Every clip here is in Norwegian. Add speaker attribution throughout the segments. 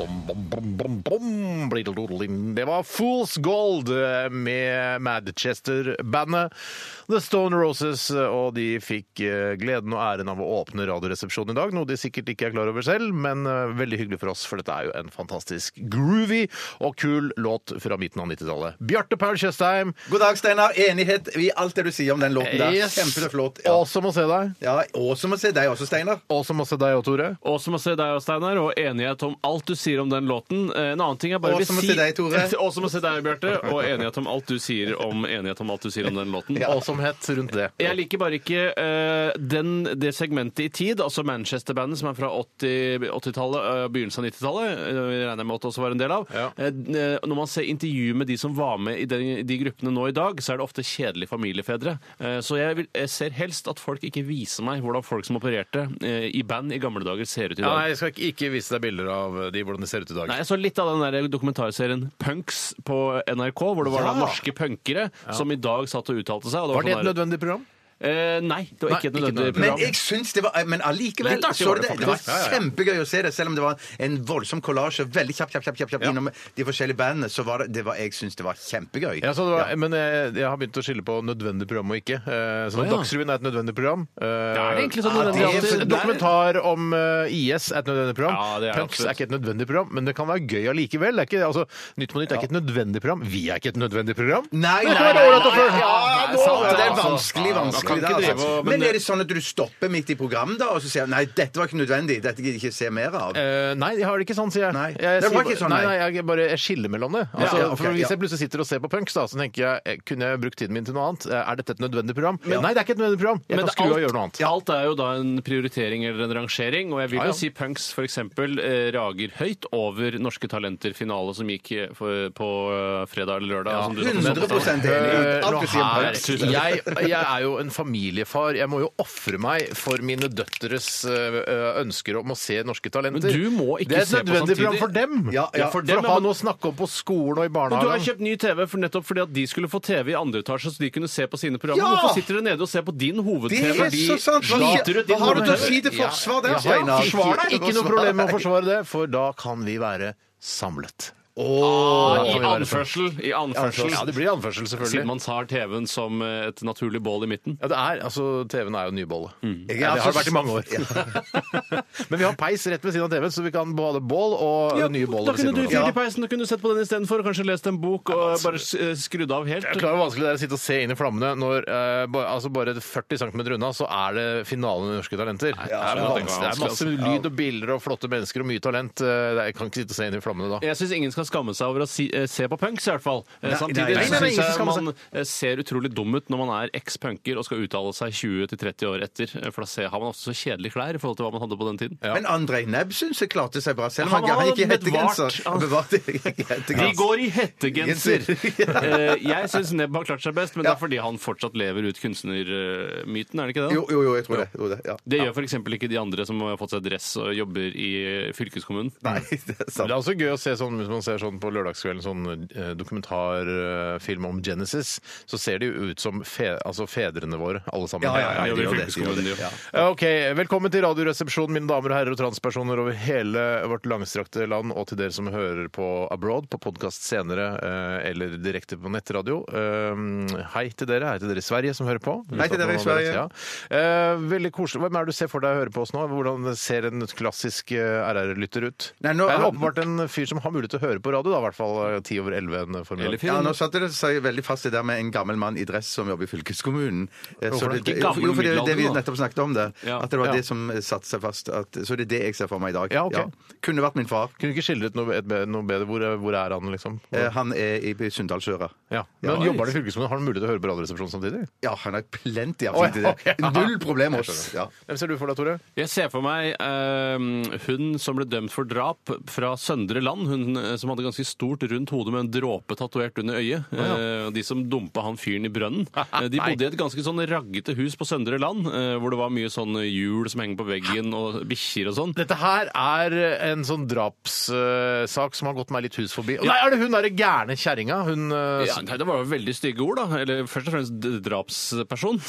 Speaker 1: Bom, bom, bom, bom, bom, blideldodelin. Det var Fools Gold eh, med Madchester-bandet The Stone Roses, eh, og de fikk eh, gleden og æren av å åpne Radioresepsjonen i dag, noe de sikkert ikke er klar over selv, men eh, veldig hyggelig for oss, for dette er jo en fantastisk groovy og kul låt fra midten av 90-tallet. Bjarte Paul Tjøstheim,
Speaker 2: God dag, Steinar. Enighet i alt det du sier om den låten der.
Speaker 1: yes.
Speaker 2: Kjempeflott. Ja.
Speaker 1: awesome å se deg.
Speaker 2: Ja, og som å se deg også, Steinar.
Speaker 1: Awesome å se deg og Tore.
Speaker 3: Og som å se deg og Steinar, og enighet om alt du sier om den låten. Eh, En annen ting jeg bare
Speaker 2: Og
Speaker 3: vil
Speaker 2: som å
Speaker 3: si
Speaker 2: se deg, Tore.
Speaker 3: Og som å se deg, Bjarte. Og enighet om alt du sier om enighet om alt du sier om den låten.
Speaker 1: Awesomehet rundt det.
Speaker 3: Jeg liker bare ikke eh, den, det segmentet i tid, altså Manchester-bandet som er fra 80 80-tallet, eh, begynnelsen av 90-tallet, eh, regner jeg med at det også var en del av.
Speaker 1: Ja.
Speaker 3: Eh, eh, når man ser intervjuer med de som var med i den, de gruppene nå i dag, så er det ofte kjedelige familiefedre. Eh, så jeg, vil, jeg ser helst at folk ikke viser meg hvordan folk som opererte eh, i band i gamle dager, ser ut i dag.
Speaker 1: Ja, nei, jeg skal ikke- ikke vise deg bilder av eh, de, hvordan de ser ut i dag.
Speaker 3: Nei, jeg så litt av den der dokumentarserien Punks på NRK, hvor det var da norske punkere som i dag satt og uttalte seg. Og
Speaker 1: Var det et
Speaker 3: sånn der-
Speaker 1: nødvendig program?
Speaker 3: Eh, nei, det var
Speaker 1: Nei,
Speaker 3: ikke et
Speaker 1: ikke
Speaker 3: nødvendig
Speaker 1: nødvendig.
Speaker 2: Men
Speaker 3: program.
Speaker 2: jeg syns det var Men allikevel
Speaker 3: Litt artig
Speaker 2: så
Speaker 3: var
Speaker 2: du
Speaker 3: det
Speaker 2: det, det var
Speaker 3: faktisk.
Speaker 1: Ja, ja.
Speaker 2: kjempegøy å se det, selv om det var en voldsom kollasje. Veldig kjapp, kjapp, kjapp, kjapp, kjapp innom de forskjellige bandene. Så var det, det var, jeg syns det var kjempegøy.
Speaker 1: Ja, så det var, Men eh, jeg, jeg har begynt å skille på nødvendig program og ikke. Eh, Så
Speaker 3: Å, ja.
Speaker 1: Dagsrevyen er et nødvendig program. Eh,
Speaker 3: er det egentlig sånn
Speaker 1: ja,
Speaker 3: nødvendig
Speaker 1: det er-
Speaker 3: alltid?
Speaker 1: Dokumentar om eh, IS er et nødvendig program.
Speaker 3: Ja, det er det
Speaker 1: Punks er
Speaker 3: absolutt.
Speaker 1: ikke et nødvendig program, men det kan være gøy allikevel. Det er ikke- Altså, nytt på nytt er ikke et nødvendig program. Vi er ikke et nødvendig program.
Speaker 2: Nei, nei,
Speaker 1: Det kan
Speaker 2: nei,
Speaker 1: være ålreit å
Speaker 2: nei,
Speaker 1: følge.
Speaker 2: nei,
Speaker 1: Ja,
Speaker 2: nei,
Speaker 1: nå-
Speaker 2: sant, det er
Speaker 3: altså.
Speaker 2: vanskelig, vanskelig.
Speaker 3: Man kan
Speaker 2: det,
Speaker 3: ikke
Speaker 2: altså.
Speaker 3: drive og-
Speaker 2: men,
Speaker 3: men-
Speaker 2: er det sånn at du stopper midt i programmet da, og så sier du, nei, dette var ikke nødvendig, dette gidder jeg ikke se mer av?
Speaker 1: Eh, nei, jeg har det ikke sånn, sier jeg.
Speaker 2: Nei.
Speaker 1: jeg,
Speaker 2: Det
Speaker 1: sier
Speaker 2: var
Speaker 1: bare-
Speaker 2: ikke sånn,
Speaker 1: nei,
Speaker 2: nei.
Speaker 1: nei, jeg bare jeg skiller mellom det. Altså,
Speaker 2: Ja, ja, ok,
Speaker 1: for hvis
Speaker 2: ja.
Speaker 1: jeg plutselig sitter og ser på punks, da, så tenker jeg eh, kunne jeg brukt tiden min til noe annet? Eh, Er dette et nødvendig program? Nei, det er ikke et nødvendig program. Jeg
Speaker 3: Men
Speaker 1: kan
Speaker 3: det-
Speaker 1: skru av og
Speaker 3: alt-
Speaker 1: gjøre noe annet.
Speaker 3: Alt er jo da en prioritering eller en rangering, og jeg vil
Speaker 1: Ja, ja.
Speaker 3: jo si Punks for eksempel eh, rager høyt over Norske Talenter-finale som gikk eh, for, på eh, fredag eller lørdag. som du sa på
Speaker 2: 100
Speaker 3: søndag.
Speaker 2: enig i alt du sier om
Speaker 3: Nå her-
Speaker 1: Eh,
Speaker 2: Punks.
Speaker 1: Jeg, jeg er jo en familiefar. Jeg må jo ofre meg for mine døtres ø, ø, ønsker om å se norske talenter.
Speaker 3: Men du må ikke
Speaker 1: det er et
Speaker 3: se på
Speaker 1: nødvendig
Speaker 3: samtidig.
Speaker 1: program for dem.
Speaker 2: Ja, ja.
Speaker 1: for
Speaker 3: dem,
Speaker 1: å ha
Speaker 3: men-
Speaker 1: noe å snakke om på skolen og i
Speaker 3: Men du har
Speaker 1: barnehagen.
Speaker 3: kjøpt ny TV for nettopp fordi at de skulle få TV i andre etasje, så de kunne se på sine programmer.
Speaker 2: Ja!
Speaker 3: Hvorfor sitter dere nede og ser på din
Speaker 2: Det
Speaker 3: hoved-TV?
Speaker 2: er så sant! Hva,
Speaker 3: sliter ut din
Speaker 2: hva har du til å
Speaker 3: hoved-TV?
Speaker 2: si til forsvar der,
Speaker 1: Ja,
Speaker 2: Steinar?
Speaker 1: forsvar deg. Ikke noe problem med å forsvare det, for da kan vi være samlet. Ja,
Speaker 3: Ah, I
Speaker 1: det kan vi være
Speaker 3: anførsel. I anførsel.
Speaker 1: Ja, det blir anførsel,
Speaker 3: Siden
Speaker 1: selvfølgelig.
Speaker 3: man tar TV-en som eh, et naturlig bål i midten.
Speaker 1: Ja, det er, altså, TV-en er jo nybolle.
Speaker 2: Jeg er
Speaker 1: Ja, det har
Speaker 2: altså-
Speaker 1: vært i mange år. Men vi har peis rett ved siden av TV-en, så vi kan både bål og nye boller
Speaker 3: da
Speaker 1: ved
Speaker 3: kunne
Speaker 1: siden
Speaker 3: du
Speaker 1: av.
Speaker 3: fyrt i peisen og kunne sett på den istedenfor. Kanskje lest en bok og bare eh, skrudd av helt.
Speaker 1: Jeg er klar over hvor vanskelig det er å sitte og se inn i flammene når eh, ba, altså bare 40 cm unna så er det finalen i Norske Talenter. det, er
Speaker 3: skjønner jeg.
Speaker 1: vanskelig. det er masse
Speaker 2: altså.
Speaker 1: lyd og bilder og flotte mennesker og mye talent. Eh, det- Jeg kan ikke sitte og se inn i flammene da.
Speaker 3: Jeg syns ingen skal skamme seg over å si, eh, se på punks, i hvert fall. Eh,
Speaker 2: Nei,
Speaker 3: Samtidig
Speaker 2: nei, nei,
Speaker 1: nei,
Speaker 3: syns
Speaker 1: ingen skal
Speaker 3: jeg
Speaker 1: skamme
Speaker 3: man eh, ser utrolig dum ut når man er eks-punker og skal uttale seg 20-30 år etter. eh, For da ser, har man ofte så kjedelige klær i forhold til hva man hadde på den tiden.
Speaker 2: Men Andrej Nebb syns jeg klarte seg bra, selv om
Speaker 3: Han
Speaker 2: han, han
Speaker 3: var
Speaker 2: gikk i hettegenser.
Speaker 3: bevart. Han-
Speaker 2: Bevart i hettegenser.
Speaker 3: De går i hettegenser! Eh, jeg syns Nebb har klart seg best, men det
Speaker 2: Ja.
Speaker 3: er fordi han fortsatt lever ut kunstnermyten, er det ikke det?
Speaker 2: Jo, jo, jo, jeg tror det. Jo, det ja.
Speaker 3: Det gjør f.eks. ikke de andre som har fått seg dress og jobber i fylkeskommunen.
Speaker 2: Nei, det er
Speaker 1: Men
Speaker 2: sant.
Speaker 1: Det er også gøy å se sånn, hvis man ser sånn på lørdagskvelden sånn eh, dokumentarfilm om Genesis, så ser de jo ut som fe, altså fedrene våre, alle sammen.
Speaker 2: Ja, ja, ja,
Speaker 3: Jeg
Speaker 2: de gjør det,
Speaker 3: jobber i
Speaker 2: de gjør
Speaker 3: fylkeskommunen,
Speaker 2: det.
Speaker 3: jo.
Speaker 2: Ja.
Speaker 1: Ok, Velkommen til Radioresepsjonen, mine damer og herrer og transpersoner over hele vårt langstrakte land, og til dere som hører på abroad, på podkast senere eh, eller direkte på nettradio. Eh, Hei til dere. Hei til dere i Sverige som hører på.
Speaker 2: Hei til dere i Sverige.
Speaker 1: Ja. Eh, Veldig koselig. Hvem er det du ser for deg hører på oss nå? Hvordan ser en klassisk eh, RR-lytter ut?
Speaker 2: Nei, nå-
Speaker 1: det er åpenbart en fyr som har mulighet til å høre på radio, da, i hvert fall eh, ti over elleve en
Speaker 3: Eller
Speaker 1: formiddag.
Speaker 2: Ja,
Speaker 3: film.
Speaker 2: nå satte det seg veldig fast det der med en gammel mann i dress som jobber i fylkeskommunen. Eh,
Speaker 1: Hvorfor
Speaker 2: Så
Speaker 1: det?
Speaker 2: det,
Speaker 3: Ikke gammel,
Speaker 2: jo, for det er det vi
Speaker 3: middelaldrende, da.
Speaker 2: nettopp snakket om, det.
Speaker 3: Ja.
Speaker 2: At det var
Speaker 1: Ja.
Speaker 2: det som eh, satte seg fast. At, så det er det jeg ser for meg i dag.
Speaker 1: Ja, ok.
Speaker 2: Kunne vært min far.
Speaker 1: Kunne du ikke skildret noe, et, be- noe bedre? Hvor, er- hvor er han, liksom?
Speaker 2: Eh, Han er i i Sunndalsøra.
Speaker 1: Ja. Men han jobber han i fylkeskommunen? Har han mulighet til å høre på Radioresepsjonen samtidig?
Speaker 2: Ja, han har plenty av
Speaker 1: Å,
Speaker 2: tid til det.
Speaker 1: ja, ok.
Speaker 2: Null problem også. Ja.
Speaker 1: Hvem ser du for deg, Tore?
Speaker 3: Jeg ser for meg eh, hun som ble dømt for drap fra Søndre Land. Hun eh, som som hadde ganske stort rundt hode med en dråpe tatovert under øyet. Eh, De som dumpa han fyren i brønnen. Eh, De
Speaker 1: Nei.
Speaker 3: bodde i et ganske sånn raggete hus på Søndre Land, eh, hvor det var mye sånn hjul som henger på veggen, og bikkjer og sånn.
Speaker 1: Dette her er en sånn drapssak som har gått meg litt hus forbi. Nei, er det hun derre gærne kjerringa? Hun eh,
Speaker 3: Ja, nei, det var jo veldig stygge ord, da. Eller først og fremst d- drapsperson.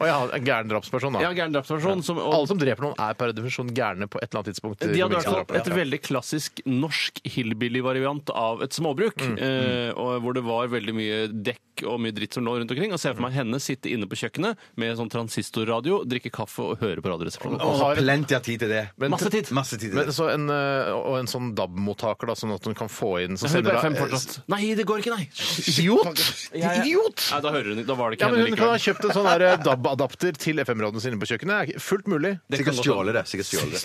Speaker 1: Å ja, en gæren drapsperson, da.
Speaker 3: ja, gæren drapsperson. Som, og-
Speaker 1: Alle som dreper noen, er per definisjon gærne på et eller annet tidspunkt.
Speaker 3: De hadde i hvert
Speaker 1: Drap,
Speaker 3: fall et
Speaker 1: ja.
Speaker 3: veldig klassisk norsk hillbilly-variant av et småbruk.
Speaker 1: Mm.
Speaker 3: Eh, og hvor det var veldig mye dekk og mye dritt som lå rundt omkring. Og ser for meg henne sitte inne på kjøkkenet med sånn transistorradio, drikke kaffe og høre på Radioresepsjonen.
Speaker 1: Og har-
Speaker 2: Plenty av tid til det.
Speaker 1: Men-
Speaker 3: Masse tid!
Speaker 2: Masse tid til
Speaker 1: Men
Speaker 2: det.
Speaker 1: så en, eh, og en sånn DAB-mottaker, da, sånn at hun kan få inn så
Speaker 3: Hun
Speaker 1: sender
Speaker 3: ble
Speaker 1: hun-
Speaker 3: fem fortsatt. Nei, det går ikke, nei!
Speaker 1: Idiot!
Speaker 3: ja.
Speaker 1: Idiot!
Speaker 3: nei da, hører hun, ikke- da var det ikke
Speaker 1: Ja, men
Speaker 3: henne
Speaker 1: Hun kan ha
Speaker 3: likevel.
Speaker 1: kjøpt en sånn der DAB-adapter til FM-radioen sin inne på kjøkkenet. Det er Fullt mulig.
Speaker 2: Sikkert stjåle det. Sikkert stjåle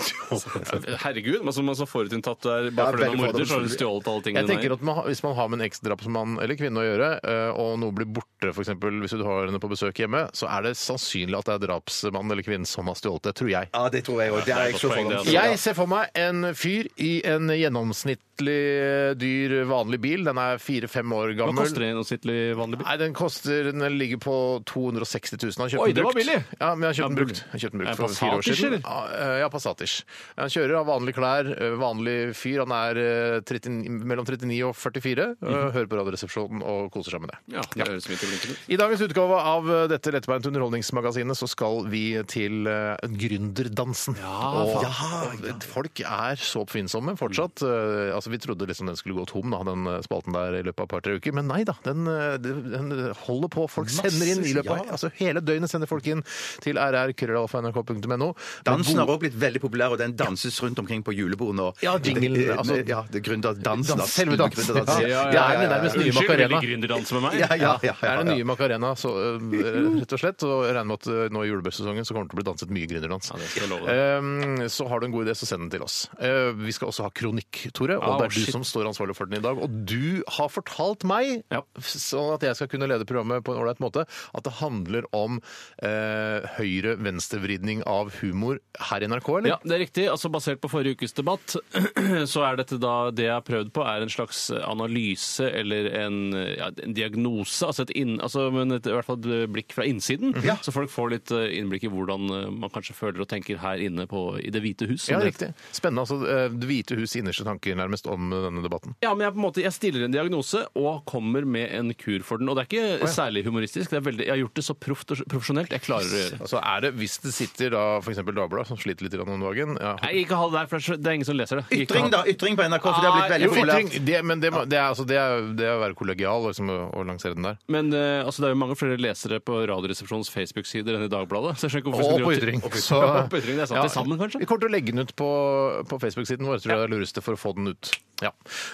Speaker 2: det.
Speaker 3: Herregud, men som man så forutinntatt der bare
Speaker 1: Ja,
Speaker 3: fordi hun er
Speaker 1: veldig
Speaker 3: morder, så har hun
Speaker 1: fordomsfull.
Speaker 3: stjålet alle
Speaker 1: Jeg
Speaker 3: tingene.
Speaker 1: tenker at man, har- Hvis man har med en eksdrapsmann eller -kvinne å gjøre, eh, og noe blir borte, f.eks. hvis du har henne på besøk hjemme, så er det sannsynlig at det er drapsmann eller -kvinne som har stjålet det, tror jeg.
Speaker 2: Ja, det tror jeg òg. Det er jeg så
Speaker 3: Poeng, det, altså.
Speaker 2: fordomsfull.
Speaker 1: Jeg ser for meg en fyr i en gjennomsnittlig eh, dyr, vanlig bil. Den er fire-fem år
Speaker 3: Hva
Speaker 1: gammel.
Speaker 3: koster det gjennomsnittlig vanlig bil?
Speaker 1: Nei, den koster Den ligger på 260 000. Han kjøpte
Speaker 3: Oi,
Speaker 1: den
Speaker 3: det var
Speaker 1: brukt.
Speaker 3: billig.
Speaker 1: Ja, men jeg kjøpte den
Speaker 3: Ja,
Speaker 1: brukt. Jeg kjøpte den
Speaker 3: Er
Speaker 1: brukt
Speaker 3: det
Speaker 1: for fire år
Speaker 3: Passatisch,
Speaker 1: siden.
Speaker 3: eller?
Speaker 1: Ja, eh, Ja, Passatisch. Han kjører, har vanlige klær, eh, vanlig fyr. Han er eh, 39, mellom 39 og 44. eh,
Speaker 3: Mhm.
Speaker 1: Hører på Radioresepsjonen og koser seg med det.
Speaker 3: Ja, det høres midt i blinken ut.
Speaker 1: I dagens utgave av dette lettbeint underholdningsmagasinet så skal vi til eh, gründerdansen. og, ja, Folk er så oppfinnsomme fortsatt. Eh, altså, vi trodde liksom den skulle gå tom, da, den eh, spalten der i løpet av et par-tre uker, men nei da. Den, eh, den holder på. Folk sender inn i løpet av altså, Hele døgnet sender folk inn til rrkrøllalfa.nrk.no.
Speaker 2: Dansen har også blitt veldig populær, og den danses rundt omkring på julebord nå.
Speaker 1: Ja, jinglen,
Speaker 2: Eh, eh,
Speaker 1: altså-
Speaker 2: ja, det er gründerdansen.
Speaker 1: Dans-
Speaker 2: da.
Speaker 1: selve dansen.
Speaker 2: Gründerdansen.
Speaker 1: Ja,
Speaker 3: ja,
Speaker 1: Det
Speaker 3: ja,
Speaker 1: er
Speaker 3: ja,
Speaker 1: den
Speaker 3: ja.
Speaker 1: nærmest nye
Speaker 3: Unnskyld, vil
Speaker 1: Macarena.
Speaker 3: du gründerdanse med meg?
Speaker 2: Ja, ja, ja,
Speaker 1: Det
Speaker 2: ja,
Speaker 1: er den nye
Speaker 2: ja.
Speaker 1: Macarena, så, øh, rett og slett. Og jeg regner med at øh, nå i julebøssesongen så kommer det til å bli danset mye gründerdans.
Speaker 3: Ja, det skal jeg love
Speaker 1: Ehm, så har du en god idé, så send den til oss. Eh, vi skal også ha kronikk, Tore, og
Speaker 3: Ah,
Speaker 1: det er du
Speaker 3: shit.
Speaker 1: som står ansvarlig for den i dag. Og du har fortalt meg,
Speaker 3: Ja.
Speaker 1: sånn at jeg skal kunne lede programmet på en ålreit måte, at det handler om eh, høyre-venstrevridning av humor her i NRK, eller?
Speaker 3: Ja, det er riktig. Altså Basert på forrige ukes debatt, så er dette da det jeg har prøvd på, er en slags analyse eller en, ja, en diagnose. Altså, et inn, altså men et, i hvert fall et blikk fra innsiden.
Speaker 1: Mhm.
Speaker 3: Så folk får litt eh, innblikk i hvordan eh, man kanskje føler og tenker her inne på, i Det hvite hus.
Speaker 1: Ja,
Speaker 3: som det
Speaker 1: riktig. Spennende. altså eh, Det hvite hus' innerste tanker nærmest om eh, denne debatten.
Speaker 3: Ja, men jeg, på en måte, jeg stiller en diagnose og kommer med en kur for den. Og det er ikke særlig humoristisk. Det er veldig, jeg har gjort det så proft og profesjonelt jeg klarer å gjøre.
Speaker 1: Altså er det, Hvis det sitter da f.eks. Dagbladet, som sliter litt grann om dagen ja,
Speaker 3: Nei, ikke ha det der, for det er så- det er ingen som leser det. Ikke ha-
Speaker 2: Ytring, da. Ytring på NRK, for det har blitt veldig
Speaker 1: Ah, Jo,
Speaker 2: populært.
Speaker 1: ytring, det, men det, må- det, er, altså, det, er, det er å være kollegial liksom, å, å lansere den der.
Speaker 3: Men eh, altså, det er jo mange flere lesere på Radioresepsjonens Facebook-sider enn i Dagbladet. Så jeg skjønner ikke hvorfor
Speaker 1: Og
Speaker 3: jeg
Speaker 1: på
Speaker 3: skal drive-
Speaker 1: ytring.
Speaker 3: Og på ytring.
Speaker 1: Så-
Speaker 3: Og på ytring, det er sant.
Speaker 1: Ja.
Speaker 3: Til sammen, kanskje?
Speaker 1: Vi kommer til å legge den ut på, på Facebook-siden vår. Tror jeg det er lureste for å få den ut. Ja.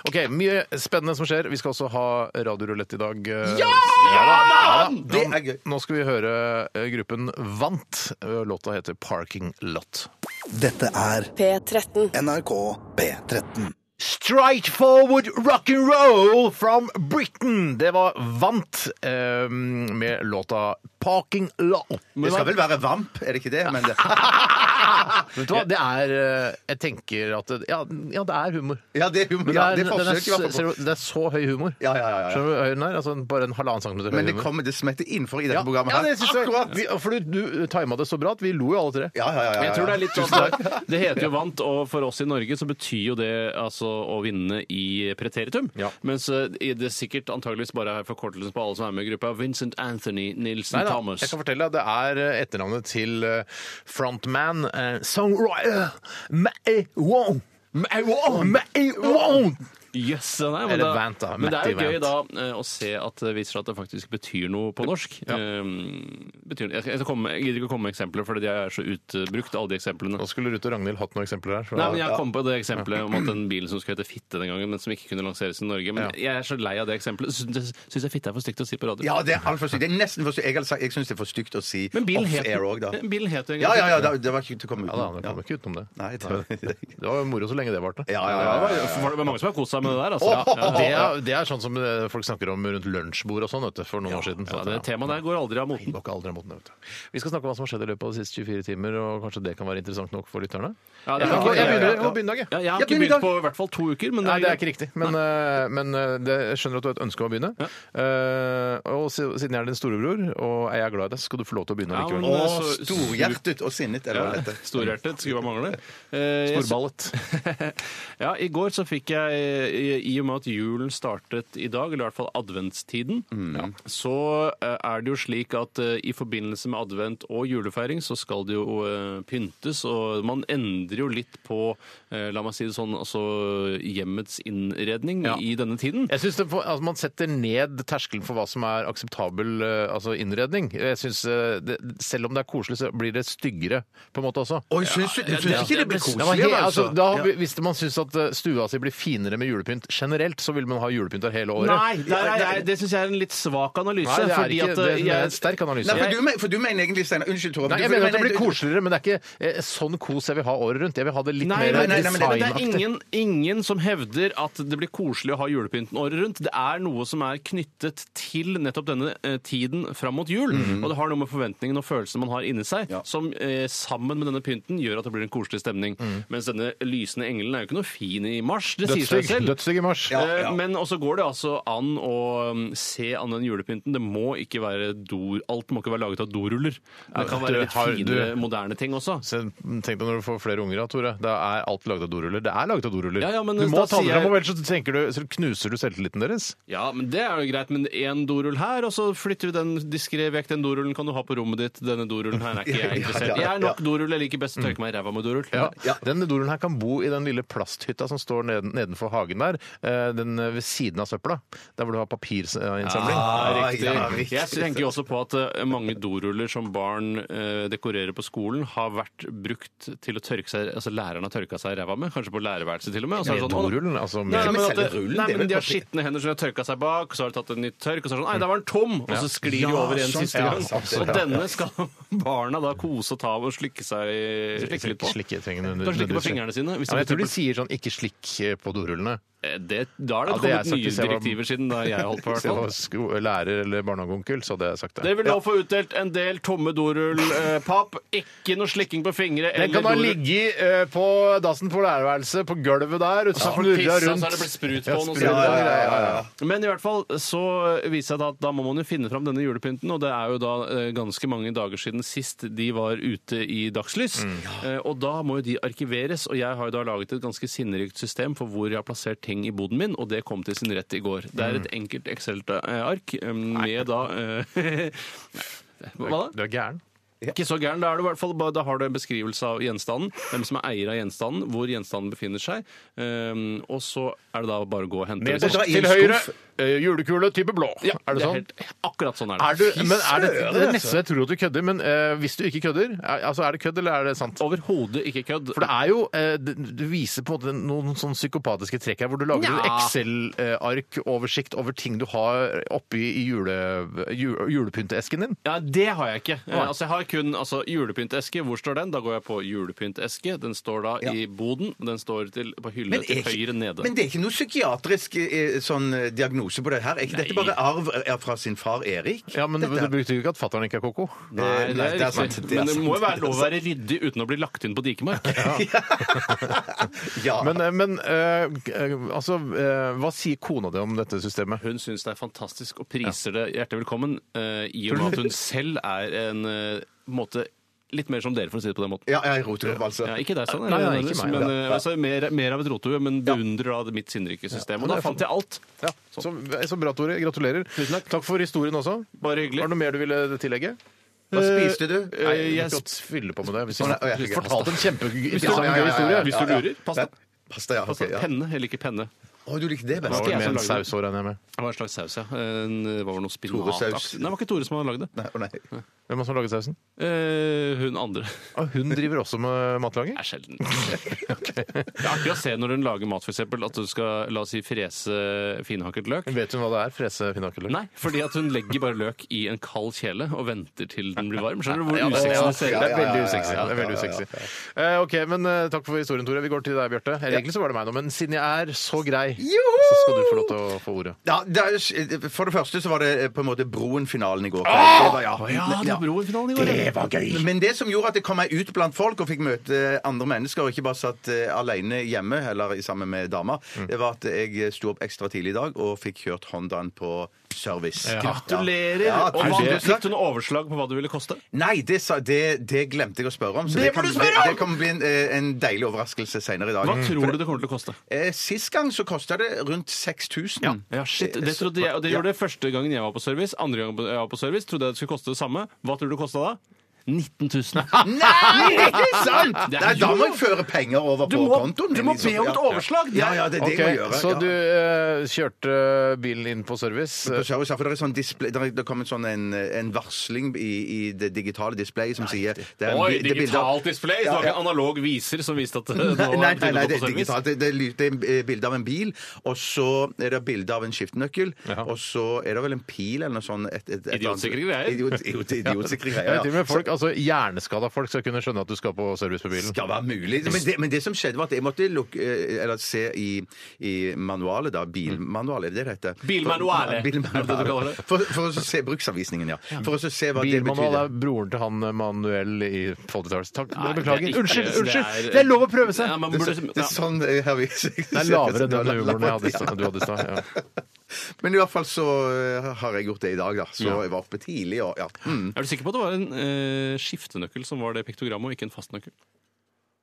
Speaker 1: Ok, Mye spennende som skjer. Vi skal også ha radiorulett i dag. eh, Ja! da!
Speaker 2: Det er gøy.
Speaker 1: Nå skal vi høre eh, gruppen Vant. Eh, Låta heter 'Parking Lot'.
Speaker 4: Dette er
Speaker 5: P13.
Speaker 4: NRK P13.
Speaker 1: Strike forward rock and roll from Britain. Det var Vant eh, med låta 'Parking Lot'.
Speaker 2: Det skal vel være Vamp, er det ikke det? Men det,
Speaker 1: Vet du hva, det er eh, Jeg tenker at det, ja, ja, det er humor.
Speaker 2: ja, det er jo
Speaker 1: Men
Speaker 2: ja, det
Speaker 1: den
Speaker 2: er forsøk i
Speaker 1: er,
Speaker 2: hvert fall.
Speaker 1: ser
Speaker 2: på-
Speaker 1: du, det er så høy humor.
Speaker 2: Ja, ja, ja, ja.
Speaker 1: Skjønner du hvor høy den er? Altså, bare en halvannen centimeter høy
Speaker 2: Men det
Speaker 1: humor.
Speaker 2: kommer, det smetter innenfor i dette
Speaker 1: ja.
Speaker 2: programmet
Speaker 1: ja, det
Speaker 2: her.
Speaker 1: synes jeg. Vi, for du, du tima det så bra at vi lo jo alle tre.
Speaker 2: Ja, ja, ja, ja,
Speaker 3: Men jeg tror det
Speaker 2: ja.
Speaker 3: er litt sånn at Det heter jo vant, og for oss i Norge så betyr jo det altså å vinne i preteritum.
Speaker 1: Ja.
Speaker 3: Mens eh, i det sikkert antageligvis bare er forkortelsen på alle som er med i gruppa. Vincent Anthony
Speaker 1: Nei
Speaker 3: Nilsen
Speaker 1: da,
Speaker 3: Thomas.
Speaker 1: jeg kan fortelle deg, Det er eh, etternavnet til eh, frontman, eh, songwriter Matty Wong. Matty Wong!
Speaker 3: Jøss, nei, men,
Speaker 1: Eller
Speaker 3: da-
Speaker 1: Vant, da.
Speaker 3: men det er jo
Speaker 1: Matty
Speaker 3: gøy da eh, å se at det viser seg at det faktisk betyr noe på norsk. Ehm, betyr, jeg, skal, jeg, skal komme, jeg gidder ikke å komme med eksempler, for de er så utbrukt, alle de eksemplene.
Speaker 1: Nå skulle Ruth og Ragnhild hatt noen eksempler her. så-
Speaker 3: Nei, men Jeg kom på det eksempelet om at den bilen som skulle hete Fitte den gangen, men som ikke kunne lanseres i Norge. Men jeg er så lei av det eksempelet. Syns syns jeg Fitte er for stygt å si på radio.
Speaker 2: Ja, det er altfor sykt. Det er nesten for sykt. Jeg, hadde sagt- jeg syns det er for stygt å si
Speaker 3: Men bilen het
Speaker 2: off-air òg, da.
Speaker 3: bilen het jo en gang
Speaker 2: Ja, ja, ja, da- det var ikke til å komme
Speaker 1: Ja, da, det
Speaker 2: utenom.
Speaker 1: kom ikke utenom det.
Speaker 2: Nei, det-
Speaker 1: Det var jo moro så lenge det varte.
Speaker 2: Ja, ja, ja, ja, ja.
Speaker 3: For det var mange som har kost seg med det der, altså. Ja,
Speaker 1: Det er, det er sånn som eh, folk snakker om rundt lunsjbord og sånn, vet du, for noen år siden.
Speaker 3: ja, det temaet der går aldri av moten.
Speaker 1: Dere aldri har moten, vet du. Vi skal snakke om hva som har skjedd i løpet av de siste 24 timer, og kanskje det kan være interessant nok for lytterne?
Speaker 3: Ja,
Speaker 1: Jeg
Speaker 3: det er
Speaker 1: kan gå-
Speaker 3: ikke-
Speaker 1: jeg begynner jeg må begynne, jeg.
Speaker 3: Ja, jeg har
Speaker 2: Ja,
Speaker 3: ikke
Speaker 2: begynn i
Speaker 3: begynt
Speaker 2: dag.
Speaker 3: på i hvert fall to uker, men
Speaker 1: Nei, det er ikke riktig, men, eh, men eh, det, jeg skjønner at du har et ønske om å begynne. Eh, og si- siden jeg er din storebror, og jeg er glad i deg, så skal du få lov til å begynne
Speaker 3: Ja,
Speaker 1: likevel.
Speaker 3: men-
Speaker 2: Og
Speaker 3: Så-
Speaker 2: storhjertet og sinnet, eller hva det heter.
Speaker 3: Storhjertet skulle bare mangle. Eh, jeg-
Speaker 1: Storballet.
Speaker 3: ja, I går så fikk jeg, eh, i og med at julen startet i dag, eller i hvert fall adventstiden,
Speaker 1: Mm.
Speaker 3: ja, så eh, er det jo slik at eh, i forbindelse med advent og julefeiring så skal det jo eh, pyntes, og man endrer jo litt på, eh, la meg si det sånn, altså hjemmets innredning
Speaker 1: Ja.
Speaker 3: i denne tiden.
Speaker 1: Jeg synes det, for- altså Man setter ned terskelen for hva som er akseptabel eh, altså innredning. Jeg synes, eh, det, Selv om det er koselig, så blir det styggere på en måte også.
Speaker 2: Oi, syns du syns ikke
Speaker 3: det-
Speaker 2: det blir
Speaker 3: det-
Speaker 1: Ja, men,
Speaker 2: koselig?
Speaker 1: he, altså, da, har
Speaker 2: Ja.
Speaker 1: vi- hvis man syns at eh, stua si blir finere med julepynt generelt, så vil man ha julepynt der hele året.
Speaker 3: Nei, det, er- det syns jeg er en litt svak analyse.
Speaker 1: Nei, det er
Speaker 3: fordi
Speaker 1: ikke
Speaker 3: at,
Speaker 1: det,
Speaker 3: eh,
Speaker 1: det er en
Speaker 3: jeg-
Speaker 1: sterk analyse.
Speaker 2: Nei, for du, men- for du mener egentlig, Steinar Unnskyld, Tore.
Speaker 1: Nei,
Speaker 2: men
Speaker 1: jeg
Speaker 2: du-
Speaker 1: mener at det
Speaker 2: mener-
Speaker 1: blir koseligere, men det er ikke eh, sånn kos jeg vil ha året rundt. Jeg vil ha det litt
Speaker 3: Nei,
Speaker 1: mer
Speaker 3: men,
Speaker 2: nei, nei, men
Speaker 3: men det er
Speaker 1: designaktig.
Speaker 3: ingen, ingen som hevder at det blir koselig å ha julepynten året rundt. Det er noe som er knyttet til nettopp denne eh, tiden fram mot jul.
Speaker 1: Mhm.
Speaker 3: Og det har noe med forventningene og følelsene man har inni seg, som eh, sammen med denne pynten gjør at det blir en koselig stemning.
Speaker 1: Mhm.
Speaker 3: Mens denne lysende engelen er jo ikke noe fin i mars. Det sier seg
Speaker 1: Dødsstygg.
Speaker 3: selv.
Speaker 1: Dødsstygg i mars.
Speaker 3: Eh, Men også går det altså an å um, se an den julepynten. Det må ikke være dor, alt må ikke være laget av doruller. Det kan
Speaker 1: du
Speaker 3: være litt
Speaker 1: har-
Speaker 3: finere, moderne ting også.
Speaker 1: Så Tenk deg når du får flere unger, da, Tore. Da er alt laget av doruller. Det er laget av doruller.
Speaker 3: Ja, ja, men
Speaker 1: du må
Speaker 3: da
Speaker 1: ta det
Speaker 3: sier
Speaker 1: fram,
Speaker 3: jeg-
Speaker 1: og ellers så, tenker du, så knuser du selvtilliten deres.
Speaker 3: Ja, men det er jo greit, men én dorull her, og så flytter vi den diskré vekk. Den dorullen kan du ha på rommet ditt, denne dorullen her er ikke jeg interessert i. Jeg er nok dorull, jeg liker best å tørke meg i ræva med dorull.
Speaker 1: Ja. Den dorullen her kan bo i den lille plasthytta som står neden, nedenfor hagen der. eh, Den ved siden av søpla. Der hvor du har papirinnsamling.
Speaker 2: Ah,
Speaker 3: Riktig.
Speaker 2: ja, riktig.
Speaker 3: Jeg tenker jo også på at eh, mange doruller som barn eh, dekorerer på skolen, har vært brukt til å tørke seg Altså læreren har tørka seg i ræva med, kanskje på lærerværelset til og med. og så er det
Speaker 1: Med
Speaker 3: sånn, å,
Speaker 1: dorullen, altså med
Speaker 3: Nei, men, at,
Speaker 2: selve rullen,
Speaker 3: nei,
Speaker 2: det er
Speaker 3: men
Speaker 2: vel
Speaker 3: De har
Speaker 2: papir.
Speaker 3: skitne hender som de har tørka seg bak, så har de tatt en ny tørk, og så er det sånn Nei, da var den tom! Og så sklir de
Speaker 2: Ja,
Speaker 3: over en
Speaker 2: sånn,
Speaker 3: siste
Speaker 2: ja,
Speaker 3: gang.
Speaker 2: sant det,
Speaker 3: Og
Speaker 2: ja.
Speaker 3: denne skal barna da kose og ta av og slikke seg slikke litt på.
Speaker 1: Slikke tingene under-
Speaker 3: Kan slikke på
Speaker 1: under-
Speaker 3: fingrene sine. Hvis
Speaker 1: Ja, men jeg
Speaker 3: de
Speaker 1: tror de
Speaker 3: for eksempel-
Speaker 1: sier sånn 'ikke slikk eh, på dorullene'.
Speaker 3: Eh, det, da har det
Speaker 1: Ja, det er
Speaker 3: kommet nye
Speaker 1: faktisk- jeg var-
Speaker 3: direktiver siden da jeg holdt på, i
Speaker 1: Hvis
Speaker 3: hvert
Speaker 1: jeg
Speaker 3: fall.
Speaker 1: var sko lærer eller barnehageonkel, så hadde jeg sagt det.
Speaker 3: Dere Sånn. vil nå få utdelt en del tomme dorullpapp. Ikke noe slikking på fingre.
Speaker 1: Den kan da ligge eh, på dassen på lærerværelset, på gulvet der, og så snurre
Speaker 3: Pissa, så
Speaker 1: rundt.
Speaker 3: er det blitt sprut
Speaker 1: Ja,
Speaker 3: på den. og
Speaker 1: sprut,
Speaker 3: så videre.
Speaker 1: ja, ja, ja, ja.
Speaker 3: Men i hvert fall så viser jeg da at da må man jo finne fram denne julepynten, og det er jo da eh, ganske mange dager siden sist de var ute i dagslys. Eh, Og da må jo de arkiveres, og jeg har jo da laget et ganske sinnerikt system for hvor jeg har plassert ting i boden min, og det kom til sin rett i går. Det er et enkelt Excel-ark eh, med da eh, Hva da?
Speaker 1: Du er gæren.
Speaker 3: Ikke så gæren. Da, er det i hvert fall, bare- da har du en beskrivelse av gjenstanden, hvem som er eier av gjenstanden, hvor gjenstanden befinner seg, um, og så er det da bare å gå og hente det.
Speaker 1: Nederst
Speaker 2: dra i en
Speaker 1: til høyre,
Speaker 2: skuff.
Speaker 1: eh, julekule type blå.
Speaker 3: Ja,
Speaker 1: er det sånn?
Speaker 3: helt- altså. akkurat sånn er det.
Speaker 1: Er du, men er det, det er nesten jeg tror at du kødder, men eh, hvis du ikke kødder, er, altså er det kødd eller er det sant?
Speaker 3: Overhodet ikke kødd.
Speaker 1: For det er jo, eh, det- Du viser på en måte noen sånn psykopatiske trekk her, hvor du lager en
Speaker 3: Nja.
Speaker 1: Excel-ark-oversikt over ting du har oppi i jule, ju- julepyntesken din.
Speaker 3: Ja, det har jeg ikke. Eh, Altså, jeg har kun altså, julepynteske. Hvor står den? Da går jeg på julepynteske. Den står da i boden. Den står til, på hylle
Speaker 2: Men
Speaker 3: til
Speaker 2: er ikke-
Speaker 3: høyre nede.
Speaker 2: Men det er ikke noe psykiatrisk eh, sånn eh, diagnose på det her? Er ikke dette
Speaker 3: Nei.
Speaker 2: bare arv eh, fra sin far Erik?
Speaker 1: Ja, Men
Speaker 2: Dette-
Speaker 1: du brukte jo ikke at fatter'n ikke er koko.
Speaker 3: Nei, det er,
Speaker 2: det er
Speaker 3: riktig.
Speaker 2: sant, det er
Speaker 3: Men det
Speaker 2: sant,
Speaker 3: må jo være
Speaker 2: det er
Speaker 3: lov å være ryddig uten å bli lagt inn på dikemark.
Speaker 2: Ja.
Speaker 1: Men, eh, men eh, eh, altså, eh, hva sier kona di om dette systemet?
Speaker 3: Hun syns det er fantastisk og priser det hjertelig velkommen, eh, i og med at hun selv er en eh, på en måte litt mer som dere, for å si det på den måten.
Speaker 2: ja, jeg roter opp, altså.
Speaker 3: Ja, ikke deg, sånn.
Speaker 1: Nei, nei, ikke meg.
Speaker 3: men, eh, altså, mer, mer av et rotehue, men beundrer da mitt sinnrike system. Og da fant jeg alt.
Speaker 1: Ja, sånn. så, eh, så bra, Tore. Gratulerer.
Speaker 3: Tusen takk.
Speaker 1: for historien også.
Speaker 3: Bare hyggelig. Eh,
Speaker 1: Var det noe mer du ville tillegge?
Speaker 2: Hva spiste du?
Speaker 1: Nei, jeg
Speaker 3: jeg
Speaker 1: skal fylle på med det. Hvis
Speaker 2: Å, nei, å,
Speaker 1: jeg
Speaker 2: jeg-
Speaker 1: fortalte en
Speaker 2: Ja, ja,
Speaker 1: kjempegøy
Speaker 2: ja, ja, ja, ja.
Speaker 1: historie.
Speaker 3: Hvis du lurer, pass deg.
Speaker 2: Pasta, ja. ok, ja.
Speaker 3: altså, Penne, jeg liker penne.
Speaker 2: Å, du likte det best?
Speaker 3: Hva var
Speaker 2: Ja.
Speaker 3: jeg
Speaker 1: Med
Speaker 3: som
Speaker 1: en
Speaker 3: lagde
Speaker 1: saus, regner jeg med.
Speaker 3: Eh, Det var en slags saus, ja. En, det var vel noe spinat
Speaker 2: Tore-saus.
Speaker 3: Nei, det var ikke Tore som hadde lagd det.
Speaker 2: Nei, å nei.
Speaker 1: Hvem er det som har laget sausen?
Speaker 3: Eh, hun andre
Speaker 1: Ah, hun driver også med matlaging?
Speaker 3: er sjelden. Det er artig å se når hun lager mat, f.eks. At du skal la oss si, frese finhakket løk.
Speaker 1: Vet hun hva det er? Frese pinnakulør?
Speaker 3: Nei, fordi at hun legger bare løk i en kald kjele og venter til den blir varm. Skjønner du hvor
Speaker 1: Ja, det,
Speaker 3: usexy
Speaker 1: er,
Speaker 3: det ser ut?
Speaker 1: det er veldig usexy. Det er veldig usexy. Eh, ok, men eh, Takk for historien, Tore. Vi går til deg, Bjarte. Eller, Egentlig så var det meg nå, men siden jeg er så grei, så skal du få lov til å få ordet.
Speaker 2: Ja, det er, for det første så var det eh, på en måte Broen-finalen i går. Det var, ja, ja.
Speaker 3: Broen-finalen i går. ja.
Speaker 2: Men det som gjorde at jeg kom meg ut blant folk og fikk møte eh, andre mennesker, og ikke bare satt eh, alene hjemme eller i- sammen med dama, det var at jeg eh, sto opp ekstra tidlig i dag og fikk kjørt Hondaen på service.
Speaker 3: Gratulerer!
Speaker 2: Ja,
Speaker 3: og
Speaker 2: tusen
Speaker 3: hva,
Speaker 2: takk.
Speaker 3: fikk du noe overslag på hva det ville koste?
Speaker 2: Nei, det, sa, det, det glemte jeg å spørre om. Så det, kan, det, det kan bli en, eh, en deilig overraskelse senere i dag.
Speaker 3: Hva
Speaker 1: Mm.
Speaker 3: tror du det kommer til å koste?
Speaker 2: Eh, Sist gang så kosta det rundt 6000.
Speaker 3: Ja, shit,
Speaker 2: Eh,
Speaker 3: Det trodde jeg, og det gjorde det første gangen jeg var på service. Andre gangen jeg var på service, trodde jeg det skulle koste det samme. Hva tror du det kosta da? 19 000.
Speaker 2: Nei, det er ikke sant!
Speaker 3: Det er
Speaker 2: Nei, da
Speaker 3: jo-
Speaker 2: må jeg føre penger over
Speaker 3: Du
Speaker 2: på
Speaker 3: må,
Speaker 2: kontoen.
Speaker 3: du
Speaker 2: min,
Speaker 3: må
Speaker 2: liksom.
Speaker 3: be om et
Speaker 2: Ja.
Speaker 3: overslag!
Speaker 2: Ja, ja, det er det
Speaker 1: Ok,
Speaker 2: jeg må gjøre.
Speaker 1: Så
Speaker 2: ja.
Speaker 1: du eh, kjørte bilen inn på service. eh,
Speaker 2: på service, for det, er sånn display, det er- det kom en, sånn en, en varsling i, i det digitale displayet som sier det er, det
Speaker 3: Oi,
Speaker 2: er bilder-
Speaker 3: digitalt display! Det var ikke en analog viser som viste at det
Speaker 2: Nei,
Speaker 3: var
Speaker 2: nei, nei, det
Speaker 3: på
Speaker 2: er
Speaker 3: service.
Speaker 2: digitalt. Det, det, er lyd- det er bilde av en bil, og så er det bilde av en skiftenøkkel, og så er det vel en pil eller noe sånt. Et, et, et,
Speaker 3: Idiotsikre greier.
Speaker 2: Idiot, idiot, idiotsikre
Speaker 1: Jeg vet
Speaker 2: greier,
Speaker 1: til og med folk, altså Hjerneskada folk skal kunne skjønne at du skal på service på bilen.
Speaker 2: skal være mulig. Men det, men det som skjedde, var at jeg måtte lukke, eh, eller se i, i manualet, da. Bilmanualet, er det det det heter?
Speaker 3: Bilmanualet,
Speaker 2: Bilmanualet.
Speaker 3: er det det du kaller det?
Speaker 2: For, for å se bruksanvisningen, ja. For å se hva det
Speaker 1: Bilmanual
Speaker 2: betyr.
Speaker 1: er broren til han eh, Manuel i Foldetalls. Takk,
Speaker 3: Nei, det er
Speaker 1: beklager.
Speaker 3: ikke-
Speaker 1: Unnskyld!
Speaker 3: det er-
Speaker 1: unnskyld! Det er lov å prøve seg!
Speaker 3: Ja, man
Speaker 2: Det,
Speaker 3: burde,
Speaker 2: er så- det er
Speaker 3: ja.
Speaker 2: sånn eh, her vi
Speaker 1: Det er lavere enn den humoren jeg hadde i stad- du hadde i stad. Ja.
Speaker 2: Men i hvert fall så eh, har jeg gjort det i dag, da. Så jeg var oppe tidlig og ja. Mm.
Speaker 3: Er du sikker på at det var en eh, skiftenøkkel som var det piktogrammet, og ikke en fastnøkkel?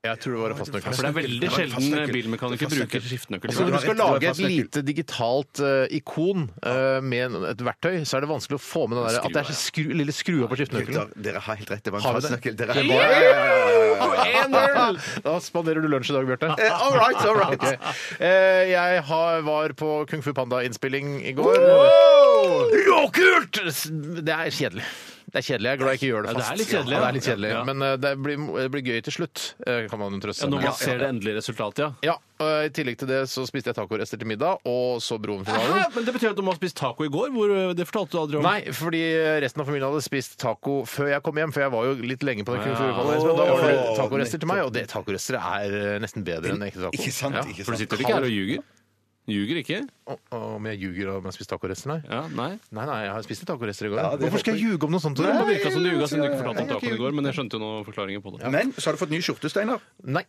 Speaker 1: Jeg tror det var en fastnøkkel.
Speaker 3: For det er veldig
Speaker 2: var en
Speaker 3: sjelden
Speaker 2: fastnøkkel.
Speaker 3: bilmekanikere
Speaker 2: Det var en
Speaker 3: bruker
Speaker 2: fastnøkkel.
Speaker 3: skiftenøkkel.
Speaker 1: Altså,
Speaker 2: du
Speaker 1: når du
Speaker 2: har
Speaker 1: skal
Speaker 2: rett, det var
Speaker 1: lage et
Speaker 2: fastnøkkel.
Speaker 1: lite digitalt eh, ikon eh, med en- et verktøy, så er det vanskelig å få med den der, at det er så skru, lille skrua på skiftenøkkelen.
Speaker 2: Gutter, dere har helt rett. Det var
Speaker 1: Har vi
Speaker 2: en
Speaker 1: det?
Speaker 2: fastnøkkel. Dere
Speaker 1: Det
Speaker 2: har
Speaker 1: var-
Speaker 2: ja, ja, ja, ja, ja, ja.
Speaker 1: Da spanderer du lunsj i dag, Bjarte.
Speaker 2: Eh, All right, all right.
Speaker 1: Ok. Eh, jeg har, var på Kung Fu Panda-innspilling i går. Jo, kult! Det er kjedelig. Det er kjedelig, Jeg er glad jeg ikke gjør det
Speaker 3: Ja, det
Speaker 1: fast.
Speaker 3: er litt kjedelig,
Speaker 1: Ja, det
Speaker 3: ja.
Speaker 1: er litt kjedelig.
Speaker 3: Ja.
Speaker 1: Men eh, det blir, det blir gøy til slutt, eh, kan man trøste
Speaker 3: Ja,
Speaker 1: seg
Speaker 3: når
Speaker 1: med.
Speaker 3: man ser det endelige resultatet, ja.
Speaker 1: Ja, og I tillegg til det så spiste jeg tacorester til middag, og så Broen-finalen.
Speaker 3: Hæ? Men det betyr at du må ha spist taco i går? Hvor, eh, det fortalte du aldri om.
Speaker 1: Nei, fordi resten av familien hadde spist taco før jeg kom hjem. For jeg var jo litt lenge på den
Speaker 3: Ja.
Speaker 1: kulturpallen. Da var det
Speaker 2: Åh,
Speaker 1: tacorester til meg, og det tacorester er eh, nesten bedre enn ekte taco.
Speaker 2: Ikke sant?
Speaker 1: Ja.
Speaker 2: ikke
Speaker 3: For du
Speaker 2: sant.
Speaker 3: sitter ikke her og ljuger? Ljuger ikke?
Speaker 1: Å, å, Om jeg ljuger om jeg har spist tacorester, nei?
Speaker 3: Ja, nei.
Speaker 1: Nei, nei, jeg har spist litt tacorester i går.
Speaker 2: det
Speaker 1: Hvorfor skal jeg ljuge om noe sånt?
Speaker 3: Det
Speaker 1: Tore?
Speaker 3: virka som du ljuga siden du ikke
Speaker 1: Nei, jeg
Speaker 3: fortalte om
Speaker 1: har ikke
Speaker 3: tacoen i
Speaker 1: ljugd.
Speaker 3: går, men jeg skjønte jo noen forklaringer på det.
Speaker 2: Men så har du fått nye skjorte, Steinar.
Speaker 1: Nei.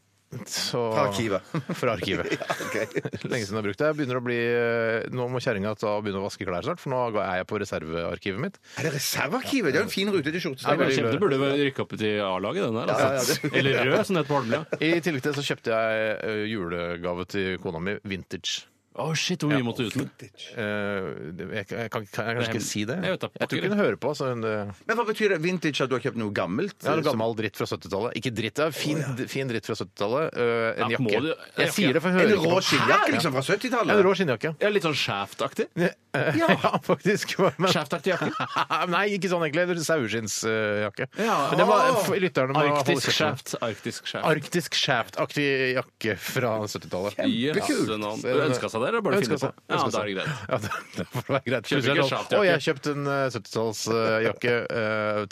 Speaker 1: Så...
Speaker 2: Fra arkivet.
Speaker 1: Fra arkivet. Lenge siden jeg har brukt det. Jeg begynner å bli... eh, Nå må kjerringa ta- begynne å vaske klær snart, for nå er jeg på reservearkivet mitt.
Speaker 2: Er det reservearkivet? Det er jo en fin rute til skjorte, Steinar.
Speaker 1: Ja,
Speaker 3: Kjempe, det burde vel rykke opp til A-laget, den der. Altså. Eller rød, som det heter på Holmlia.
Speaker 1: I tillegg til det så kjøpte jeg eh, julegave til kona mi, vintage.
Speaker 3: Å, shit, hvor mye måtte du ut med?
Speaker 1: Eh, det- jeg, kan- jeg kan, kan jeg kanskje ikke si det?
Speaker 3: Jeg vet da,
Speaker 1: tror ikke hun hører på. Så hun, eh,
Speaker 2: Men hva betyr det? Vintage? At du har kjøpt noe gammelt?
Speaker 1: ja, noe gammel dritt fra 70-tallet. Ikke dritt, det er fin, fin dritt fra 70-tallet. eh, en
Speaker 3: Ja, må
Speaker 1: jakke.
Speaker 3: du-
Speaker 1: jeg
Speaker 3: jakke.
Speaker 1: sier det, for hun
Speaker 2: En
Speaker 1: hører
Speaker 2: rå
Speaker 1: ikke på.
Speaker 2: skinnjakke liksom fra
Speaker 1: Ja, En
Speaker 2: 70-tallet?
Speaker 1: rå skinnjakke.
Speaker 3: Ja, litt sånn Shaft-aktig.
Speaker 1: Eh, ja, faktisk. Men,
Speaker 3: Shaft-aktig jakke.
Speaker 1: nei, ikke sånn egentlig. Eller Saueskinnsjakke.
Speaker 3: Ja,
Speaker 1: Men det var for lytterne må holde kjeft
Speaker 3: Arktisk
Speaker 1: med.
Speaker 3: Shaft. Arktisk Shaft.
Speaker 1: Arktisk shaft-aktig jakke fra 70-tallet.
Speaker 3: Yes, den han-
Speaker 1: Så-
Speaker 3: Ønska seg det, eller bare
Speaker 1: Ønska
Speaker 3: finne på?
Speaker 1: seg.
Speaker 3: Ja,
Speaker 1: Ønska
Speaker 3: da er
Speaker 1: seg.
Speaker 3: det greit.
Speaker 1: Ja, det, det får være greit.
Speaker 3: Kjøper ikke
Speaker 1: Plutselig er det sånn,
Speaker 3: sjaftjakke.
Speaker 1: Å, jeg kjøpte en 70-tallsjakke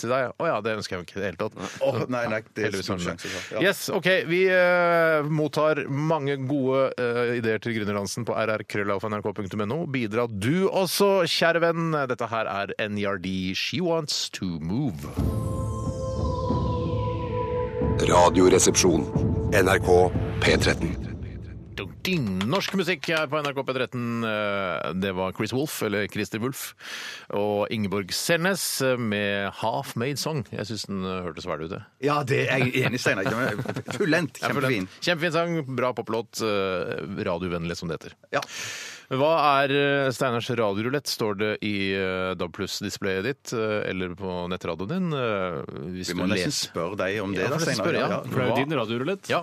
Speaker 1: til deg. Å ja, det ønsker jeg jo ikke i det hele tatt.
Speaker 2: Åh, nei, nei, det er
Speaker 1: Heldigvis
Speaker 2: stor
Speaker 1: har den
Speaker 2: sjanse for. Ja.
Speaker 1: Yes, ok, Vi eh, mottar mange gode eh, ideer til Gründerdansen på rrkrøllalfa.nrk.no. Bidra du også, kjære venn. Dette her er NRD She Wants To Move.
Speaker 6: Radioresepsjon. NRK P13.
Speaker 1: Ding. Norsk musikk her på NRK P13. Eh, Det var Chris Wolff, eller Christer Wulff, og Ingeborg Selnes eh, med Half Made Song. Jeg syns den eh, hørtes verdig ut. jeg.
Speaker 2: ja, det er jeg enig i, Steinar. Den er Fullendt. Kjempefin.
Speaker 1: Kjempefin sang, bra poplåt. eh, Radiovennlig, som det heter.
Speaker 2: Ja.
Speaker 1: Eh, Hva er eh, Steinars radiorulett, står det i eh, DAB pluss-displayet ditt, eh, eller på nettradioen din? eh, Hvis
Speaker 2: Vi må
Speaker 1: du
Speaker 2: nesten
Speaker 1: leser.
Speaker 2: spørre deg om
Speaker 1: Ja,
Speaker 2: det. da,
Speaker 1: for nesten
Speaker 2: Steinar.
Speaker 1: spørre, ja.
Speaker 3: For det er jo din radiorulett.
Speaker 1: Ja,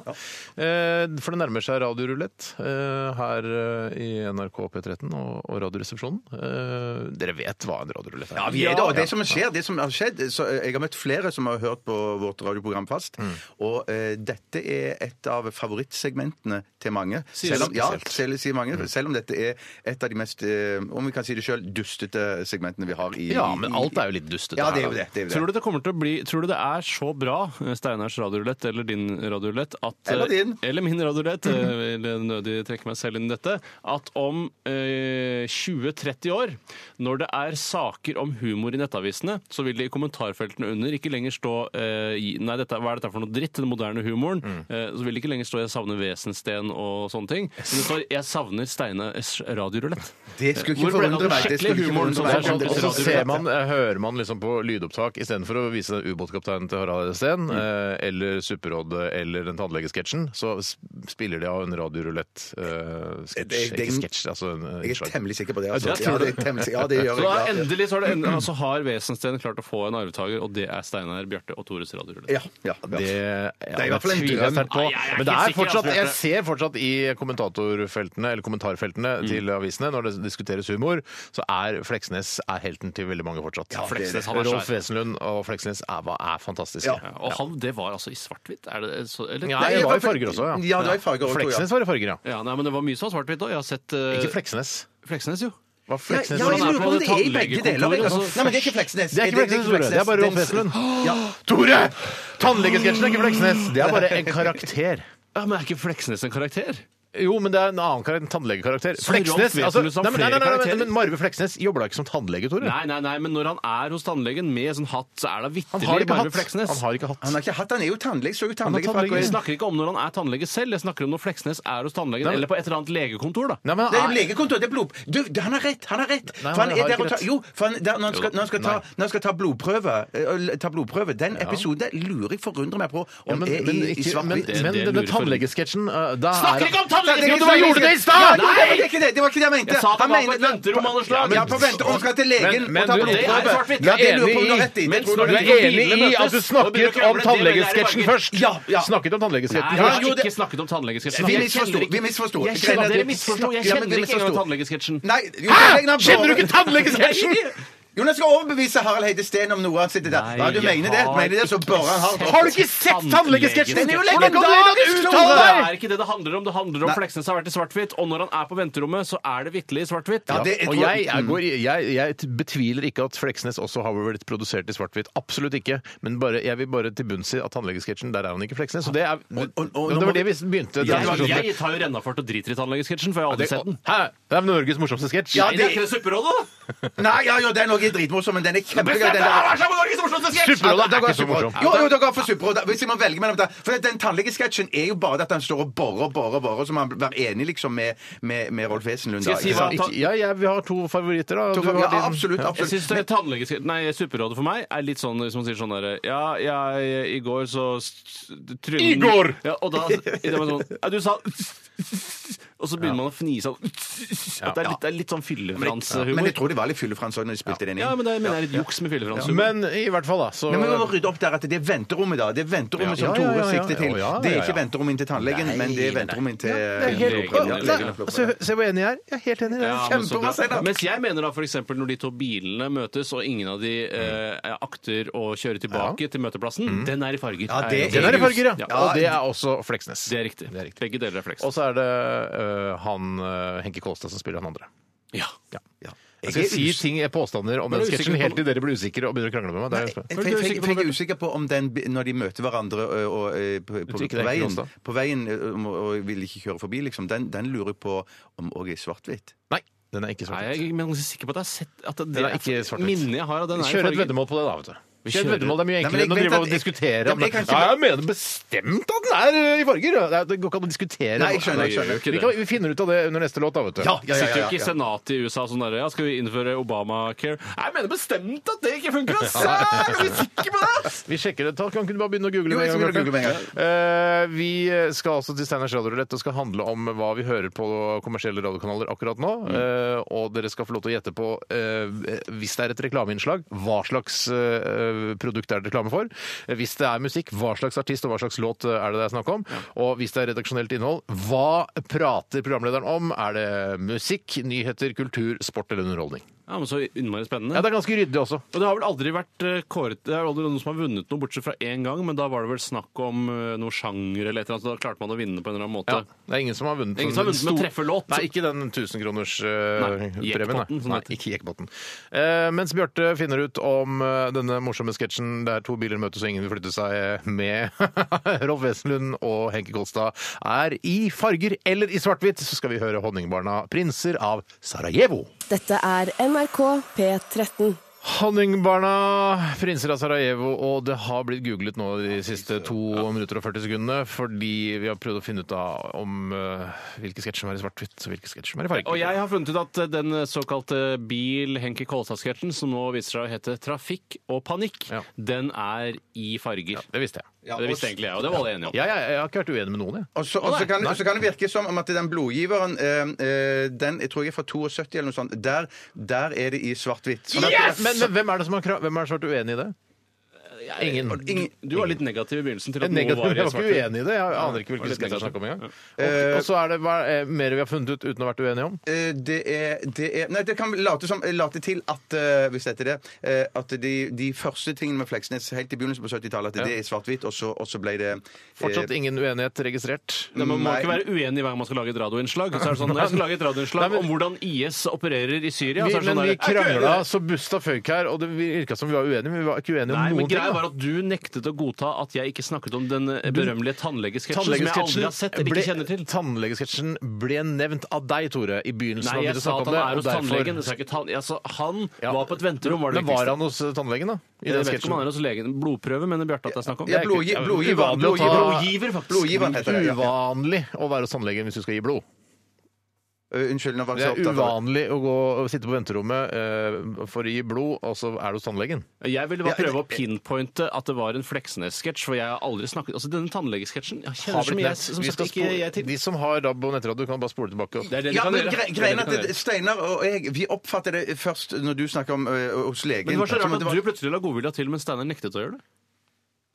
Speaker 1: eh, for det nærmer seg radiorulett eh, her eh, i NRK P13 og, og Radioresepsjonen. Eh, dere vet hva en radiorulett er?
Speaker 2: Ja, vi er det. Og det som skjer, det som har skjedd så eh, Jeg har møtt flere som har hørt på vårt radioprogram fast. Og eh, dette er et av favorittsegmentene til mange.
Speaker 3: Sier
Speaker 2: Selv om,
Speaker 3: det
Speaker 2: ja,
Speaker 3: spesielt.
Speaker 2: selv, sier mange, selv om dette er et av de mest, eh, om vi kan si det sjøl, dustete segmentene vi har i
Speaker 1: Ja, men alt er jo litt dustete.
Speaker 2: Ja, det
Speaker 1: her,
Speaker 2: er jo
Speaker 1: da.
Speaker 2: det. det, er jo det.
Speaker 3: Tror du det kommer til å bli Tror du det er så bra, eh, Steinars radiorulett eller din radiorulett at, eh,
Speaker 2: Eller din. Mhm.
Speaker 3: Eller min radiorulett, eh, vil jeg nødig trekke meg selv inn i dette, at om eh, 20-30 år, når det er saker om humor i nettavisene, så vil det i kommentarfeltene under ikke lenger stå eh, i- Nei, dette, hva er dette for noe dritt, den moderne humoren?
Speaker 2: Mm.
Speaker 3: Eh, så vil det ikke lenger stå 'Jeg savner Wesensten' og såne ting. Men det står 'Jeg savner Steinars radiorulett'.
Speaker 2: Det skulle ikke
Speaker 3: Hvor ble det
Speaker 2: forundre
Speaker 3: av den
Speaker 2: meg. Det
Speaker 3: skikkelige
Speaker 2: skulle ikke
Speaker 3: humoren som
Speaker 2: forundre
Speaker 3: er
Speaker 2: meg om
Speaker 3: sånn-
Speaker 2: det-
Speaker 1: Og
Speaker 3: Eller
Speaker 1: så
Speaker 3: radiorulett,
Speaker 1: ser man, eh, hører man liksom på lydopptak istedenfor å vise den ubåtkapteinen til Harald Steen
Speaker 2: Mm.
Speaker 1: eh, eller Supperådet eller den tannlegesketsjen, så s- spiller de av en radiorulett eh,
Speaker 2: Det er-
Speaker 1: sketsj.
Speaker 2: det er-
Speaker 1: Ikke sketsj, altså en eh,
Speaker 2: Jeg er
Speaker 1: innslag.
Speaker 2: temmelig sikker på det. Altså.
Speaker 3: Ja, det
Speaker 2: Ja,
Speaker 3: tror
Speaker 2: det, er temmelig, ja, det gjør
Speaker 3: Så da,
Speaker 2: jeg.
Speaker 3: endelig så har, det endelig, altså har Wesensten klart å få en arvtaker, og det er Steinar, Bjarte og Tores radiorulett.
Speaker 2: Ja, ja, ja.
Speaker 1: Det, ja,
Speaker 2: er i hvert fall en
Speaker 1: tviler
Speaker 2: drøm.
Speaker 1: jeg sterkt på.
Speaker 3: Nei, jeg er
Speaker 1: Men
Speaker 3: ikke
Speaker 1: det er
Speaker 3: sikker,
Speaker 1: fortsatt,
Speaker 3: altså.
Speaker 1: jeg ser fortsatt i kommentatorfeltene eller kommentarfeltene
Speaker 2: Mm.
Speaker 1: til avisene når det diskuteres humor, så er Fleksnes er helten til veldig mange fortsatt.
Speaker 2: Ja, Fleksnes,
Speaker 3: han er svær.
Speaker 1: Rolf Wesenlund og Fleksnes er, hva er fantastiske.
Speaker 2: Ja.
Speaker 3: Ja, og han, det var altså i svart-hvitt? Er det så eller?
Speaker 1: Ja,
Speaker 2: Nei,
Speaker 1: det var i
Speaker 2: for-
Speaker 1: farger også, ja.
Speaker 2: Ja, det var i farger også,
Speaker 1: Fleksnes var i farger, ja.
Speaker 3: Ja, nei, men det var mye som var svart-hvitt òg. Jeg har sett eh,
Speaker 1: Ikke Fleksnes.
Speaker 3: Fleksnes, jo.
Speaker 1: Var Fleksnes
Speaker 2: Ja, jeg
Speaker 1: sånn?
Speaker 2: lurer på om det er i begge deler. jeg, Altså.
Speaker 3: Altså,
Speaker 2: Nei, men det er ikke Fleksnes.
Speaker 1: Det er ikke Fleksnes, Tore. Det er bare Rolf Wesenlund.
Speaker 2: Ja.
Speaker 1: Tore! Tannlegesketsjen er ikke Fleksnes. Det er bare en karakter.
Speaker 3: Ja, Men er ikke Fleksnes en karakter?
Speaker 1: Jo, men det er en annen karakter, en tannlegekarakter.
Speaker 3: Så Rolf
Speaker 1: Fleksnes!
Speaker 3: Wesenlund
Speaker 1: Altså,
Speaker 3: som
Speaker 1: nei, men, nei,
Speaker 3: flere
Speaker 1: nei, nei,
Speaker 3: karakterer.
Speaker 1: men Marve Fleksnes jobber da ikke som tannlege, Tore?
Speaker 3: Nei, nei, nei, men når han er hos tannlegen med sånn hatt, så er det
Speaker 1: Han
Speaker 3: vitterlig
Speaker 1: har ikke
Speaker 3: Marve
Speaker 1: hatt.
Speaker 3: Fleksnes.
Speaker 1: Han har ikke hatt.
Speaker 2: Han har ikke hatt Han er jo tannlege. Så jo
Speaker 1: har
Speaker 2: tannlege
Speaker 1: tannlege.
Speaker 2: fra-
Speaker 3: Jeg snakker ikke om når han er tannlege selv, jeg snakker om når Fleksnes er hos tannlegen
Speaker 1: Nei, men-
Speaker 3: eller på et eller annet legekontor. da.
Speaker 1: Nei, men han
Speaker 2: Det er jo
Speaker 1: er-
Speaker 2: legekontor, det er blod... Du, det- han har rett! Han har rett!
Speaker 1: Nei,
Speaker 2: for han
Speaker 1: han
Speaker 2: er
Speaker 1: har
Speaker 2: der
Speaker 1: ikke
Speaker 2: og tar
Speaker 1: rett.
Speaker 2: Jo, for han, der, når, han skal, når, han skal ta, når han skal ta blodprøve, eh, ta blodprøve Den episoden der lurer jeg forundrer meg på
Speaker 1: Ja,
Speaker 2: om
Speaker 1: men,
Speaker 2: er
Speaker 1: men,
Speaker 2: i, i
Speaker 1: ikke, men,
Speaker 2: svart-hvitt.
Speaker 3: Det-
Speaker 1: men
Speaker 3: det
Speaker 1: denne
Speaker 3: lurer for-
Speaker 1: tannlegesketsjen uh,
Speaker 3: Snakker ikke om tannlegen!
Speaker 2: Ja,
Speaker 1: Du bare gjorde det i stad!
Speaker 2: Ja, jo, det var ikke det det var ikke det jeg mente!
Speaker 3: Jeg sa det
Speaker 2: Han
Speaker 3: var på
Speaker 2: mener-
Speaker 3: et venterom av noe slag.
Speaker 2: Ja, på venterom skal til legen
Speaker 1: Men- men
Speaker 2: og ta
Speaker 1: du- det er
Speaker 2: blodprøve.
Speaker 3: svart-hvitt.
Speaker 2: Ja, det
Speaker 1: Jeg er
Speaker 2: lurer jeg på om du
Speaker 1: enig
Speaker 2: har
Speaker 1: i-
Speaker 2: rett i.
Speaker 3: men
Speaker 2: Det tror
Speaker 3: når
Speaker 1: Du
Speaker 2: du
Speaker 1: er
Speaker 2: har
Speaker 3: Når
Speaker 2: rett i.
Speaker 1: enig i at du snakket om tannlegesketsjen først?
Speaker 2: Ja, ja.
Speaker 1: Snakket om
Speaker 3: Nei,
Speaker 1: tannlegesketsjen
Speaker 3: jeg har
Speaker 2: jo, det-
Speaker 3: ikke snakket om tannlegesketsjen.
Speaker 2: Vi
Speaker 3: Jeg
Speaker 2: misforsto.
Speaker 3: kjenner ikke-
Speaker 2: Vi misforsto.
Speaker 3: Jeg kjenner
Speaker 2: Dere
Speaker 3: dere misforsto. Jeg
Speaker 2: Ja, men
Speaker 3: kjenner
Speaker 2: vi
Speaker 3: ikke engang
Speaker 2: misforsto.
Speaker 3: tannlegesketsjen.
Speaker 2: Nei,
Speaker 1: Hæ?! Kjenner du ikke
Speaker 3: liksom?
Speaker 1: tannlegesketsjen?!
Speaker 2: Jonas skal overbevise Harald Heide Steen om noe han sitter der. Ja, du
Speaker 3: jeg
Speaker 2: mener det?
Speaker 3: har
Speaker 2: Mener det, så
Speaker 3: ikke
Speaker 2: bare han har
Speaker 3: sett-
Speaker 1: Har du ikke sett tannlegesketsjen?!
Speaker 2: Den er jo
Speaker 1: Hvordan kan du i det hele tatt
Speaker 2: legendarisk,
Speaker 1: uttale
Speaker 3: Det
Speaker 1: deg?!
Speaker 3: er ikke det det handler om. Det handler om Fleksnes har vært i svart-hvitt, og når han er på venterommet, så er det vitterlig i svart-hvitt.
Speaker 2: Ja, det- jeg
Speaker 1: Og
Speaker 2: tror-
Speaker 1: jeg, jeg, går, i- jeg, jeg t- betviler ikke at Fleksnes også har blitt produsert i svart-hvitt. Absolutt ikke. Men bare, jeg vil bare til bunns i at tannlegesketsjen, der er han ikke Fleksnes. Så det, er,
Speaker 2: og- og-
Speaker 1: det var det vi begynte. den
Speaker 3: Jeg,
Speaker 1: diskusjonen med.
Speaker 3: sånn- jeg tar jo Rennafort og driter i tannlegesketsjen, for jeg har aldri sett den.
Speaker 1: Hæ? Det er Norges morsomste sketsj.
Speaker 2: Ja,
Speaker 3: Nei, det er ikke det supperådet, da!
Speaker 2: Nei, ja, jo, den òg er dritmorsom, men den er kjempegøy.
Speaker 3: Bestem
Speaker 2: den
Speaker 3: deg!
Speaker 2: der-
Speaker 3: Hva er sammen med Norges morsomste sketsj?
Speaker 1: Supperådet
Speaker 2: Da
Speaker 1: er
Speaker 2: går
Speaker 1: ikke så
Speaker 2: Superrådet.
Speaker 1: morsom.
Speaker 2: Jo, jo, da går for Superrådet. Hvis jeg må velge mellom det. For den tannlegesketsjen er jo bare det at han står og borer og borer, og borer, så må han være enig liksom med, med, med Rolf Wesenlund. da,
Speaker 3: Skal jeg si
Speaker 2: ikke sant?
Speaker 3: hva-
Speaker 1: Ikke- Ja, jeg, vi har to favoritter, da.
Speaker 2: To-
Speaker 1: Du har
Speaker 2: Ja,
Speaker 1: din-
Speaker 2: absolutt.
Speaker 1: Ja.
Speaker 3: Jeg
Speaker 2: absolutt.
Speaker 3: synes det er tannlegeske- Nei, Supperådet for meg er litt sånn hvis man sier sånn derre Ja, jeg I går så s- trynet-
Speaker 1: I går!
Speaker 3: Ja, og da i det var sånn Ja, du sa Og så begynner man å fnise av At det er litt, det er litt sånn
Speaker 2: Men jeg
Speaker 3: fyllefranshumor.
Speaker 2: tror de var litt fyllefrans òg når de spilte den inn.
Speaker 3: Ja, men det mener jeg er litt juks med fyllefranshumor.
Speaker 1: Men i hvert fall, da. Så
Speaker 2: Nei, men Vi må rydde opp der at det er venterommet, da. Det er venterommet
Speaker 1: Ja,
Speaker 2: som
Speaker 1: ja, ja,
Speaker 2: Tore
Speaker 1: ja, ja.
Speaker 2: sikter til.
Speaker 1: Ja, ja, ja,
Speaker 2: Det er
Speaker 1: ja.
Speaker 2: ikke venterommet inn til tannlegen, men det er venterommet inn til
Speaker 1: Det er helt-
Speaker 3: Legen,
Speaker 1: Ja,
Speaker 3: legen,
Speaker 1: der.
Speaker 2: Altså,
Speaker 1: Se se hvor enig jeg er. Jeg er helt enig. Det er
Speaker 3: Ja, men så
Speaker 1: kjempebra.
Speaker 3: bra.
Speaker 2: si det.
Speaker 3: Mens jeg mener da for eksempel når de to bilene møtes, og ingen av de eh, akter å kjøre tilbake til møteplassen, den er i farger.
Speaker 2: Ja, det
Speaker 3: jeg
Speaker 1: Den Mm. er i
Speaker 3: enig i.
Speaker 1: farger, ja.
Speaker 3: Ja.
Speaker 1: Og det er også Fleksnes.
Speaker 3: Det er riktig. Begge deler er fleks.
Speaker 1: Og så er det øh, han øh, Henke Kolstad som spiller han andre.
Speaker 3: Ja.
Speaker 1: Altså, Jeg
Speaker 2: Altså,
Speaker 1: skal si ting, påstander om
Speaker 3: Men
Speaker 1: den
Speaker 3: er du
Speaker 1: sketsjen
Speaker 3: usikker på
Speaker 1: helt
Speaker 3: det?
Speaker 1: til dere blir usikre og begynner å krangle med meg. Det er jo spørsmål.
Speaker 2: Jeg, jeg, jeg, jeg er usikker på om den bi- når de møter hverandre ø, og, ø, på, på,
Speaker 1: tror ikke det
Speaker 2: på
Speaker 1: er
Speaker 2: veien,
Speaker 1: Kronstad?
Speaker 2: på veien ø, om- og vil ikke kjøre forbi, liksom, den, den lurer jeg på om òg er svart-hvitt.
Speaker 1: Nei, den er ikke
Speaker 3: Nei,
Speaker 1: svart.
Speaker 3: jeg er ganske sikker på at jeg har sett at det,
Speaker 1: Den er ikke svart-hvitt.
Speaker 3: Minnet jeg har av den er i
Speaker 1: Kjør et
Speaker 3: farger.
Speaker 1: veddemål på det, da. vet du.
Speaker 3: Vi
Speaker 1: Kjør et
Speaker 3: kjører-
Speaker 1: veddemål, Det er mye
Speaker 2: Nei,
Speaker 1: enklere
Speaker 2: men
Speaker 1: enn
Speaker 2: jeg
Speaker 1: å drive
Speaker 2: vet
Speaker 1: og
Speaker 2: at-
Speaker 1: diskutere.
Speaker 2: Ja,
Speaker 1: om
Speaker 2: men jeg
Speaker 1: det.
Speaker 2: kan ikke-
Speaker 1: Ja, jeg mener bestemt at den er øh, i farger! Det er- Det går ikke an å diskutere.
Speaker 2: Nei, jeg skjønner. jeg skjønner.
Speaker 1: Vi, kan, vi finner ut av det under neste låt, da, vet du.
Speaker 2: Ja, ja, ja,
Speaker 3: Sitter jo
Speaker 2: ja,
Speaker 3: ikke i
Speaker 2: ja.
Speaker 3: senatet i USA sånn derre ja, Skal vi innføre Obamacare? Nei, Jeg mener bestemt at det ikke funker, ass!
Speaker 2: Er du sikker på det?!
Speaker 1: Vi sjekker det. Ta- Kan ikke du bare begynne å google
Speaker 2: Jo,
Speaker 1: med
Speaker 2: jeg
Speaker 1: en
Speaker 2: skal
Speaker 1: gang,
Speaker 2: begynne å
Speaker 1: Bjarte? Eh, vi skal altså til Steiners radiorulett og skal handle om hva vi hører på kommersielle radiokanaler akkurat nå.
Speaker 2: Mm.
Speaker 1: Eh, og dere skal få lov til å gjette på, eh, hvis det er et reklameinnslag, hva slags eh, produkt er det reklame for? Eh, Hvis det er musikk, hva slags artist og hva slags låt eh, er det det er snakk om? Og hvis det er redaksjonelt innhold, hva prater programlederen om? Er det musikk, nyheter, kultur, sport eller underholdning?
Speaker 2: Mm.
Speaker 3: Ja, men så innmari spennende.
Speaker 1: Ja, det er ganske ryddig også.
Speaker 3: Og det har vel aldri vært eh, kåret Det er aldri noen som har vunnet noe, bortsett fra én gang, men da var det vel snakk om eh, noe sjanger eller et eller annet, så da klarte man å vinne på en eller annen måte.
Speaker 1: Ja, det er ingen som har vunnet
Speaker 3: Ingen som har
Speaker 1: sånn
Speaker 3: vunnet med treffelåt.
Speaker 1: Nei, ikke den 1000 kroners eh,
Speaker 3: Nei,
Speaker 1: premien. Nei,
Speaker 3: Jekpotten, som
Speaker 1: nei
Speaker 3: det heter.
Speaker 1: ikke Jekpotten. Eh, mens Bjarte finner ut om eh, denne morsomme sketsjen der to biler møtes og ingen vil flytte seg eh, med Rolf Wesenlund og Henke Kolstad er i farger eller i svart-hvitt, så skal vi høre Honningbarna 'Prinser av Sarajevo'.
Speaker 5: Dette er NRK P13.
Speaker 1: Honningbarna, prinser av Sarajevo, og det har blitt googlet nå de siste 2 minutter og 40 sekundene, fordi vi har prøvd å finne ut av om eh, hvilke sketsjer som er i svart-hvitt, og hvilke sketsjer som er i farger.
Speaker 3: Og jeg har funnet ut at eh, den såkalte Bil-Henki Kolstad-sketsjen, som nå viser seg å hete Trafikk og panikk,
Speaker 1: Ja.
Speaker 3: den er i farger.
Speaker 1: Det visste jeg.
Speaker 2: Ja,
Speaker 3: det visste
Speaker 2: og-
Speaker 3: egentlig jeg, og det var alle enige om.
Speaker 1: Ja, jeg, jeg har ikke vært uenig med noen, jeg.
Speaker 2: Og så, og så kan, og så kan det virke som om at den blodgiveren, eh, eh, den jeg tror jeg er fra 72 eller noe sånt, der, der er det i svart-hvitt. Sånn at-
Speaker 1: Men, men hvem er det som har, kra- hvem er det som har vært uenig i det? Ingen.
Speaker 3: Du var litt negativ i begynnelsen til at noe
Speaker 1: Negativ,
Speaker 3: var
Speaker 1: jeg
Speaker 3: i
Speaker 1: var ikke
Speaker 3: svart.
Speaker 1: uenig i det. Jeg aner ikke hvilke
Speaker 3: litt
Speaker 1: sketsjer jeg
Speaker 3: negativ.
Speaker 1: snakker om engang. Og- Og så er det hva er mer vi har funnet ut uten å ha vært uenige om.
Speaker 2: Eh, det er, det er Nei, det kan late, som, late til at eh, Hvis dette er det. eh, at de, de første tingene med Fleksnes helt i begynnelsen på 70-tallet, at det er i svart-hvitt, og, så- og så ble det
Speaker 1: Fortsatt ingen uenighet registrert.
Speaker 3: Nei, Man må
Speaker 2: Nei.
Speaker 3: ikke være uenig hver gang man skal lage et radioinnslag. Så er det sånn, når jeg skal lage et radioinnslag
Speaker 1: Nei, men-
Speaker 3: om hvordan IS opererer i Syria,
Speaker 1: Vi,
Speaker 3: så er
Speaker 1: men
Speaker 3: det sånn
Speaker 1: vi
Speaker 3: der, "Jeg er ikke uenig i
Speaker 1: krangla
Speaker 3: det."
Speaker 1: så busta føyk her, og det virka som vi var uenige, men vi var ikke uenige
Speaker 3: Nei,
Speaker 1: om
Speaker 3: men
Speaker 1: noen ting.
Speaker 3: greia
Speaker 1: da.
Speaker 3: var at Du nektet å godta at jeg ikke snakket om den eh, berømmelige tannlegesketsjen som jeg aldri har sett eller
Speaker 1: ble,
Speaker 3: ikke kjenner til.
Speaker 1: tannlegesketsjen ble nevnt av deg, Tore, i begynnelsen.
Speaker 3: Nei,
Speaker 1: av
Speaker 3: jeg
Speaker 1: vi
Speaker 3: sa
Speaker 1: snakket
Speaker 3: at
Speaker 1: om
Speaker 3: han er
Speaker 1: og
Speaker 3: hos
Speaker 1: derfor-
Speaker 3: tannlegen. Jeg sa ikke tann... jeg sa, han var på et venterom, var det
Speaker 1: Men var
Speaker 3: viktigste.
Speaker 1: han hos eh, tannlegen, da? I
Speaker 3: Jeg
Speaker 1: den
Speaker 3: vet ikke om han
Speaker 1: sketsjen?
Speaker 3: er hos legen. Blodprøve mener Bjarte at det er snakk om.
Speaker 2: ja, blodgi,
Speaker 1: Ja,
Speaker 2: blodgiver,
Speaker 1: uvanlig å ta-
Speaker 3: Blodgiver, faktisk. Mm.
Speaker 2: Blodgiveren heter det. Ja.
Speaker 1: Uvanlig å være hos tannlegen hvis du skal gi blod.
Speaker 2: Eh, Unnskyld, nå var
Speaker 1: Det
Speaker 2: jeg så
Speaker 1: er
Speaker 2: opptatt av
Speaker 1: uvanlig å gå og sitte på venterommet eh, for å gi blod, og så er du hos tannlegen.
Speaker 3: Jeg ville bare
Speaker 2: Ja,
Speaker 3: prøve å pinpointe at det var en Fleksnes-sketsj, for jeg har aldri snakket Altså, denne tannlegesketsjen jeg kjenner
Speaker 1: Har
Speaker 3: så
Speaker 1: blitt
Speaker 3: mye jeg,
Speaker 1: nevnt.
Speaker 3: som
Speaker 1: Vi
Speaker 3: sagt
Speaker 1: skal
Speaker 3: ikke
Speaker 1: spole-
Speaker 3: jeg til.
Speaker 1: De som har DAB og nettradio, kan bare spole tilbake.
Speaker 3: Det er det de
Speaker 2: ja,
Speaker 3: kan
Speaker 2: men
Speaker 3: gjøre.
Speaker 2: gre
Speaker 3: Det er
Speaker 2: greien
Speaker 3: det
Speaker 2: er
Speaker 3: de kan
Speaker 2: at
Speaker 3: gjøre.
Speaker 2: Steinar og jeg Vi oppfatter det først når du snakker om eh, hos legen.
Speaker 3: Men det var så
Speaker 2: som
Speaker 3: rart
Speaker 2: det
Speaker 3: at du plutselig la godvilja til, men Steinar nektet å gjøre det.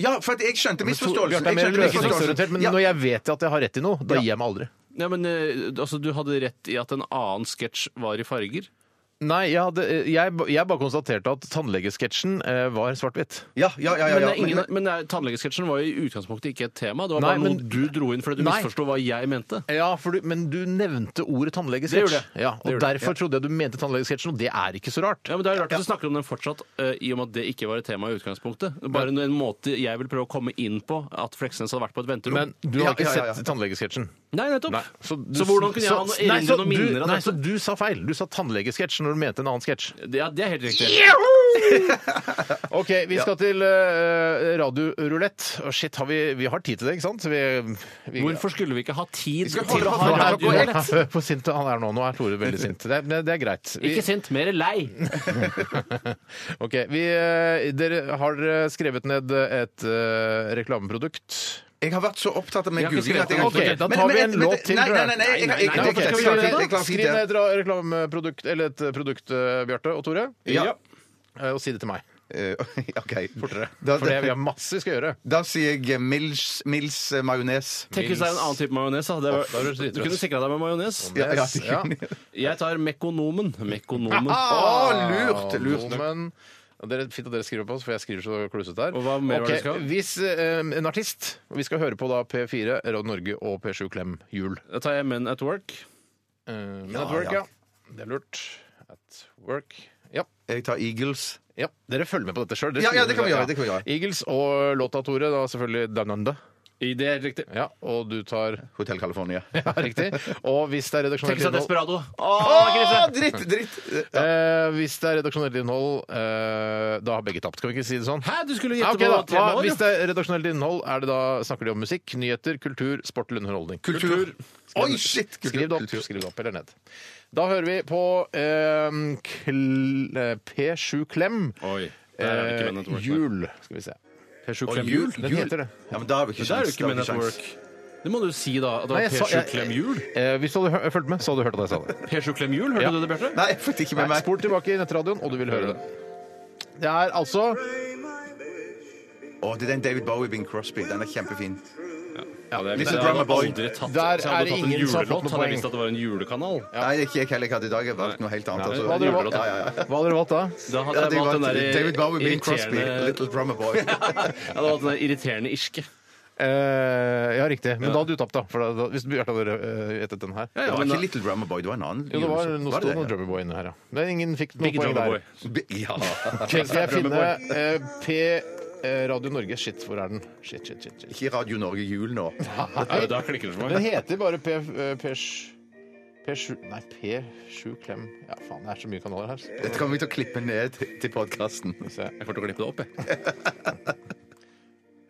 Speaker 2: Ja, for at jeg skjønte misforståelsen.
Speaker 1: Bjarte er
Speaker 2: Jeg
Speaker 1: mer
Speaker 2: skjønte
Speaker 1: løsningsorientert, men
Speaker 2: Ja.
Speaker 1: når jeg vet at jeg har rett i noe, da gir jeg meg aldri.
Speaker 3: Ja, men eh, altså, Du hadde rett i at en annen sketsj var i farger.
Speaker 1: Nei, jeg, hadde, jeg, jeg bare konstaterte at tannlegesketsjen eh, var svart-hvitt.
Speaker 2: Ja, ja, ja, ja,
Speaker 3: Men,
Speaker 2: ja.
Speaker 3: det er ingen,
Speaker 2: Men-
Speaker 3: men det er- tannlegesketsjen var jo i utgangspunktet ikke et tema. Det var
Speaker 1: Nei,
Speaker 3: bare
Speaker 1: men-
Speaker 3: noe du dro inn fordi du
Speaker 1: Nei.
Speaker 3: misforsto hva jeg mente.
Speaker 1: Ja, for du, men du nevnte ordet
Speaker 3: Det
Speaker 1: tannlegesketsj.
Speaker 3: gjorde jeg.
Speaker 1: Ja,
Speaker 3: Det
Speaker 1: og
Speaker 3: gjorde jeg,
Speaker 1: derfor trodde jeg du mente tannlegesketsjen, og det er ikke så rart.
Speaker 3: Ja, men Det er jo rart at du snakker om den fortsatt, eh, i og med at det ikke var et tema i utgangspunktet. Bare en måte jeg vil prøve å komme inn på at Fleksnes hadde vært på et venterom.
Speaker 1: Men du har
Speaker 2: Ja,
Speaker 1: ikke
Speaker 2: ja, ja, ja.
Speaker 1: sett tannlegesketsjen.
Speaker 3: Nei, nettopp.
Speaker 1: Nei,
Speaker 3: Så,
Speaker 1: du-
Speaker 3: hvordan kunne jeg ha noe
Speaker 1: så- nei, så
Speaker 3: erindre noen
Speaker 1: du-
Speaker 3: minner av
Speaker 1: Nei, så
Speaker 3: dette?
Speaker 1: du sa feil. Du sa tannlegesketsj når du mente en annen sketsj.
Speaker 3: Det, ja, det er helt riktig.
Speaker 1: OK, vi skal til uh, radiorulett. Å, shit, har vi, vi har tid til det, ikke sant? Vi, vi,
Speaker 3: Hvorfor skulle vi ikke ha tid
Speaker 2: skal
Speaker 3: til
Speaker 2: holde
Speaker 3: å
Speaker 2: på
Speaker 3: ha
Speaker 2: for-
Speaker 1: Nå er-
Speaker 3: radiorett?
Speaker 1: Hør på sint han er nå. Nå er Tore veldig sint. Det er, men det er greit. Vi,
Speaker 3: Ikke sint, mer lei.
Speaker 1: ok, vi, eh, dere har eh, skrevet ned et eh, reklameprodukt.
Speaker 2: Jeg har vært så opptatt av med
Speaker 3: Jeg har ikke
Speaker 2: googling at jeg har
Speaker 1: skrevet det.
Speaker 2: ikke-
Speaker 1: Ok, da
Speaker 2: Men-
Speaker 1: tar
Speaker 2: men-
Speaker 1: vi en
Speaker 2: men-
Speaker 1: låt
Speaker 2: men-
Speaker 1: til,
Speaker 2: Nei,
Speaker 1: tror
Speaker 2: nei,
Speaker 1: jeg.
Speaker 2: nei. nei, jeg- jeg- jeg-
Speaker 3: Nei,
Speaker 1: Ok,
Speaker 3: nei,
Speaker 2: jeg- jeg-
Speaker 1: skal vi
Speaker 2: jeg-
Speaker 1: gjøre
Speaker 2: jeg-
Speaker 1: det?
Speaker 2: jeg klarer fint
Speaker 1: Skriv
Speaker 2: det.
Speaker 1: ned et ra- reklameprodukt, eller et eh, produkt, eh, Bjarte og Tore.
Speaker 2: Ja.
Speaker 1: Eh, Og si det til meg.
Speaker 2: Eh, OK.
Speaker 1: Fortere.
Speaker 2: Da-
Speaker 1: For det, vi har masse vi skal gjøre.
Speaker 2: Da sier jeg Mils, Mils eh, majones.
Speaker 3: Tenk hvis det er en annen type majones. da. Det var-
Speaker 1: da er du
Speaker 3: Du
Speaker 1: dritrøtt.
Speaker 3: kunne sikra deg med majones.
Speaker 2: Ja, ja.
Speaker 1: Ja.
Speaker 3: Jeg tar Mekonomen. Mekonomen.
Speaker 1: Ah!
Speaker 2: Å, lurt, lurt.
Speaker 1: Nordmenn. Og Dere, fint at dere skriver på oss, for jeg skriver så klusete her.
Speaker 3: Og hva mer var det
Speaker 1: Ok,
Speaker 3: vi skal ha?
Speaker 1: Hvis eh, en artist og Vi skal høre på da P4, Radio Norge og P7 Klem Jul.
Speaker 3: Da tar jeg Men at Work.
Speaker 1: Eh, men at work, ja. Det er lurt. At work. Ja.
Speaker 2: Jeg tar Eagles.
Speaker 1: ja. Dere følger med på dette sjøl.
Speaker 2: Ja, ja, det kan vi gjøre, det kan vi gjøre.
Speaker 1: Eagles og låta Tore, da selvfølgelig Down Under.
Speaker 3: I det er riktig.
Speaker 1: Ja, og du tar
Speaker 2: Hotell California.
Speaker 1: Ja, riktig. Og hvis det er
Speaker 3: Tenk hvis det
Speaker 1: redaksjonelt
Speaker 3: er
Speaker 1: innhold
Speaker 3: Desperado.
Speaker 2: Å, dritt! dritt
Speaker 1: eh, Hvis det er redaksjonelt innhold, eh, da har begge tapt. Skal vi ikke si det sånn?
Speaker 3: Hæ, du skulle
Speaker 1: Ja, ok,
Speaker 3: gjette
Speaker 1: da.
Speaker 3: på
Speaker 1: Hva,
Speaker 3: temaet.
Speaker 1: hvis det er redaksjonelt innhold, er det da, snakker de om musikk, nyheter, kultur, sport eller underholdning?
Speaker 2: Kultur. Oi, shit! Kultur.
Speaker 1: Skriv det opp,
Speaker 2: Kultur.
Speaker 1: skriv det opp eller ned. ehm, Da hører vi på eh, kl- eh, P7 Klem.
Speaker 3: Oi. Der er det ikke Men at Work. nei.
Speaker 1: jul, skal vi se.
Speaker 3: Per Sjuk
Speaker 2: Og
Speaker 3: Klem
Speaker 2: jul-
Speaker 3: Jul? Den
Speaker 1: jul-
Speaker 3: heter det.
Speaker 2: Ja, men da har vi ikke
Speaker 3: Men Da er det
Speaker 2: sjans, da har
Speaker 3: jo ikke Men
Speaker 2: vi
Speaker 3: at
Speaker 2: sjans.
Speaker 3: Work. Det må du si, da. At det
Speaker 1: Nei,
Speaker 3: var
Speaker 1: jeg sa-
Speaker 3: Per Sjuk
Speaker 1: jeg-
Speaker 3: Klem Jul.
Speaker 1: Eh, hvis du hadde hø- fulgt med, så hadde du hørt at jeg sa det.
Speaker 3: Per Sjuk Klem Jul,
Speaker 1: Ja.
Speaker 3: hørte du det, Bjarte?
Speaker 2: Nei, jeg fikk det ikke med
Speaker 1: Nei,
Speaker 2: meg.
Speaker 1: spol tilbake i nettradioen, og du vil høre det. Det er altså
Speaker 2: Å, det er den David Bowie Bing Crosby. Den er kjempefin.
Speaker 3: Ja, det er-
Speaker 2: Litt
Speaker 3: det
Speaker 2: Drummer
Speaker 3: hadde
Speaker 2: Boy.
Speaker 3: aldri tatt-
Speaker 1: Der
Speaker 3: så hadde
Speaker 1: er
Speaker 3: du tatt en
Speaker 1: ingen som har
Speaker 3: julelåt,
Speaker 1: fått noe
Speaker 3: Hadde jeg
Speaker 1: poeng.
Speaker 3: visst at det var en julekanal.
Speaker 2: Nei, det er ikke jeg heller hatt i dag. Jeg valgte noe helt annet.
Speaker 3: Nei.
Speaker 2: altså.
Speaker 1: Hva hadde du valgt?
Speaker 2: Ja, ja, ja.
Speaker 1: Hva hadde du valgt da?
Speaker 3: Da hadde
Speaker 2: Ja,
Speaker 3: jeg
Speaker 2: det
Speaker 3: valgt
Speaker 2: var
Speaker 3: den der eh,
Speaker 2: David Bowie, Bing Crosby,
Speaker 3: irriterende
Speaker 2: Little Drummer Boy.
Speaker 3: Jeg hadde valgt den der irriterende irske.
Speaker 1: Eh, ja, riktig. Men da hadde du tapt, da. For da, da hvis Bjarte hadde eh, gjettet den her.
Speaker 2: Det
Speaker 3: Ja,
Speaker 2: var
Speaker 3: men
Speaker 2: ikke
Speaker 3: da-
Speaker 2: Little Drummer Boy, det var en annen.
Speaker 1: Jo, det var
Speaker 2: julesang.
Speaker 1: noe
Speaker 2: Var
Speaker 1: stod
Speaker 2: det
Speaker 1: noe
Speaker 2: det?
Speaker 1: Drummer Boy inni her, ja. Men ingen fikk noe
Speaker 3: Big
Speaker 1: poeng
Speaker 3: Drummer
Speaker 1: der.
Speaker 3: Boy.
Speaker 2: Ja.
Speaker 1: Kan ikke jeg finne
Speaker 3: Drummer Boy.
Speaker 1: eh, P eh, Radio Norge Shit, hvor er den? Shit, shit, shit. shit.
Speaker 2: Ikke Radio Norge Jul nå.
Speaker 3: Ja, Da klikker det for
Speaker 1: Den
Speaker 3: meg.
Speaker 1: heter bare P... eh, P7 P7 Nei, P7 Klem Ja, faen, det er så mye kanaler her. Skal
Speaker 2: Dette kommer vi til å klippe ned til podkasten.
Speaker 1: vi se.
Speaker 3: Jeg får til å klippe det opp, jeg.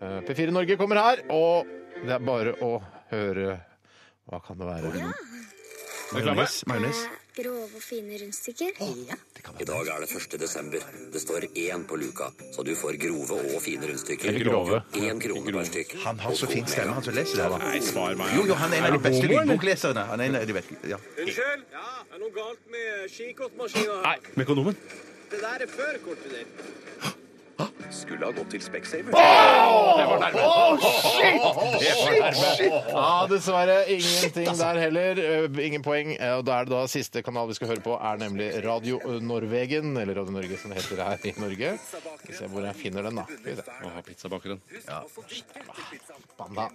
Speaker 1: Eh, P4 Norge kommer her, og det er bare å høre Hva kan det være?
Speaker 3: Reklame.
Speaker 2: Majones.
Speaker 7: Grove og fine rundstykker.
Speaker 8: I dag er det 1. desember. Det står én på luka, så du får grove og fine rundstykker.
Speaker 3: Eller grove.
Speaker 8: Én krone per stykk.
Speaker 2: Han har så fin stemme, han som leser det. her.
Speaker 3: Nei, svar meg.
Speaker 2: Jo, jo, han er en av de
Speaker 3: du
Speaker 2: beste
Speaker 3: homo, eller?
Speaker 2: lydbokleserne. Han er en av de beste, ja.
Speaker 9: Unnskyld? Ja, det er noe galt med skikortmaskinen.
Speaker 3: Nei, Mekonomen.
Speaker 9: Det der er før kortet ditt. Skulle ha gått til Specsavers.
Speaker 1: Ja, dessverre ingenting der heller. Eh, Ingen poeng. Eh, Og da er det da siste kanal vi skal høre på, er nemlig Radio Norvegen, eller Radio Norge som det heter her i Norge. Skal vi se hvor jeg finner den, da. Skal vi se.
Speaker 3: Å, pizzabakeren.
Speaker 1: Banna.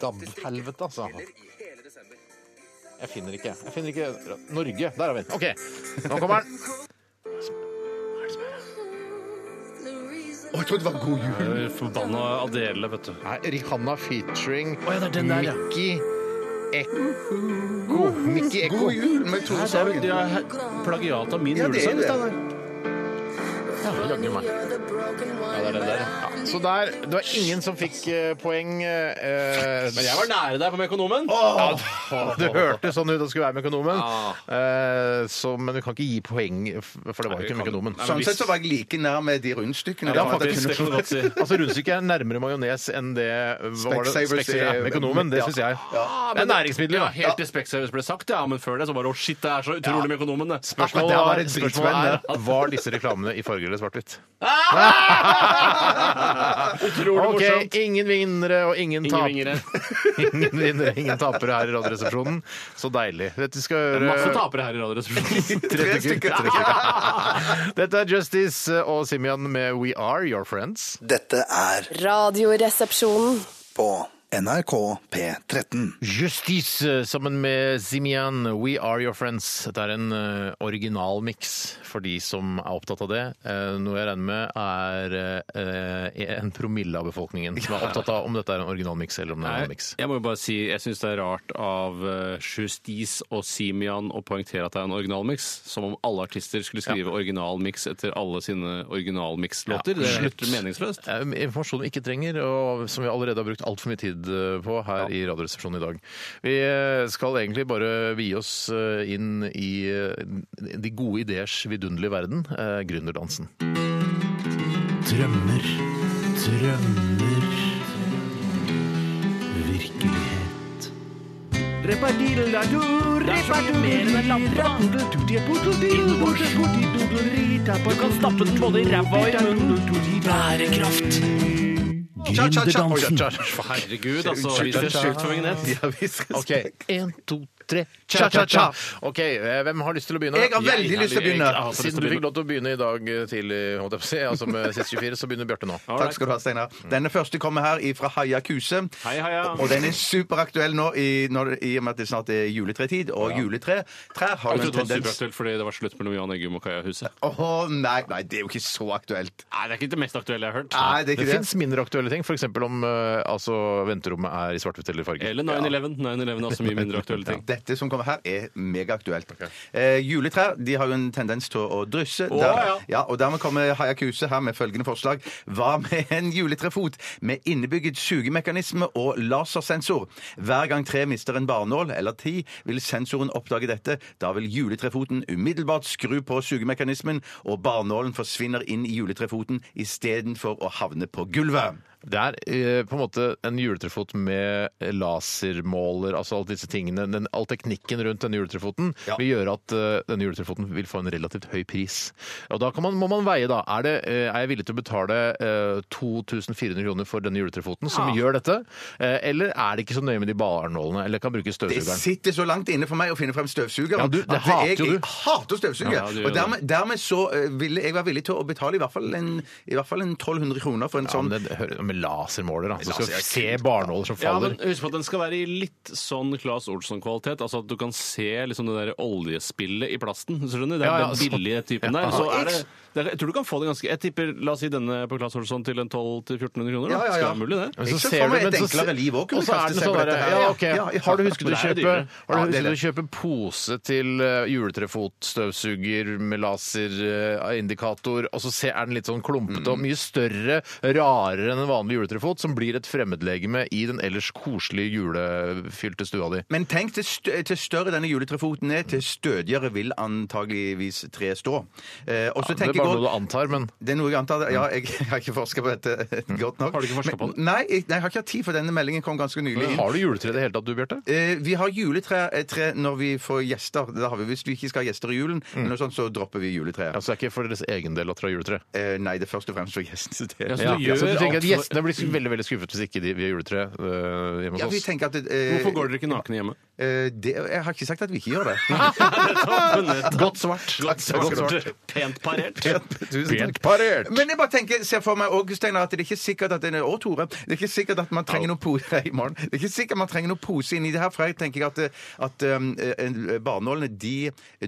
Speaker 1: Dabbhelvete, altså. Jeg finner ikke. Jeg finner ikke Norge. Der har vi den. OK, nå kommer den.
Speaker 2: Å, jeg trodde det var God jul.
Speaker 3: Eh, Forbanna Adele, vet du.
Speaker 1: Nei, Rihanna featuring
Speaker 3: ja, det er den der, ja.
Speaker 1: Mickey Ekko. Mickey Ekko.
Speaker 2: God jul med Tore
Speaker 3: Det er vel
Speaker 2: Sagen.
Speaker 3: det er plagiat av min
Speaker 2: Ja, det er
Speaker 3: julesang.
Speaker 2: det.
Speaker 3: dette her. Ja, det er den der. ja.
Speaker 1: Så der Det var ingen som fikk eh, poeng. eh,
Speaker 3: Men jeg var nære deg på Mekonomen.
Speaker 1: Ja, det hørtes sånn ut å skulle være med økonomen,
Speaker 3: Ah.
Speaker 1: Eh, så, men vi kan ikke gi poeng, f- for det var jo ikke med økonomen.
Speaker 2: Sånn sett så var jeg like nær med de rundstykkene.
Speaker 3: Ja,
Speaker 2: der, at jeg
Speaker 3: faktisk,
Speaker 2: kunne-
Speaker 3: det kan du godt si.
Speaker 1: Altså, Rundstykket er nærmere majones enn det var det
Speaker 2: Specsavers
Speaker 1: Specsavers er
Speaker 2: er-
Speaker 1: med økonomen. Det syns jeg.
Speaker 3: Ja,
Speaker 1: Det er næringsmidler,
Speaker 3: Ja,
Speaker 1: da.
Speaker 3: helt til Specsavers ble sagt, ja. Men før det så bare å shit, det er så utrolig med økonomen, det.
Speaker 1: Spørsmålet,
Speaker 2: det var
Speaker 1: er,
Speaker 2: et
Speaker 1: spørsmålet
Speaker 2: dritsvenn,
Speaker 1: er var disse reklamene i farge eller svart-hvitt.
Speaker 3: Utrolig
Speaker 1: Ok,
Speaker 3: morsomt.
Speaker 1: Ingen vinnere og ingen
Speaker 3: Ingen vingere.
Speaker 1: tapere. Ingen vinnere, ingen tapere her i Radioresepsjonen. Så deilig. Dette skal høre
Speaker 3: Masse tapere her i Radioresepsjonen.
Speaker 2: eh, Tre stykker. Tre stykker.
Speaker 1: Dette er Justice og Simian med We Are Your Friends.
Speaker 4: Dette er
Speaker 5: Radioresepsjonen.
Speaker 4: på NRK P13.
Speaker 1: Justice eh, sammen med Simian, We Are Your Friends. Dette er en uh, originalmiks for de som er opptatt av det. Eh, noe jeg regner med er eh, en promille av befolkningen som er opptatt av om dette er en originalmiks eller om det er en miks.
Speaker 3: Jeg må jo bare si, jeg syns det er rart av eh, Justice og Simian å poengtere at det er en originalmiks. Som om alle artister skulle skrive originalmiks etter alle sine originalmikslåter.
Speaker 1: Ja,
Speaker 3: det er
Speaker 1: slutt.
Speaker 3: helt meningsløst.
Speaker 1: Eh, Informasjon vi ikke trenger, og som vi allerede har brukt altfor mye tid eh, på her i Radioresepsjonen i dag. Vi eh, skal egentlig bare vie oss eh, inn i eh, de gode ideers vidunderlige verden, eh, gründerdansen. Drømmer, drømmer, virkelighet.
Speaker 3: Du kan stappe den både i ræva og i munnen. Bærekraft.
Speaker 1: Gründerdansen.
Speaker 3: Herregud, altså. Vi ser sjukt for Vignet.
Speaker 2: Ja, vi skal-
Speaker 1: Ok, en, to, tre, cha-cha-cha. Ok, eh, hvem har lyst til å begynne?
Speaker 2: Jeg har veldig lyst til å begynne.
Speaker 3: Ja, altså,
Speaker 1: Siden du fikk lov til å begynne i dag eh, tidlig, holdt jeg på å si, altså med siste 24, så begynner Bjarte nå.
Speaker 2: Takk skal du ha, Steinar. Denne første kommer her fra Haia Kuse.
Speaker 3: Mm. Hei, heia.
Speaker 2: Og den er superaktuell nå i, når, i og med at det snart er juletretid, og juletre trær har
Speaker 3: Jeg
Speaker 2: jo en
Speaker 3: trodde det var
Speaker 2: tendens
Speaker 3: superaktuelt fordi det var slutt mellom Jan Eggum og Kaja Huset.
Speaker 2: Å nei, nei, det er jo ikke så aktuelt.
Speaker 3: Nei, det er ikke det mest aktuelle jeg har hørt.
Speaker 2: Nei, det er
Speaker 1: Det
Speaker 2: ikke det.
Speaker 1: fins mindre aktuelle ting, f.eks. om eh, altså, venterommet er i svart-hvitt eller farge.
Speaker 3: Eller 9-11. 9-11 er også mye mindre aktuelle ting.
Speaker 2: Det dette som kommer her, er megaaktuelt. Eh, juletrær de har jo en tendens til å drysse. Der-
Speaker 1: ja.
Speaker 2: ja, og dermed kommer Hayakuse her med følgende forslag. Hva med en juletrefot med innebygget sugemekanisme og lasersensor? Hver gang tre mister en barnål eller ti, vil sensoren oppdage dette. Da vil juletrefoten umiddelbart skru på sugemekanismen, og barnålen forsvinner inn i juletrefoten istedenfor å havne på gulvet.
Speaker 1: Det er eh, på en måte en juletrefot med lasermåler, altså alle disse tingene. Den, all teknikken rundt denne juletrefoten
Speaker 2: Ja.
Speaker 1: vil gjøre at eh, denne juletrefoten vil få en relativt høy pris. Og da kan man, må man veie, da. Er, det, eh, er jeg villig til å betale eh, 2400 kroner for denne juletrefoten som gjør dette? Eh, eller er det ikke så nøye med de barnålene? Eller kan bruke
Speaker 2: Det
Speaker 1: støvsugeren?
Speaker 2: sitter så langt inne for meg å finne frem støvsugeren.
Speaker 1: sånn. Ja, du- det
Speaker 2: at
Speaker 1: hater
Speaker 2: jeg,
Speaker 1: jo du.
Speaker 2: jeg hater støvsuger.
Speaker 3: Ja, du gjør
Speaker 2: og dermed, dermed så eh, ville jeg være villig til å betale i hvert fall en, i hvert fall en 1200 kroner for en
Speaker 1: Ja,
Speaker 2: sånn
Speaker 1: men det hører med lasermåler, da. Så skal
Speaker 2: Laser er
Speaker 1: du se
Speaker 2: kult, da.
Speaker 1: barnåler som
Speaker 3: Ja,
Speaker 1: faller.
Speaker 3: men Husk på at den skal være i litt sånn Claes Olsson-kvalitet. Altså at du kan se liksom det der oljespillet i plasten. skjønner du? Det er
Speaker 1: Ja, ja,
Speaker 3: den
Speaker 1: sånn.
Speaker 3: billige typen
Speaker 1: Ja.
Speaker 3: der. Så er det, det er, jeg tror du kan få det ganske Jeg tipper, la oss si denne på Claes Olsson til en 1200-1400 kroner. Da.
Speaker 2: Ja, ja, ja.
Speaker 3: Skal være mulig, det.
Speaker 1: Men
Speaker 2: Jeg
Speaker 1: så ser
Speaker 2: ser for
Speaker 1: du-
Speaker 2: meg
Speaker 1: men
Speaker 2: et
Speaker 1: så se-
Speaker 2: enklere liv også, kunne
Speaker 1: Og så er
Speaker 2: kaste
Speaker 1: det
Speaker 2: seg
Speaker 1: sånn
Speaker 2: på
Speaker 1: derre
Speaker 2: dette her.
Speaker 1: ja,
Speaker 2: Ja,
Speaker 1: ok.
Speaker 2: ja, ja.
Speaker 1: Har du husket
Speaker 2: Men
Speaker 1: å
Speaker 2: det er jo
Speaker 1: kjøpe,
Speaker 2: dyrere.
Speaker 1: har
Speaker 2: Ja,
Speaker 1: du husket
Speaker 2: det er
Speaker 1: å
Speaker 2: det.
Speaker 1: kjøpe pose til eh, juletrefot, støvsuger med laserindikator, eh, og så se- er den litt sånn klumpete og mye større, rarere enn en vanlig juletrefot, som blir et fremmedlegeme i den ellers koselige julefylte stua di?
Speaker 2: Men tenk til, stø til større denne juletrefoten er, til stødigere vil antageligvis treet stå. Eh, og så
Speaker 1: Det er
Speaker 2: tenker jeg
Speaker 1: bare
Speaker 2: godt
Speaker 1: noe du antar, men
Speaker 2: Det er noe jeg antar. Ja, jeg, jeg har ikke forska på dette godt nok.
Speaker 3: Har du ikke forsket
Speaker 2: Men-
Speaker 3: på det?
Speaker 2: Nei, jeg, nei, jeg har ikke hatt tid, for denne meldingen kom ganske nylig inn.
Speaker 1: har du juletre i det hele tatt, du, Bjarte?
Speaker 2: Eh, vi har juletre eh, tre når vi får gjester. Da har vi, hvis vi ikke skal ha gjester i julen,
Speaker 1: Mm.
Speaker 2: eller noe sånt, så dropper vi juletreet.
Speaker 1: Altså, det er ikke for deres egen del at dere har juletre?
Speaker 2: Eh, nei, det er først og fremst for gjestene. det.
Speaker 3: Ja, så
Speaker 1: Ja,
Speaker 3: Altså, du gjør
Speaker 1: så du tenker at
Speaker 3: alt for-
Speaker 1: Gjestene blir veldig veldig skuffet hvis ikke de vi har juletre øh, hjemme
Speaker 2: Ja, vi
Speaker 1: hos oss.
Speaker 2: tenker at eh,
Speaker 3: Hvorfor går dere ikke nakne hjemme?
Speaker 2: eh, det, Jeg har ikke sagt at vi ikke gjør det.
Speaker 1: Godt svart.
Speaker 2: Godt svart.
Speaker 3: Pent parert.
Speaker 1: Pent parert!
Speaker 2: Men jeg bare tenker, ser for meg også, Steinar, at det er ikke sikkert at det er, og Tore, det er ikke sikkert at man trenger noen pose i morgen. Det er ikke sikkert man trenger noen pose inn i det her, for jeg tenker at, at um, eh, barnålene de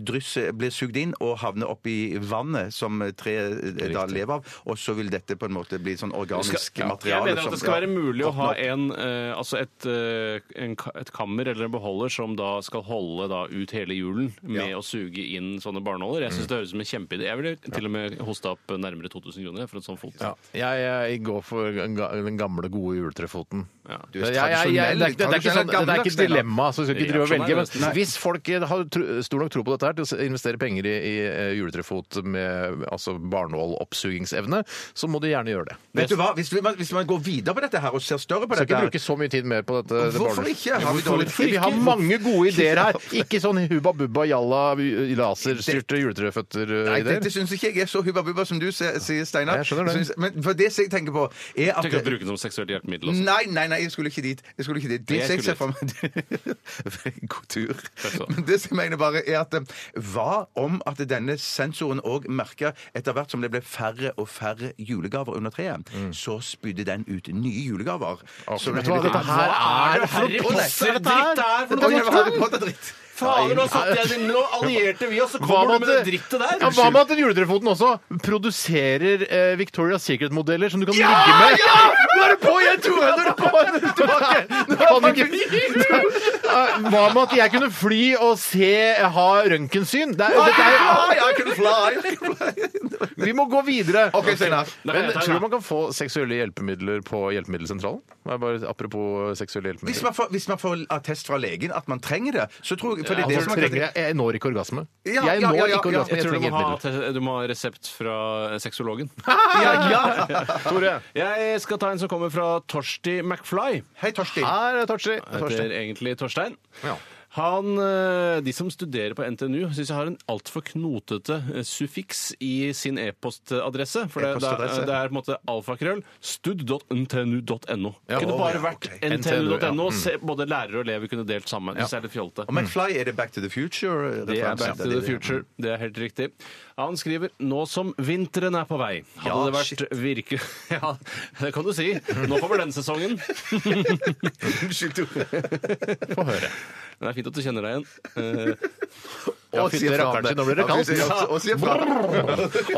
Speaker 2: drysser, blir sugd inn og havner opp i vannet som treet eh, da lever av, og så vil dette på en måte bli sånn
Speaker 3: Skal-
Speaker 2: organisk
Speaker 3: ja. Jeg
Speaker 2: materiale.
Speaker 3: mener at det skal være mulig å ha en, eh, altså et, eh, en, ka- et kammer eller en beholder som da skal holde da ut hele julen med
Speaker 2: Ja. Mm.
Speaker 3: å suge inn sånne barnåler. Jeg syns det høres ut som en kjempeidé. Jeg ville til og med hosta opp nærmere 2000 kroner for en sånn fot.
Speaker 1: Ja. Jeg, jeg går for den ga- den gamle, gode juletrefoten. Jeg-
Speaker 3: Ja.
Speaker 1: jeg-
Speaker 2: tradisjonell.
Speaker 1: jeg- det, er ikke- det, er ikke sånn, det er ikke et
Speaker 2: Tradisjonell
Speaker 1: dilemma, så vi skal ikke drive og
Speaker 3: Reaksjonær,
Speaker 1: velge. Men
Speaker 3: nesten.
Speaker 1: hvis folk eh, har tro- stor nok tro på dette her til å investere penger i, i eh, juletrefot med altså barnåloppsugingsevne, så må de gjerne gjøre det.
Speaker 2: Vet du hva, hvis, vi, hvis man går videre på dette her og ser større på
Speaker 1: Vi skal
Speaker 2: dette
Speaker 1: ikke
Speaker 2: her-
Speaker 1: bruke så mye tid mer på dette. det
Speaker 2: Hvorfor
Speaker 1: barnet.
Speaker 2: ikke? Har vi
Speaker 1: Hvorfor
Speaker 2: dårlig
Speaker 1: ikke?
Speaker 2: tid?
Speaker 1: Vi har mange gode ideer her. Ikke sånn hubba bubba jalla laserstyrte eh,
Speaker 2: Nei, dette
Speaker 1: juletreføtter-ideer.
Speaker 2: syns ikke jeg er så hubba bubba som du se- sier, Steinar.
Speaker 1: Jeg skjønner det.
Speaker 2: Synes- Men for det som jeg tenker på, er at
Speaker 3: Tenk å bruke den som seksuelt hjelpemiddel også.
Speaker 2: Nei, nei, nei, jeg skulle ikke dit. Jeg skulle ikke dit. Det
Speaker 3: Jeg
Speaker 2: som jeg ser for
Speaker 3: skulle
Speaker 2: meg God tur.
Speaker 3: skal du ha.
Speaker 2: Men det som jeg mener bare, er at eh, hva om at denne sensoren òg merka etter hvert som det ble færre og færre julegaver under treet, så spydde den ut nye julegaver. Så
Speaker 1: Vet
Speaker 2: det
Speaker 1: du hva,
Speaker 2: hele
Speaker 1: dette
Speaker 2: tiden-
Speaker 1: her er
Speaker 3: Harry Potter-dritt
Speaker 1: dette her?
Speaker 3: det er
Speaker 2: Oi, det
Speaker 3: for noe!
Speaker 2: var Harry Potter-dritt.
Speaker 3: Fader, nå satt jeg din, nå allierte vi oss, så
Speaker 1: Hva
Speaker 3: kommer
Speaker 1: med
Speaker 3: du med det
Speaker 1: at-
Speaker 3: drittet der!
Speaker 1: Ja, hva med at den juletrefoten også produserer eh, Victoria's Secret-modeller som du kan ligge med? Ja! Nå er du på igjen, Tore! Nå er du på igjen! Du kan ikke Eh, Hva med at jeg kunne fly og se ha røntgensyn? Det er- dette er-
Speaker 2: Ah, ja, I can fly, I can fly.
Speaker 1: Vi må gå videre.
Speaker 2: OK, Steinar.
Speaker 1: Men
Speaker 3: jeg tar den,
Speaker 1: tror du
Speaker 3: da.
Speaker 1: man kan få seksuelle hjelpemidler på Hjelpemiddelsentralen? Det er Bare apropos seksuelle
Speaker 2: Hvis
Speaker 1: hjelpemidler.
Speaker 2: man, får, hvis man får attest fra legen at man trenger det, så tror jeg for det er det
Speaker 1: Jeg,
Speaker 2: som er
Speaker 1: altså, trenger, jeg, jeg når ikke orgasme.
Speaker 2: Ja,
Speaker 1: Jeg
Speaker 2: ja,
Speaker 1: når
Speaker 2: ja, ja,
Speaker 1: ikke
Speaker 2: ja.
Speaker 1: orgasme.
Speaker 3: Jeg
Speaker 1: Jeg
Speaker 3: tror du
Speaker 1: trenger
Speaker 3: må, ha,
Speaker 1: hjelpemidler.
Speaker 3: du må ha resept fra sexologen.
Speaker 2: Ja, ja.
Speaker 1: Tore.
Speaker 3: Jeg skal ta en som kommer fra Torsti McFly.
Speaker 2: Hei, Torsti.
Speaker 1: Her er Torsi.
Speaker 3: Heter egentlig Torstein.
Speaker 1: Ja.
Speaker 3: Han, eh, De som studerer på NTNU, syns jeg har en altfor knotete eh, suffiks i sin e-postadresse. For det, det,
Speaker 2: E-postadresse.
Speaker 3: er, det er på en måte alfakrøll. stud.ntnu.no.
Speaker 1: Ja,
Speaker 3: kunne
Speaker 1: å,
Speaker 3: bare
Speaker 1: ja,
Speaker 3: vært
Speaker 1: ok.
Speaker 3: ntnu.no.
Speaker 1: NTNU, ja.
Speaker 3: se- Både lærere og elever kunne delt sammen. Hvis det er litt fjolte.
Speaker 2: Og McFly, er det Back to the Future?
Speaker 3: Mm. Det er Back to the Future. Det er helt riktig. Han skriver nå som vinteren er på vei. Hadde
Speaker 2: Ja,
Speaker 3: det vært virke... Ja, det kan du si. Nå kommer den sesongen.
Speaker 2: Unnskyld, Tore.
Speaker 1: Få høre.
Speaker 3: Det er fint at du kjenner deg igjen. Eh,
Speaker 1: Ja,
Speaker 2: Og
Speaker 1: fytti
Speaker 2: sier fra
Speaker 1: rakkeren
Speaker 2: det.
Speaker 1: sin, nå blir det
Speaker 2: Ja,
Speaker 1: kaldt.
Speaker 2: fy sier- og- Og sier fra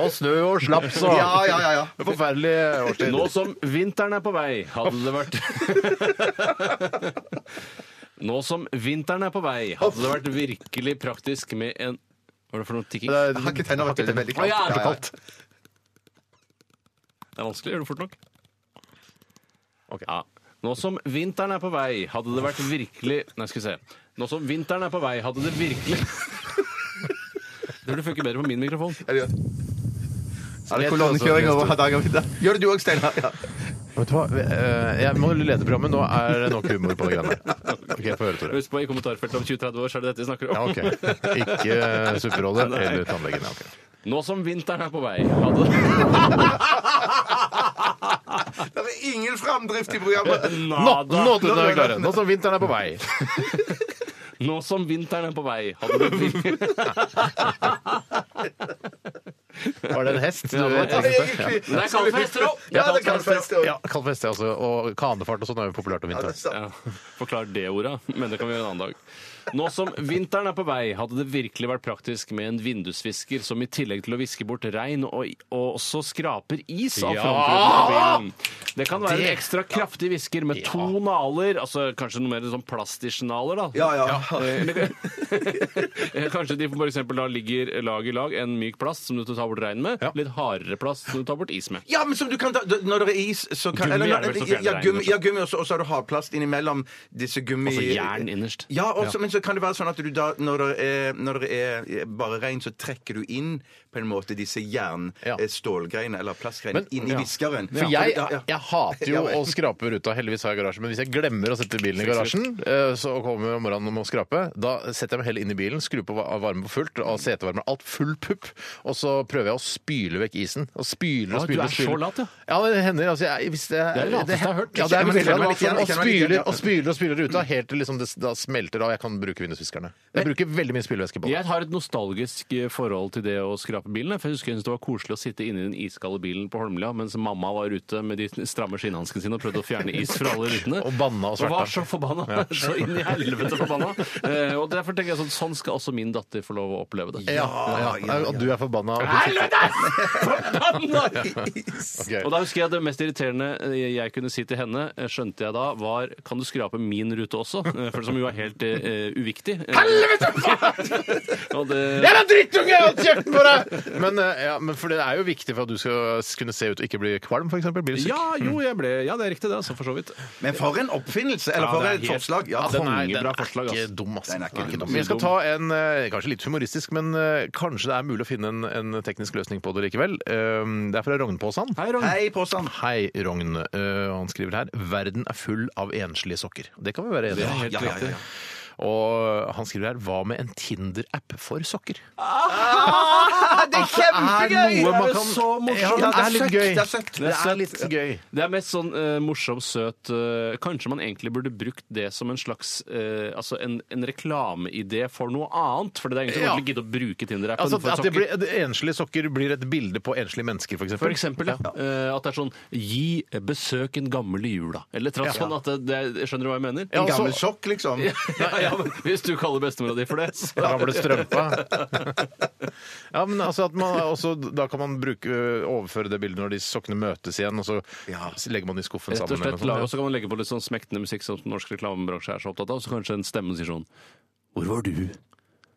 Speaker 1: Og snø og slaps og
Speaker 2: Ja, ja, ja, ja.
Speaker 1: Forferdelig årstid.
Speaker 3: Nå som vinteren er på vei, hadde det vært Nå som vinteren er på vei, hadde det vært virkelig praktisk med en Hva er det for noe tikking? Det
Speaker 2: Jeg har ikke tenner, vet du. Det er veldig
Speaker 3: Å,
Speaker 2: kaldt.
Speaker 3: ja, det er
Speaker 2: Ja, ja.
Speaker 3: kaldt. er vanskelig. Gjør det fort nok. Ja. Nå som vinteren er på vei, hadde det vært virkelig Nei, skal vi se. Nå som vinteren er på vei, hadde det virkelig Det burde funke bedre på min mikrofon.
Speaker 2: Er det godt? Er det
Speaker 1: Helt
Speaker 2: kolonnekjøring
Speaker 1: altså,
Speaker 2: over Hardanger middag? Gjør det du òg, Steinar. Ja.
Speaker 1: Vet du hva? Eh, Jeg må lede programmet. Nå er det nok humor på det greiene her. Ok, få høre, Tore.
Speaker 3: Husk på, i kommentarfeltet om 20-30 år så er det dette vi snakker om.
Speaker 1: Ja, ok. Ikke eh, supperolle eller tannlegen. Ja, ok.
Speaker 3: Nå som vinteren er på vei, hadde
Speaker 2: Det er ingen framdrift i programmet!
Speaker 1: Nå, nå,
Speaker 3: Nada.
Speaker 1: Tore, nå er vi klare. Nå som vinteren er på vei.
Speaker 3: Nå som vinteren er på vei, hadde det virkelig
Speaker 1: Var det en hest? du
Speaker 3: Ja, det var-
Speaker 1: tenkte på? Ja.
Speaker 3: Det er kaldt for hester òg!
Speaker 2: Ja, det kan feste
Speaker 1: Ja, kald fest, ja, altså. Og kanefart og sånn er jo populært om vinteren.
Speaker 2: også.
Speaker 3: Ja, forklar det ordet, men det kan vi gjøre en annen dag. Nå som vinteren er på vei, hadde det virkelig vært praktisk med en vindusvisker som i tillegg til å viske bort regn og, og også skraper is av
Speaker 1: Ja!
Speaker 3: frontruten på bilen. Det kan være en
Speaker 1: Det-
Speaker 3: ekstra kraftig visker med to naler, altså kanskje noe mer sånn plastisjnaler, da.
Speaker 2: Ja, ja.
Speaker 3: Eh, Kanskje de for eksempel da ligger lag i lag, en myk plast som du tar bort regn med,
Speaker 1: Ja.
Speaker 3: litt hardere plast som du tar bort is med.
Speaker 2: Ja, men som du kan ta, Når det er is, så kan
Speaker 3: Gummi
Speaker 2: eller når-
Speaker 3: er det vel som fjerner
Speaker 2: ja, gummi,
Speaker 3: regnet,
Speaker 2: ja, gummi og så- og så har du hardplast innimellom disse gummi...
Speaker 3: Altså jern innerst.
Speaker 2: Ja, også, men så kan det være sånn at du da, når det er, når det er bare regn, så trekker du inn på en måte disse
Speaker 1: Ja.
Speaker 2: jernstålgreiene eller plastgreiene
Speaker 1: Men-
Speaker 2: inn i
Speaker 1: ja.
Speaker 2: viskeren.
Speaker 1: For
Speaker 2: Ja,
Speaker 1: jeg,
Speaker 2: ja, ja.
Speaker 1: jeg hater jo
Speaker 2: Ja, vel.
Speaker 1: å skrape ruta. Heldigvis har jeg garasje. Men hvis jeg glemmer å sette bilen i garasjen, eh, så kommer jeg om morgenen og må skrape, da setter jeg meg heller inn i bilen, skrur på va- varmen på fullt, og setevarmer alt full pupp, og så prøver jeg å spyle vekk isen. Og spyler og
Speaker 3: Ah, du
Speaker 1: spyler.
Speaker 3: er
Speaker 1: og spyler.
Speaker 3: så lat, ja.
Speaker 1: Ja, det hender. Altså, jeg, hvis det,
Speaker 3: Det er det lateste jeg har hørt.
Speaker 1: Ja, det er
Speaker 2: Jeg kjenner
Speaker 1: veldig
Speaker 2: meg litt
Speaker 1: lat.
Speaker 2: igjen, jeg
Speaker 1: Og
Speaker 2: kjenner meg litt igjen,
Speaker 1: spyler
Speaker 2: ja.
Speaker 1: og spyler og spyler ruta helt til liksom det da smelter av. Jeg kan bruke vindusviskerne. Jeg bruker veldig mye spylevæske på det.
Speaker 3: Jeg har et nostalgisk eh, forhold til det å skrape bilen. jeg. For jeg husker jeg synes det var koselig å sitte inne i den iskalde bilen på Holmlia mens mamma var ute med de stramme skinnhanskene sine og prøvde å fjerne is fra alle rutene.
Speaker 1: Og banna og sverta.
Speaker 3: var så forbanna. Så inn i helvete forbanna. Eh, Og derfor tenker jeg sånn, sånn skal også min datter få lov å oppleve det.
Speaker 1: Ja, ja, ja. Og du er forbanna.
Speaker 3: Helvete! Forbanna!
Speaker 1: Ok.
Speaker 3: Og da husker jeg det mest irriterende eh, jeg kunne si til henne, eh, skjønte jeg da, var Kan du skrape min rute også? Eh, For som jo er helt eh, uviktig. Helvete! og det
Speaker 1: Jeg er en drittunge! Jeg har kjeften på deg! Men, eh, ja, men for det er jo viktig for at du skal s- kunne se ut og ikke bli kvalm, f.eks. Blir du syk?
Speaker 3: Ja, jo, jeg ble, ja, det er riktig, det. Altså, for så vidt.
Speaker 2: Men for en oppfinnelse! Eller
Speaker 3: Ja,
Speaker 2: for
Speaker 3: det er
Speaker 2: et
Speaker 3: helt-
Speaker 2: forslag. Ja,
Speaker 3: Ja, den er-
Speaker 1: den
Speaker 3: Kongebra
Speaker 1: er
Speaker 3: forslag,
Speaker 1: ikke
Speaker 3: ass.
Speaker 1: dum, ass.
Speaker 2: Den er ikke dum.
Speaker 1: Vi skal ta en eh, kanskje litt humoristisk, men eh, kanskje det er mulig å finne en, en teknisk løsning på det likevel. Eh, Det er fra Rognpåsan.
Speaker 3: Hei, Ron.
Speaker 2: Hei, påstand!
Speaker 1: Hei, Rogn. Eh, han skriver her 'Verden er full av enslige sokker'. Det kan vi være enige om.
Speaker 2: Ja, ja, ja, ja.
Speaker 1: Og han skriver her 'Hva med en Tinder-app for sokker'? Ah,
Speaker 2: Det Ah, er kjempegøy!
Speaker 1: noe man
Speaker 3: Det er
Speaker 1: kan
Speaker 3: så
Speaker 1: Ja,
Speaker 3: morsomt.
Speaker 1: det er litt
Speaker 2: søtt,
Speaker 1: gøy.
Speaker 2: det er søtt.
Speaker 1: Det er litt gøy.
Speaker 3: Det er mest sånn eh, morsom, søt eh, Kanskje man egentlig burde brukt det som en slags eh, Altså en, en reklameidé for noe annet. For det er ingen som
Speaker 1: Ja.
Speaker 3: egentlig gidder å bruke Tinder-appen
Speaker 1: Altså,
Speaker 3: for
Speaker 1: at det
Speaker 3: sokker.
Speaker 1: blir, det enslige sokker blir et bilde på enslige mennesker, f.eks.
Speaker 3: For eksempel, ja. Eh, At det er sånn Gi besøk en gammel i jula. Eller et eller annet
Speaker 1: Ja.
Speaker 3: sånn at det, det, Skjønner du hva jeg mener?
Speaker 1: Ja,
Speaker 2: En gammel
Speaker 1: altså-
Speaker 2: sokk, liksom.
Speaker 3: ja, ja, men Hvis du kaller bestemora di for det, så
Speaker 1: Ramle strømpa. Ja, men altså at man også, Da kan man bruke, ø, overføre det bildet når de sokkene møtes igjen, og så legger man det i skuffen
Speaker 3: Rett og
Speaker 1: sammen.
Speaker 3: slett,
Speaker 1: eller
Speaker 3: la-
Speaker 1: noe
Speaker 3: og
Speaker 1: sånt.
Speaker 3: så kan man legge på litt sånn smektende musikk som norsk reklamebransje er så opptatt av, så kanskje en stemme sier sånn Hvor var du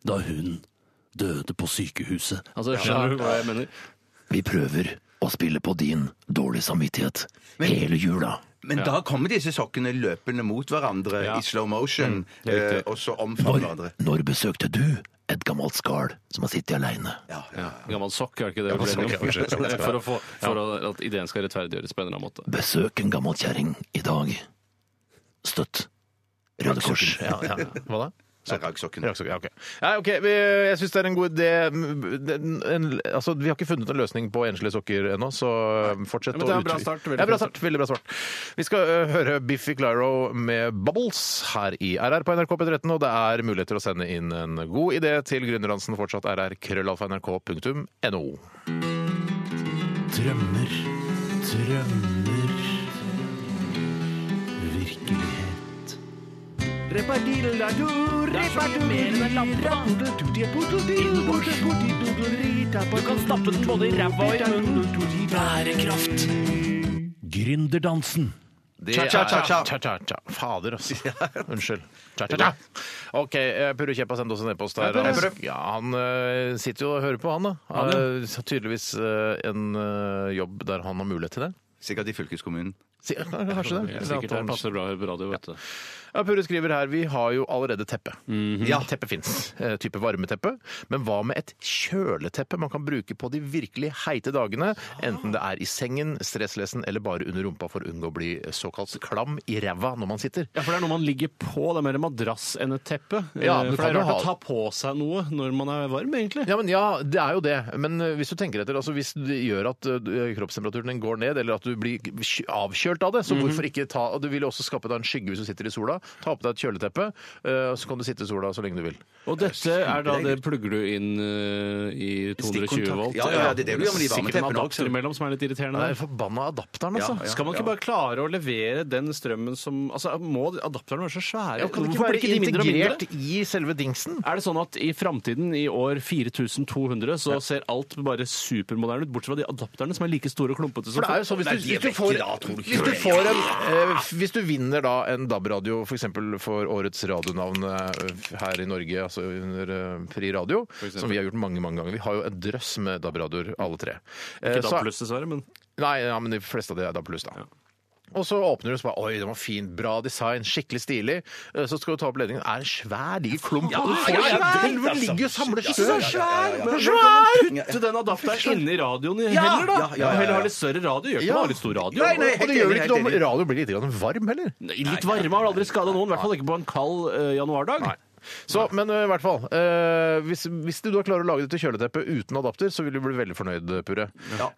Speaker 3: da hun døde på sykehuset? Altså, skjønner du hva jeg mener?
Speaker 4: Vi prøver å spille på din dårlige samvittighet hele jula.
Speaker 2: Men da kommer disse sokkene løpende mot hverandre
Speaker 3: Ja.
Speaker 2: i slow
Speaker 1: Mm,
Speaker 2: motion,
Speaker 3: det er riktig.
Speaker 2: eh, og så omfavner hverandre.
Speaker 4: Når besøkte du et gammelt skall som har sittet aleine?
Speaker 3: Ja. Gammel sokk, er det ikke det? vi ble enige om? For, å få, for å, at ideen skal rettferdiggjøres på en eller annen måte.
Speaker 4: Besøk en gammel kjerring i dag. Støtt Røde Kors.
Speaker 1: Ja, ja, ja. Hva da?
Speaker 2: Nei, raggsokken.
Speaker 1: Raggsokker, ja, ok. Nei, ok, vi, Jeg syns det er en god idé. Den- En, altså, vi har ikke funnet en løsning på enslige sokker ennå, så ø, fortsett
Speaker 3: Ja, men det er en
Speaker 1: å
Speaker 3: bra
Speaker 1: utvi-
Speaker 3: start, veldig
Speaker 1: Ja, bra
Speaker 3: bra
Speaker 1: start. Veldig bra start. Vi skal ø, høre Biffy Clyro med 'Bubbles' her i RR på NRK P13, og det er muligheter å sende inn en god idé til Gründerdansen, fortsatt rr.krøllalfa.nrk.no.
Speaker 4: Drømmer, drømmer Virkelighet.
Speaker 3: Du kan stappe den både i ræva og i munnen.
Speaker 4: Gründerdansen.
Speaker 1: Det
Speaker 2: Cha, cha, cha,
Speaker 1: er-
Speaker 2: cha.
Speaker 1: cha. Fader, altså. Unnskyld. Cha-cha-cha. OK, eh, Purre Kjepp har sendt oss en e-post der.
Speaker 2: Purre.
Speaker 1: Han, ja, han eh, sitter jo og hører på, han da. Han har tydeligvis eh, en eh, jobb der han har mulighet til det.
Speaker 2: Sikkert i fylkeskommunen.
Speaker 1: Si- Kanskje det.
Speaker 3: Jeg er sikkert her passer det bra å høre på radio, vet du.
Speaker 1: Ja, Purre skriver her vi har jo allerede teppe.
Speaker 2: Ja.
Speaker 1: Teppe fins. Eh, Type varmeteppe. Men hva med et kjøleteppe man kan bruke på de virkelig heite dagene? Enten det er i sengen, stresslesen eller bare under rumpa for å unngå å bli såkalt klam i ræva når man sitter.
Speaker 3: Ja, for det er noe man ligger på. Det er mer en madrass enn et teppe.
Speaker 1: Ja,
Speaker 3: Eh,
Speaker 1: du
Speaker 3: for
Speaker 1: kan
Speaker 3: det er
Speaker 1: jo ha-
Speaker 3: rart å ta på seg noe når man er varm, egentlig.
Speaker 1: Ja, men ja, det er jo det. Men eh, hvis du tenker etter, altså hvis det gjør at eh, kroppstemperaturen din går ned, eller at du blir kj- avkjølt av det,
Speaker 3: Mhm.
Speaker 1: så hvorfor ikke ta og Du vil jo også skape deg en skygge hvis du sitter i sola. Ta på deg et kjøleteppe, eh, og så kan du sitte i sola så lenge du vil.
Speaker 3: Og dette er da det plugger du inn eh, i 220
Speaker 2: Stikkontakt.
Speaker 3: volt.
Speaker 2: Ja, ja, ja, det er det du gjør med de
Speaker 3: Sikkert en
Speaker 2: varmeteppene også.
Speaker 3: adapter imellom som er litt irriterende
Speaker 1: Det er
Speaker 3: der.
Speaker 1: forbanna adapteren, altså.
Speaker 2: Ja, ja.
Speaker 3: Skal man ikke bare klare å levere den strømmen som Altså, Må adapterne være så svære?
Speaker 1: Ja, kan det ikke
Speaker 3: Hvorfor
Speaker 1: være
Speaker 3: blir ikke de mindre og mindre?
Speaker 1: integrert i selve dingsen?
Speaker 3: Er det sånn at i framtiden, i år 4200, så ser alt bare supermoderne ut, bortsett fra de adapterne som er like store og klumpete som
Speaker 1: For det er jo sånn, hvis,
Speaker 2: Nei,
Speaker 1: du,
Speaker 2: de er
Speaker 1: hvis, du
Speaker 2: vekk
Speaker 1: får,
Speaker 2: i dag, tror du ikke
Speaker 1: hvis, du
Speaker 2: det?
Speaker 1: får en, eh, hvis du vinner da en DAB-radio for eksempel for årets radionavn eh, her i Norge, altså under eh, Fri Radio, som vi har gjort mange, mange ganger. Vi har jo en drøss med DAB-radioer, alle tre. Eh,
Speaker 3: Ikke
Speaker 1: så-
Speaker 3: DAB+, dessverre, men
Speaker 1: Nei, ja, men de fleste av de er DAB+, da. Og så åpner du og så bare Oi, den var fin. Bra design. Skikkelig stilig. Eh, Så skal du ta opp ledningen. Er en svær, diger klump. Ja,
Speaker 2: ja, ja,
Speaker 1: den
Speaker 2: det er sant.
Speaker 1: ligger og samler
Speaker 2: Ja,
Speaker 1: seg.
Speaker 2: ja, ja, ja, ja, ja.
Speaker 1: Den er
Speaker 3: Putte den adapteren inni radioen i heller,
Speaker 2: Ja,
Speaker 3: da!
Speaker 2: ja, ja, ja.
Speaker 3: Heller ha litt større radio. Gjør ikke
Speaker 1: Ja.
Speaker 3: bare litt stor radio.
Speaker 2: Nei, nei,
Speaker 1: Og det
Speaker 2: helt
Speaker 1: gjør vel
Speaker 2: enig,
Speaker 1: ikke noe om
Speaker 2: helt enig.
Speaker 1: radioen blir litt grann varm heller.
Speaker 3: Litt varme har vel aldri skada noen, i hvert fall ikke på en kald eh, januardag.
Speaker 1: Nei. Så, men ø, i hvert fall, ø, hvis, hvis du da klarer å lage det til kjøleteppe uten adapter, så vil du bli veldig fornøyd, Purre.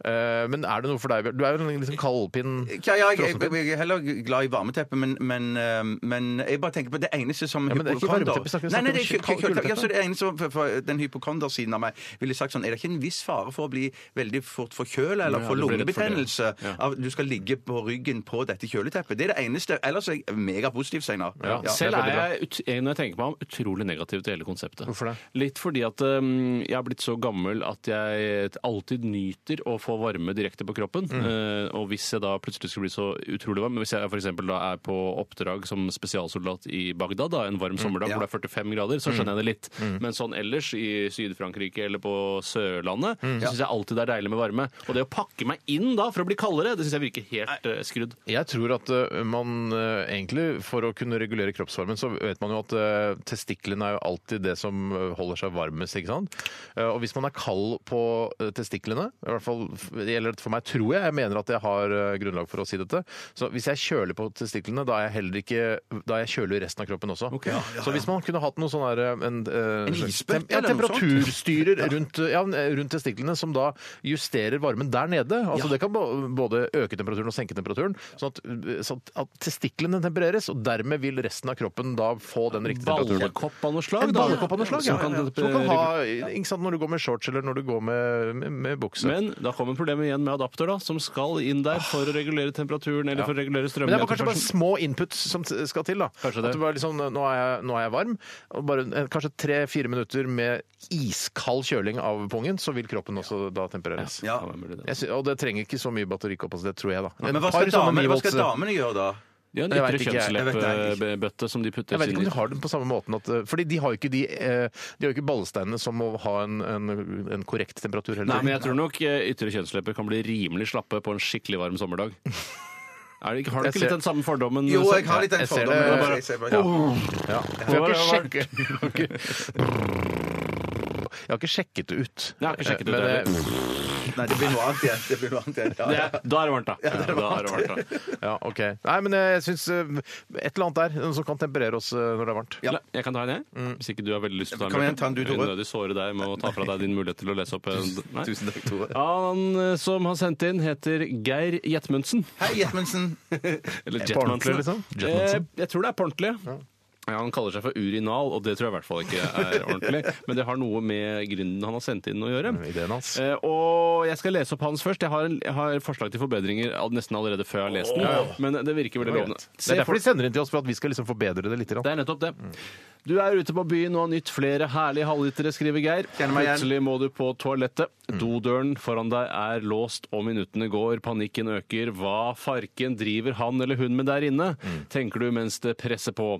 Speaker 1: Eh, men er det noe for deg? Bjørn? Du er jo en liksom kaldpinn
Speaker 2: Ja, ja, jeg, jeg, jeg er heller glad i varmeteppe, men, men, eh, men jeg bare tenker på det eneste som
Speaker 1: Ja, men det er ikke varmeteppe, snakker vi
Speaker 2: Nei,
Speaker 1: snakker om
Speaker 2: nei, det er ikke-
Speaker 1: kald- kuldeteppe.
Speaker 2: ja, så det eneste som for, for den hypokondersiden av meg ville sagt sånn Er det ikke en viss fare for å bli veldig fort forkjøla eller
Speaker 3: Ja,
Speaker 2: få
Speaker 3: du blir redd for det.
Speaker 2: lungebetennelse av at du skal ligge på ryggen på dette kjøleteppet? Det er det eneste. Ellers er jeg megapositiv, Steinar.
Speaker 1: Ja.
Speaker 2: Ja.
Speaker 3: Selv
Speaker 1: det er
Speaker 3: er
Speaker 1: veldig
Speaker 3: jeg, ut, når jeg tenker meg om, utrolig negativ til hele konseptet.
Speaker 1: Hvorfor det?
Speaker 3: Litt fordi at um, jeg er blitt så gammel at jeg alltid nyter å få varme direkte på kroppen.
Speaker 1: Mm.
Speaker 3: Eh, og hvis jeg da plutselig skulle bli så utrolig varm, hvis jeg f.eks. da er på oppdrag som spesialsoldat i Bagdad, da, en
Speaker 1: Mm,
Speaker 3: varm sommerdag
Speaker 2: ja.
Speaker 3: hvor det er 45 grader, så skjønner jeg det litt. Men sånn ellers, i Syd-Frankrike eller på Sørlandet,
Speaker 1: Mm.
Speaker 3: så syns jeg alltid det er deilig med varme. Og det å pakke meg inn da for å bli kaldere, det syns jeg virker helt eh, skrudd.
Speaker 1: Jeg tror at ø, man ø, egentlig, for å kunne regulere kroppsvarmen, så vet man jo at ø, testiklene er jo alltid det som ø, holder seg varmest, ikke sant? Eh, og hvis man er kald på ø, testiklene, i hvert fall f- det gjelder dette for meg, tror jeg, jeg mener at jeg har ø, grunnlag for å si dette, så hvis jeg kjøler på testiklene, da er jeg heller ikke, da er jeg kjøler resten av kroppen også. Så hvis man kunne hatt noe sånn her, ø, en, ø,
Speaker 2: En
Speaker 1: slags
Speaker 2: isbøtte
Speaker 1: tem- ja,
Speaker 2: eller noe sånt?
Speaker 1: temperaturstyrer rundt, ja, rundt testiklene, som da justerer varmen der nede. Altså Det kan bo- både øke temperaturen og senke temperaturen, sånn at, sånn at testiklene tempereres, og dermed vil resten av kroppen da få den riktige temperaturen.
Speaker 3: Ballekopp av noe slag,
Speaker 1: En
Speaker 3: da.
Speaker 1: ballekopp av noe slag, ja.
Speaker 3: Som kan-
Speaker 1: Som kan ha, ikke sant, når du går med shorts eller når du går med, med, med bukse.
Speaker 3: Men da kommer problemet igjen med adapter, da, som skal inn der for å regulere temperaturen eller for å regulere
Speaker 1: Men det er kanskje bare
Speaker 3: strømmen.
Speaker 1: små inputs som t- skal til. da.
Speaker 3: Kanskje det.
Speaker 1: At du bare liksom, nå er jeg, nå er jeg varm. og bare en- Kanskje tre-fire minutter med iskald kjøling av pungen, så vil kroppen også da tempereres.
Speaker 2: Ja.
Speaker 1: Jeg sy og det trenger ikke så mye batterikapasitet, tror jeg, da.
Speaker 2: Men hva
Speaker 1: Et par
Speaker 2: skal,
Speaker 1: sånne eh,
Speaker 2: damene, hva skal
Speaker 1: 9 volts-
Speaker 2: damene gjøre da?
Speaker 3: De har en
Speaker 1: Jeg vet
Speaker 3: ytre
Speaker 1: ikke, jeg-
Speaker 2: jeg vet det
Speaker 3: kjønnsleppebøtte som de putter
Speaker 1: Jeg vet ikke om
Speaker 3: sin
Speaker 1: de har den på samme måten at, eh, Fordi de har jo ikke de, eh, de har jo ikke ballesteinene som må ha en, en, en korrekt temperatur heller.
Speaker 3: Nei, men jeg tror nok eh, ytre kjønnslepper kan bli rimelig slappe på en skikkelig varm sommerdag. Er det, ikke- har du
Speaker 1: Jeg ser-
Speaker 3: ikke litt den samme fordommen?
Speaker 2: Jo,
Speaker 3: Sam?
Speaker 2: jeg har litt den
Speaker 1: Jeg ser det.
Speaker 2: fordommen.
Speaker 1: Jeg bare-
Speaker 2: Jeg ser bare-
Speaker 1: ja.
Speaker 2: Ja.
Speaker 1: For jeg har ikke sjekket jeg har ikke- Jeg har ikke sjekket det ut.
Speaker 3: Nei, jeg har ikke sjekket det ut
Speaker 1: Men, eh,
Speaker 2: Nei, det blir noe annet igjen. Det blir noe annet igjen. Ja,
Speaker 3: Det
Speaker 2: ja.
Speaker 3: er, da er det varmt, da. da er det varmt, da.
Speaker 1: eh, Ja, ok. Nei, men eh, jeg syns eh, et eller annet der noe som kan temperere oss eh, når det er varmt.
Speaker 3: La- Jeg kan ta en, jeg.
Speaker 1: Mm.
Speaker 3: Hvis ikke du har veldig lyst til å ta
Speaker 2: Kan
Speaker 3: en.
Speaker 2: jeg ta en, du, Tore?
Speaker 3: Unødig såre deg med å ta fra deg din mulighet til å lese opp en Nei.
Speaker 2: Tusen takk, Tore.
Speaker 3: Han eh, som har sendt inn, heter Geir Jetmundsen.
Speaker 2: Hei, Jetmensen.
Speaker 3: Eller
Speaker 1: På ordentlig,
Speaker 3: Jetmansen.
Speaker 1: liksom?
Speaker 3: Eh,
Speaker 1: Jetmansen.
Speaker 3: jeg tror det er på ordentlig. Ja, han kaller seg for urinal, og det tror jeg i hvert fall ikke er ordentlig. Men det har noe med grunnen han har sendt inn å gjøre.
Speaker 1: Ideen hans.
Speaker 3: Eh, og jeg skal lese opp hans først. Jeg har, en- jeg har forslag til forbedringer all- nesten allerede før jeg har lest den. Men det virker veldig
Speaker 1: Det var
Speaker 3: lovende.
Speaker 1: greit. Det
Speaker 3: Se
Speaker 1: er
Speaker 3: for-
Speaker 1: derfor de sender inn til oss, for at vi skal liksom forbedre det litt.
Speaker 3: det er nettopp det. Du er ute på byen og har nytt flere herlige halvlitere, skriver Geir.
Speaker 2: Kjenner meg igjen.
Speaker 3: Plutselig må du på toalettet. Dodøren foran deg er låst, og minuttene går. Panikken øker. Hva farken driver han eller hun med der inne? Tenker du mens det presser på.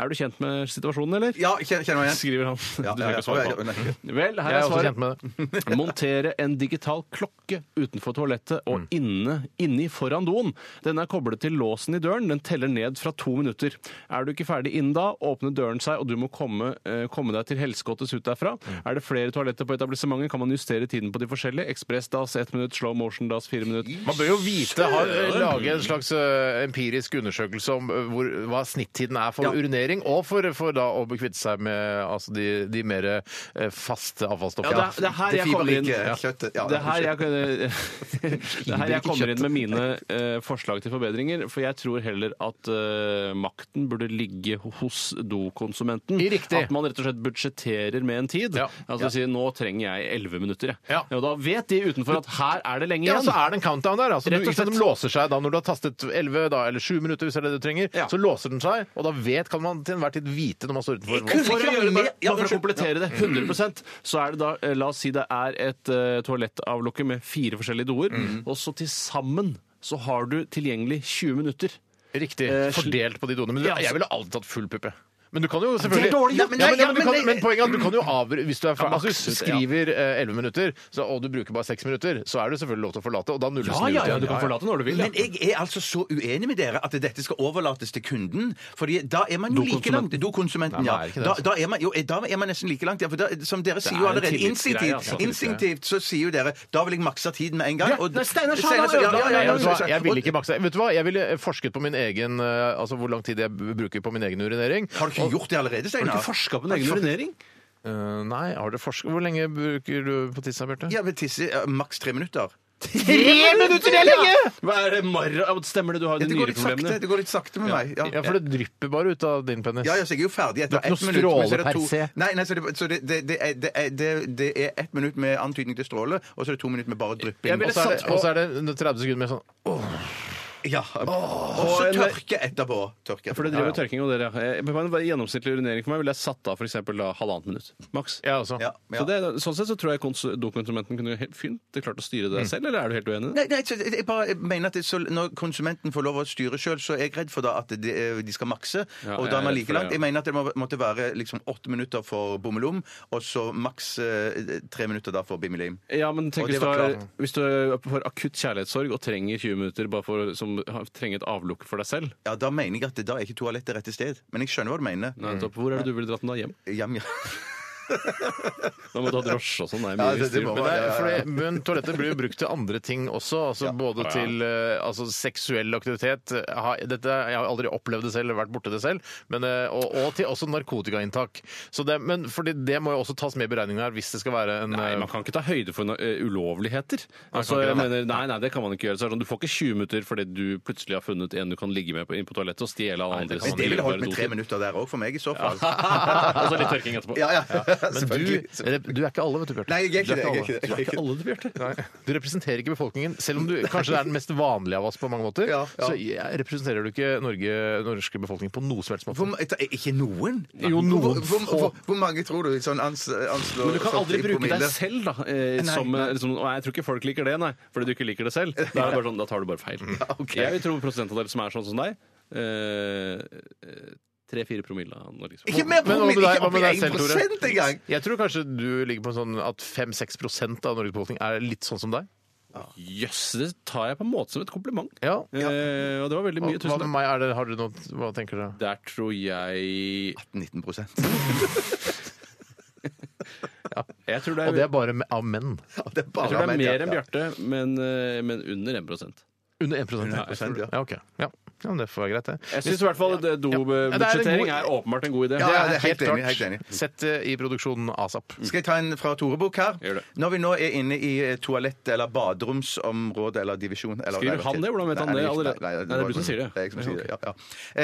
Speaker 3: Er du kjent med situasjonen, eller?
Speaker 2: Ja, kjenner kjenner meg igjen.
Speaker 3: Skriver han.
Speaker 2: Ja,
Speaker 3: Du
Speaker 2: ja,
Speaker 3: trenger
Speaker 2: ja.
Speaker 3: ikke
Speaker 2: Å,
Speaker 3: svare
Speaker 2: ja,
Speaker 3: på.
Speaker 2: ja,
Speaker 3: Vel, her
Speaker 1: Jeg
Speaker 3: er
Speaker 1: er også kjent
Speaker 3: svaret.
Speaker 1: med det.
Speaker 3: Montere en digital klokke utenfor toalettet
Speaker 1: Mm.
Speaker 3: og inne, inni foran doen. Den er koblet til låsen i døren. Den teller ned fra to minutter. Er du ikke ferdig innen da, åpner døren seg, og du må komme, eh, komme deg til helsegodtes ut derfra.
Speaker 1: Mm.
Speaker 3: Er det flere toaletter på etablissementet, kan man justere tiden på de forskjellige. Ekspressdas ett minutt, slow motion dass fire minutter.
Speaker 1: Man bør jo vite, ha, lage eh, en slags ø, empirisk undersøkelse om ø, hvor, hva snittiden er for urinering, og for, for da å bekvitte seg med altså, de, de mer ø, faste avfallsstoffene.
Speaker 3: Ja, det er- det er her jeg kommer inn.
Speaker 2: fiberrike kjøttet. Ja,
Speaker 3: det er her jeg, det er her jeg kommer inn med mine eh, forslag til forbedringer. For jeg tror heller at eh, makten burde ligge hos dokonsumenten.
Speaker 1: I riktig.
Speaker 3: At man rett og slett budsjetterer med en tid.
Speaker 1: Ja.
Speaker 3: Altså sier nå trenger jeg 11 minutter. jeg.
Speaker 1: Ja.
Speaker 3: Og da vet de utenfor at her er det lenge
Speaker 1: Ja,
Speaker 3: igjen.
Speaker 1: så er det en countdown der. Altså, du,
Speaker 3: Rett og
Speaker 1: ikke sant, de
Speaker 3: slett.
Speaker 1: låser seg da når du har tastet 11 da, eller 7 minutter, hvis det er det du trenger.
Speaker 3: Ja.
Speaker 1: Så låser den seg, og da vet, kan man til enhver tid vite når man står utenfor.
Speaker 3: For, å gjøre det, bare,
Speaker 2: Ja,
Speaker 3: bare for å komplettere det 100 så er det da, eh, la oss si det er et eh, toalettavlukke med fire forskjellige doer,
Speaker 1: Mm.
Speaker 3: og så til sammen så har du tilgjengelig 20 minutter.
Speaker 1: Riktig.
Speaker 3: Eh, sli-
Speaker 1: Fordelt på de doene. Men du,
Speaker 3: Ja, altså-
Speaker 1: jeg ville aldri tatt full puppe. Men du kan jo selvfølgelig
Speaker 3: dårlig
Speaker 1: ja,
Speaker 3: gjort.
Speaker 1: men,
Speaker 3: Nei,
Speaker 1: ja, men,
Speaker 3: ja,
Speaker 1: du
Speaker 3: men
Speaker 1: kan,
Speaker 3: det-
Speaker 1: men poenget er at du kan jo avbryte Hvis du, er,
Speaker 3: Ja,
Speaker 1: altså,
Speaker 3: maks
Speaker 1: du
Speaker 3: ut, ja.
Speaker 1: skriver eh, 11 minutter, så, og du bruker bare 6 minutter, så er det selvfølgelig lov til å forlate, og da nulles den ut igjen.
Speaker 3: du kan forlate når du vil. ja.
Speaker 2: Men jeg er altså så uenig med dere at dette skal overlates til kunden. Fordi da er man jo like
Speaker 3: Dokonsumenten.
Speaker 2: langt Dokonsumenten,
Speaker 1: Nei,
Speaker 2: ja.
Speaker 1: men er det ikke det,
Speaker 2: Da, da, er man, jo, eh, da er man nesten like langt. Ja, for da, som dere sier jo
Speaker 3: er en
Speaker 2: allerede,
Speaker 3: tillitsgreie,
Speaker 2: instinktivt,
Speaker 3: altså.
Speaker 2: instinktivt så sier jo dere da vil jeg makse tiden med en gang.
Speaker 3: Ja, nei, Steinar sa
Speaker 2: Steinar
Speaker 3: det,
Speaker 2: ja, ja, ja,
Speaker 1: Nei,
Speaker 2: ja,
Speaker 1: vet du hva?
Speaker 2: ja,
Speaker 1: Jeg ville ikke maksa. Vet du hva? Jeg ville eh, forsket på min egen eh, Altså hvor lang tid jeg b- bruker på min egen urinering.
Speaker 2: Har du ikke gjort det allerede,
Speaker 3: Har du
Speaker 2: Steinar?
Speaker 3: ikke forska på din egen urinering?
Speaker 1: Eh, nei, har dere forsket Hvor lenge bruker du på tissa, Bjarte?
Speaker 2: Ja, men tisse ja, maks tre minutter.
Speaker 1: Tre minutter er lenge!
Speaker 3: Hva er det marra? Ja, Stemmer det, du har
Speaker 2: Det
Speaker 3: de
Speaker 2: går litt sakte,
Speaker 3: nyreproblemene?
Speaker 2: det går litt sakte med meg.
Speaker 1: Ja, for det drypper bare ut av din penis.
Speaker 2: Ja, ja, så jeg er jo ferdig etter
Speaker 1: Det er ikke
Speaker 2: ett
Speaker 1: noe
Speaker 2: minutt. men så er det
Speaker 1: stråle
Speaker 2: to-
Speaker 1: per se.
Speaker 2: Nei, nei, så det, så det, det, det, er, det, er, det- det er ett minutt med antydning til stråle, og så er det to minutter med bare
Speaker 1: Jeg
Speaker 2: drypping.
Speaker 1: ville
Speaker 2: Og så er det-
Speaker 1: satt på- Og så er det 30 sekunder med sånn
Speaker 2: Ja. Og så tørke etterpå. Tørke etterpå.
Speaker 3: For det driver med tørking og dere. Eh, men på en Gjennomsnittlig urinering for meg ville jeg satt av for eksempel da halvannet minutt. Maks.
Speaker 1: Jeg også.
Speaker 2: Ja, ja.
Speaker 3: Så det, sånn sett så tror jeg kons- dokumentumenten kunne helt fint klart å styre det selv, eller er du helt uenig? i det?
Speaker 2: Nei, nei, så jeg jeg bare mener at det, så når konsumenten får lov å styre sjøl, så er jeg redd for da at de, de skal makse.
Speaker 3: Ja,
Speaker 2: og
Speaker 3: jeg
Speaker 2: da er
Speaker 3: er
Speaker 2: man
Speaker 3: redd
Speaker 2: like
Speaker 3: for det,
Speaker 2: langt.
Speaker 3: ja.
Speaker 2: Jeg mener at det må, måtte være liksom åtte minutter for bommelom, og så maks eh, tre minutter da for bimmelim.
Speaker 3: Ja, men tenk
Speaker 2: Og det
Speaker 3: hvis du,
Speaker 2: var
Speaker 3: har,
Speaker 2: klart.
Speaker 3: hvis du får akutt kjærlighetssorg og trenger 20 minutter bare for, som har- trenger et avlukke for deg selv,
Speaker 2: Ja, da mener jeg at det, da er ikke toalett det rette sted. Men jeg skjønner hva du mener.
Speaker 3: nettopp, hvor er det du ville dratt den da hjem?
Speaker 2: Jam, ja.
Speaker 3: Da må du ha drosje og sånn. Det er
Speaker 2: Ja,
Speaker 3: mye
Speaker 2: det- det
Speaker 3: styr.
Speaker 2: må
Speaker 3: Men
Speaker 1: Men, det,
Speaker 2: Ja, ja,
Speaker 1: er-
Speaker 2: ja.
Speaker 1: for det, men toalettet blir jo brukt til andre ting også, altså både til eh, altså, seksuell aktivitet eh, ha- dette, Jeg har aldri opplevd det selv, vært borte det selv, men, eh, og, og til også narkotikainntak. Så det, men fordi det må jo også tas med i beregningen her hvis det skal være en
Speaker 3: Nei,
Speaker 1: eh,
Speaker 3: man kan ikke ta høyde for noe, eh, ulovligheter. Altså,
Speaker 1: ikke
Speaker 3: jeg
Speaker 1: det, nei.
Speaker 3: mener, nei, nei, det kan man ikke gjøre. Så er det sånn, du får ikke 20 minutter fordi du plutselig har funnet en du kan ligge med på, inn på toalettet og stjele av
Speaker 1: det kan
Speaker 3: andre.
Speaker 2: Men
Speaker 1: man
Speaker 2: det ville holdt med tre
Speaker 3: minutter.
Speaker 2: minutter der òg, for meg i så fall.
Speaker 3: og så Altså litt tørking etterpå.
Speaker 2: Ja, ja.
Speaker 1: Men du,
Speaker 2: Selvfølgelig.
Speaker 1: du er ikke alle, vet du, Bjarte.
Speaker 2: Nei, jeg er
Speaker 1: Du
Speaker 2: ikke det, jeg er
Speaker 1: alle. Du
Speaker 2: ikke det, jeg er ikke det.
Speaker 1: alle, du, Bjarte. Du representerer ikke befolkningen. Selv om du kanskje er den mest vanlige av oss på mange måter,
Speaker 2: Ja, ja.
Speaker 1: så jeg representerer du ikke Norge, norske befolkning på noe som helst måte.
Speaker 2: Hvor, ma- ikke noen?
Speaker 1: Jo, noen
Speaker 2: Hvor, hvor,
Speaker 1: få.
Speaker 2: hvor, hvor mange tror du sånn ans, anslår
Speaker 3: Men du kan
Speaker 2: sånn
Speaker 3: aldri
Speaker 2: i
Speaker 3: bruke deg
Speaker 2: promille?
Speaker 3: selv, da. Eh,
Speaker 2: Nei,
Speaker 3: som,
Speaker 2: nei.
Speaker 3: eh, liksom, og jeg tror ikke folk liker det, nei. Fordi du ikke liker det selv. Da, er det bare sånn, da tar du bare feil. Jeg vil tro prosentandel som er sånn som deg. eh, Tre-fire promille av liksom. Norges
Speaker 2: Ikke mer
Speaker 1: Men hva med
Speaker 2: promille!
Speaker 1: deg-
Speaker 2: Ikke
Speaker 1: hva med
Speaker 2: oppi
Speaker 1: deg selv,
Speaker 2: 1 engang!
Speaker 1: Jeg tror kanskje du ligger på sånn at 5-6 prosent av Norges befolkning er litt sånn som deg.
Speaker 3: Jøss, det tar jeg på en måte som et kompliment.
Speaker 1: Ja.
Speaker 3: Eh, og det var veldig
Speaker 1: Hva
Speaker 3: mye.
Speaker 1: hva
Speaker 3: Tusen
Speaker 1: med
Speaker 3: takk.
Speaker 1: meg? Er det, har du noe, hva tenker du?
Speaker 3: Der tror jeg
Speaker 2: 19
Speaker 3: Jeg tror
Speaker 1: Og
Speaker 3: det er,
Speaker 1: det er bare me- av menn.
Speaker 2: Ja, det er
Speaker 3: jeg
Speaker 2: bare
Speaker 3: tror det er mer enn
Speaker 2: ja.
Speaker 3: Bjarte, men, eh, men under 1
Speaker 1: Under 1 prosent.
Speaker 2: Under 1%, ja.
Speaker 1: ja. ok. Ja. ja, men det får være greit, det.
Speaker 3: Jeg syns i hvert fall det
Speaker 1: Ja, det er en
Speaker 3: dobudsjettering
Speaker 1: god-
Speaker 3: er åpenbart en god idé.
Speaker 2: Ja, ja, det
Speaker 1: Helt
Speaker 2: er helt
Speaker 1: klart.
Speaker 2: enig. Helt enig.
Speaker 1: Sett det i produksjonen ASAP.
Speaker 2: Skal jeg ta en fra Tore Bukk her?
Speaker 3: Gjør det.
Speaker 2: Når vi nå er inne i eh, toalett- eller baderomsområdet eller divisjon eller
Speaker 3: Skriver han det? Hvordan vet han
Speaker 2: Nei,
Speaker 3: det
Speaker 2: er ikke-
Speaker 3: allerede?
Speaker 2: Nei,
Speaker 3: Nei, det er du som sier det.
Speaker 2: Det er jeg som sier det, ja, ja.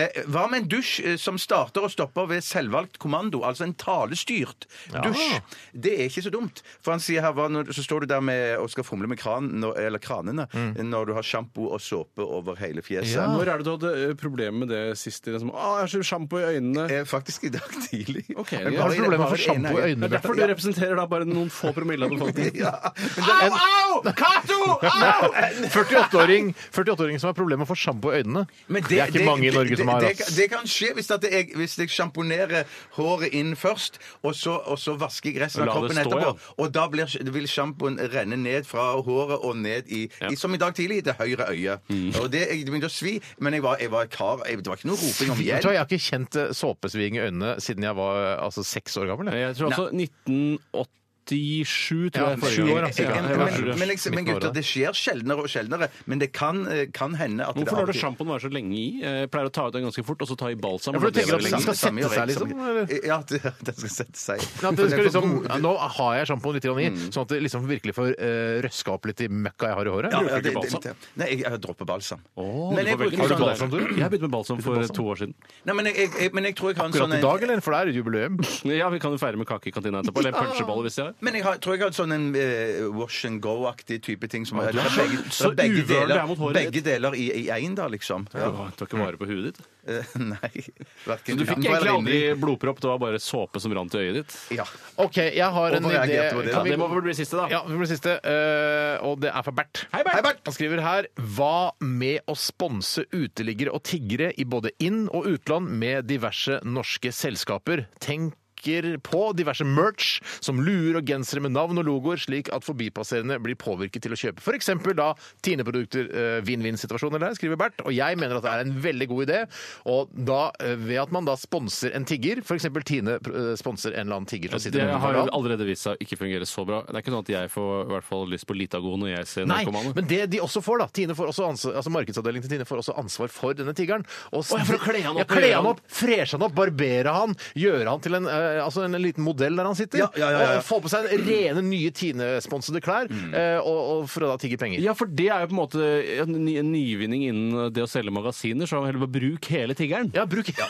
Speaker 2: Eh, Hva med en dusj eh, som starter og stopper ved selvvalgt kommando? Altså en talestyrt dusj. Det er ikke så dumt. For han sier her, hva, når, så står du der med,
Speaker 3: Mm.
Speaker 2: og skal fomle med kran, når, eller kranene når du har sjampo og såpe over hele fjeset.
Speaker 3: Når er det du du hadde eh, problemer med det sist? Liksom. Ah, jeg har sjampo i øynene.
Speaker 2: Eh, Faktisk i dag tidlig.
Speaker 3: Ok,
Speaker 2: Men
Speaker 3: ja.
Speaker 2: bare
Speaker 1: Har du
Speaker 2: i-
Speaker 1: problemer
Speaker 2: bare
Speaker 1: med
Speaker 2: i
Speaker 1: sjampo i
Speaker 2: ene
Speaker 3: Det
Speaker 1: øynene,
Speaker 3: er derfor
Speaker 1: Bjarte?
Speaker 3: du representerer da bare noen få promille av befolkningen.
Speaker 2: Ja. Men det-
Speaker 1: Au, au! Cato! Au! 48-åring 48 som har problemer med å få sjampo i øynene.
Speaker 2: Men
Speaker 1: det, er ikke mange i Norge
Speaker 2: det,
Speaker 1: som har
Speaker 2: det,
Speaker 1: ass.
Speaker 2: det kan skje hvis, at jeg, hvis jeg sjamponerer håret inn først, og så, og så vasker jeg resten av
Speaker 3: La det
Speaker 2: kroppen
Speaker 3: stå,
Speaker 2: etterpå.
Speaker 3: ja.
Speaker 2: Og da blir, vil sjampoen renne ned fra håret og ned i, i Som i dag tidlig, til høyre øye.
Speaker 1: Mm.
Speaker 2: Og det, jeg begynte å svi, men jeg var, jeg var kar. Jeg, det var ikke noe roping om
Speaker 1: Vet du hva,
Speaker 2: hjelp.
Speaker 1: Jeg har ikke kjent eh, såpesving i øynene siden jeg var eh, altså, seks år gammel. jeg.
Speaker 3: Jeg tror altså 1987, tror
Speaker 1: Ja,
Speaker 3: jeg. forrige
Speaker 1: sju
Speaker 3: gang.
Speaker 1: år, altså.
Speaker 3: Ja,
Speaker 2: Men,
Speaker 3: jeg var sju år.
Speaker 2: men, men, jeg- men gutter, det skjer sjeldnere og sjeldnere. Men det kan, eh, kan hende at
Speaker 3: Hvorfor lar du
Speaker 2: alltid-
Speaker 3: sjampoen være så lenge i? Eh, Jeg pleier å ta ut den ganske fort, og så ta i balsam.
Speaker 1: Ja, for du
Speaker 3: Det
Speaker 1: tenker at
Speaker 3: lever
Speaker 1: den
Speaker 3: lenge.
Speaker 1: skal
Speaker 2: Samme-
Speaker 1: sette seg, liksom,
Speaker 2: samme-
Speaker 1: eller?
Speaker 2: Ja, at at den skal sette seg.
Speaker 1: Ja, at
Speaker 2: For
Speaker 1: det
Speaker 2: Mm. den
Speaker 1: skal
Speaker 2: får
Speaker 1: liksom,
Speaker 2: god-
Speaker 1: ja, nå har jeg sjampoen litt grann i, sånn at det liksom virkelig får eh, røska opp litt i møkka jeg har i håret.
Speaker 2: Ja,
Speaker 3: ikke
Speaker 2: det- det-
Speaker 3: balsam?
Speaker 2: det- Nei, jeg, jeg dropper balsam.
Speaker 3: Åh,
Speaker 2: Men
Speaker 3: du
Speaker 2: jeg
Speaker 3: får velge
Speaker 2: bruker
Speaker 3: mye
Speaker 2: sånn-
Speaker 3: balsam, du. Jeg har begynt med balsam for to år siden.
Speaker 2: Nei, men jeg, jeg, jeg, men jeg tror jeg har en sånn
Speaker 1: Akkurat i dag, eller? For det er et jubileum.
Speaker 3: Ja, Vi kan jo feire med kake i kantina etterpå. Eller puncheball, hvis jeg har.
Speaker 2: Men jeg har, tror jeg har en sånn en, eh, wash and go-aktig type ting. Som, det er
Speaker 3: så-
Speaker 2: begge, det
Speaker 3: så
Speaker 2: er begge
Speaker 3: uvøren du er
Speaker 2: deler,
Speaker 3: mot håret ditt.
Speaker 2: begge deler i i én, da, liksom. Ja.
Speaker 3: Du tar ikke vare på huet ditt.
Speaker 2: Eh, Nei.
Speaker 3: Så
Speaker 2: Hverken
Speaker 3: du fikk
Speaker 2: utenpå eller
Speaker 3: egentlig aldri
Speaker 2: inni.
Speaker 3: blodpropp, det var bare såpe som rant i øyet ditt.
Speaker 2: Ja.
Speaker 1: OK, jeg har en
Speaker 2: Hvorfor
Speaker 1: idé.
Speaker 2: reagerte du på det,
Speaker 1: Kan
Speaker 2: da?
Speaker 1: vi
Speaker 3: Det må
Speaker 1: gå-
Speaker 3: vel bli siste, da.
Speaker 1: Ja, vi blir siste, eh, og det er fra Bert.
Speaker 3: Hei, Bert.
Speaker 2: Hei, Bert.
Speaker 1: Han skriver her Hva med å sponse uteliggere og tiggere i både inn- og utland med diverse norske selskaper? Tenk på diverse merch som luer og gensere med navn og logoer, slik at forbipasserende blir påvirket til å kjøpe f.eks. da Tine-produkter. eh, Vinn-vinn-situasjoner der, skriver Bert. Og jeg mener at det er en veldig god idé. Og da, eh, ved at man da sponser en tigger, f.eks. Tine eh, sponser en eller annen tigger til å sitte
Speaker 3: Det
Speaker 1: med
Speaker 3: har jo
Speaker 1: Harald.
Speaker 3: allerede vist seg å ikke fungere så bra. Det er ikke sånn at jeg får i hvert fall lyst på Litago når jeg ser
Speaker 1: Nei,
Speaker 3: narkomane.
Speaker 1: men det de også får, da Tine får også ansvar, altså Markedsavdelingen til Tine får også ansvar for denne tigeren. Og
Speaker 3: Å, ja, for å kle han opp
Speaker 1: Ja,
Speaker 3: og
Speaker 1: kle
Speaker 3: gjøre
Speaker 1: han
Speaker 3: han-
Speaker 1: opp, freshe han opp, barbere han, gjøre han til en, eh, altså en liten modell der han sitter.
Speaker 2: Ja, ja, ja, ja.
Speaker 1: Og få på seg en rene, nye Tine-sponsede klær,
Speaker 3: Mm.
Speaker 1: eh, og, og for å da tigge penger.
Speaker 3: Ja, for det er jo på en måte en ny- en nyvinning innen det å selge magasiner, så heller bare bruk hele tiggeren.
Speaker 1: Ja, bruk ja.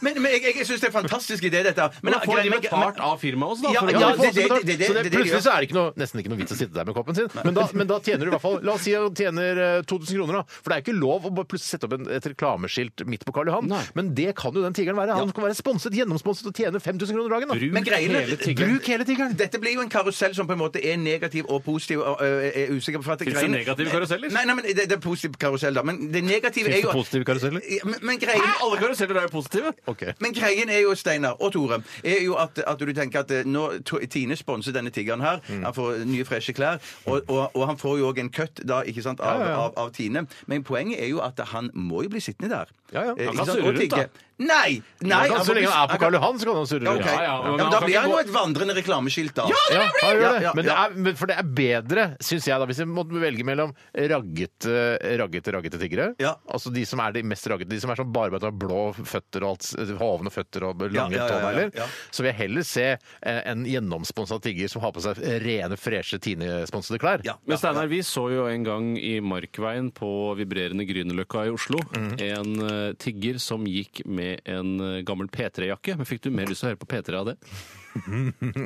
Speaker 2: Men, men jeg, jeg, jeg syns det er en fantastisk idé, dette.
Speaker 3: Men da får de
Speaker 2: men-
Speaker 3: betalt
Speaker 2: men-
Speaker 3: av firmaet også, da.
Speaker 2: Ja,
Speaker 3: for å-
Speaker 1: Ja, de
Speaker 2: ja,
Speaker 1: får
Speaker 2: det-
Speaker 1: også betalt.
Speaker 2: det- det-
Speaker 1: så
Speaker 2: det- det-
Speaker 1: plutselig så er det ikke noe, nesten ikke noe vits å sitte der med koppen sin. Men da, men da tjener du i hvert fall La oss si du tjener eh, 2000 kroner, da. For det er jo ikke lov å bare plutselig sette opp en, et reklameskilt midt på Karl Johan.
Speaker 3: Nei.
Speaker 1: Men det kan jo den tigeren være. Han kan være sponset, gjennomsponset og tjene 5000 kroner dagen. Da.
Speaker 3: Bruk
Speaker 2: Men greiene-
Speaker 3: hele tiggeren.
Speaker 1: Bruk hele tigeren!
Speaker 2: Dette blir jo en karusell som på en måte er negativ og positiv. Og, ø, jeg er usikker på for at
Speaker 3: Finnes det
Speaker 2: greiene-
Speaker 3: negative karuseller?
Speaker 2: Nei, nei, men det, det er positiv karusell, da. Men det negative er
Speaker 1: Finnes
Speaker 2: jo
Speaker 1: det positive karuseller?
Speaker 2: Ja, Men, men greien,
Speaker 3: Alle karuseller er jo positive.
Speaker 1: Ok.
Speaker 2: Men greien er jo, Steinar og Tore, er jo at, at du tenker at eh, nå T- Tine sponser denne tiggeren her. Han får nye, freshe klær. Og, og, og han får jo òg en cut da, ikke sant, av, Av, av Tine. Men poenget er jo at han må jo bli sittende der.
Speaker 1: Ja, ja.
Speaker 2: Eh,
Speaker 3: Han
Speaker 2: ikke
Speaker 3: kan
Speaker 2: sant,
Speaker 3: surre
Speaker 2: og
Speaker 3: rundt, da.
Speaker 2: tigge. Nei! nei
Speaker 1: Han kan, så
Speaker 2: får
Speaker 1: lenge
Speaker 2: bli-
Speaker 1: han er på
Speaker 2: kan-
Speaker 1: Karl Johan, så kan han surre
Speaker 2: Ja,
Speaker 1: rundt.
Speaker 2: ok.
Speaker 3: Ja, ja,
Speaker 2: ja,
Speaker 3: men
Speaker 2: men
Speaker 3: han
Speaker 2: da
Speaker 3: kan
Speaker 2: blir
Speaker 3: ikke
Speaker 2: han jo
Speaker 3: gå-
Speaker 2: et vandrende reklameskilt, da.
Speaker 1: Ja, han gjør det.
Speaker 2: ja,
Speaker 1: Men det
Speaker 2: ja.
Speaker 1: er, men for det er bedre, syns jeg, da, hvis jeg måtte velge mellom raggete, raggete, raggete tiggere
Speaker 2: Ja.
Speaker 1: Altså de som er de mest raggete, de som er sånn barbeint og har blå føtter og alt, hovne føtter og lange
Speaker 2: Ja, ja, ja, ja,
Speaker 1: tånegler,
Speaker 2: ja.
Speaker 1: så vil jeg heller se eh, en gjennomsponsa tigger som har på seg rene, freshe Tine-sponsede klær.
Speaker 2: Ja.
Speaker 3: Men Steinar, vi så jo en gang i Markveien på vibrerende Grünerløkka i Oslo
Speaker 1: Mhm.
Speaker 3: en eh, tigger som gikk med en eh, gammel P3-jakke. Men Fikk du mer lyst til å høre på P3 av det?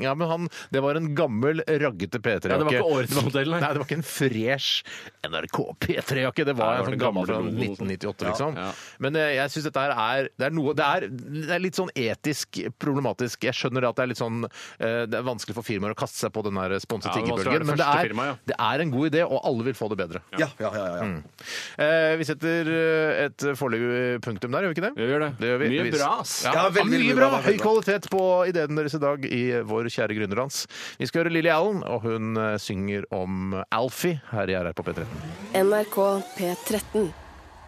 Speaker 1: Ja, men han, Det var en gammel, raggete P3-jakke.
Speaker 3: Ja, det var ikke årets modell, nei.
Speaker 1: nei. det var ikke en fresh NRK P3-jakke. Det
Speaker 3: Nei,
Speaker 1: var
Speaker 3: det
Speaker 1: en
Speaker 3: var
Speaker 1: sånn
Speaker 3: den
Speaker 1: gammel fra
Speaker 3: gamle logoen.
Speaker 1: 1998, liksom.
Speaker 3: ja.
Speaker 1: Men eh, jeg syns dette her er det er, noe, det, er, det er litt sånn etisk problematisk. Jeg skjønner at det er litt sånn eh, Det er vanskelig for firmaer å kaste seg på den der sponset
Speaker 3: Ja, det må også være
Speaker 1: tiggerbølgen,
Speaker 3: det
Speaker 1: men det
Speaker 3: første
Speaker 1: er,
Speaker 3: firmaet, ja.
Speaker 1: det er en god idé, og alle vil få det bedre.
Speaker 2: Ja, ja, ja, ja.
Speaker 1: Eh, vi setter eh, et foreløpig punktum der, gjør vi ikke det?
Speaker 3: Ja, vi gjør det.
Speaker 1: gjør vi.
Speaker 3: Mye
Speaker 1: Vi-
Speaker 3: bra, ass.
Speaker 1: Ja,
Speaker 2: Ja, veldig,
Speaker 1: mye
Speaker 2: veldig
Speaker 1: bra.
Speaker 2: bra, veldig
Speaker 1: Høy
Speaker 2: bra.
Speaker 1: kvalitet på ideen deres i dag i vår kjære gründerdans. Vi skal høre Lilly Allen, og hun eh, synger om Alfie her i RR på P13.
Speaker 5: NRK P13.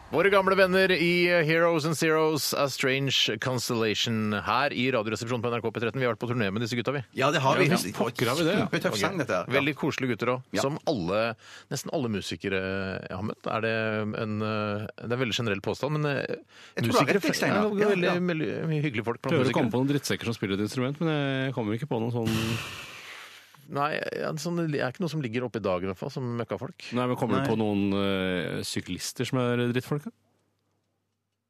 Speaker 1: Våre gamle venner i eh, Heroes and Zeros, A Strange Constellation, her i Radioresepsjonen på NRK P13. Vi har vært på turné med disse gutta, vi.
Speaker 2: Ja, det har vi.
Speaker 1: visst
Speaker 3: pokker har vi det, ja.
Speaker 2: Kjempetøff sang, dette her.
Speaker 1: Veldig koselige gutter òg.
Speaker 2: Ja.
Speaker 1: Som alle, nesten alle musikere jeg har møtt. Er det, en, eh, det er en veldig generell påstand, men eh,
Speaker 2: tror du har rett,
Speaker 1: musikere
Speaker 2: jeg, Steinar.
Speaker 1: er
Speaker 2: Ja,
Speaker 1: veldig,
Speaker 2: ja.
Speaker 1: veldig mye hyggelige folk blant
Speaker 3: Prøver å komme
Speaker 1: musikere.
Speaker 3: på noen drittsekker som spiller et instrument, men jeg kommer ikke på noen sånn
Speaker 1: Nei, ja, sånn, det er ikke noe som ligger oppe i dagen, i hvert fall, som møkkafolk.
Speaker 3: Nei, men Kommer du på noen eh, syklister som er drittfolk? da?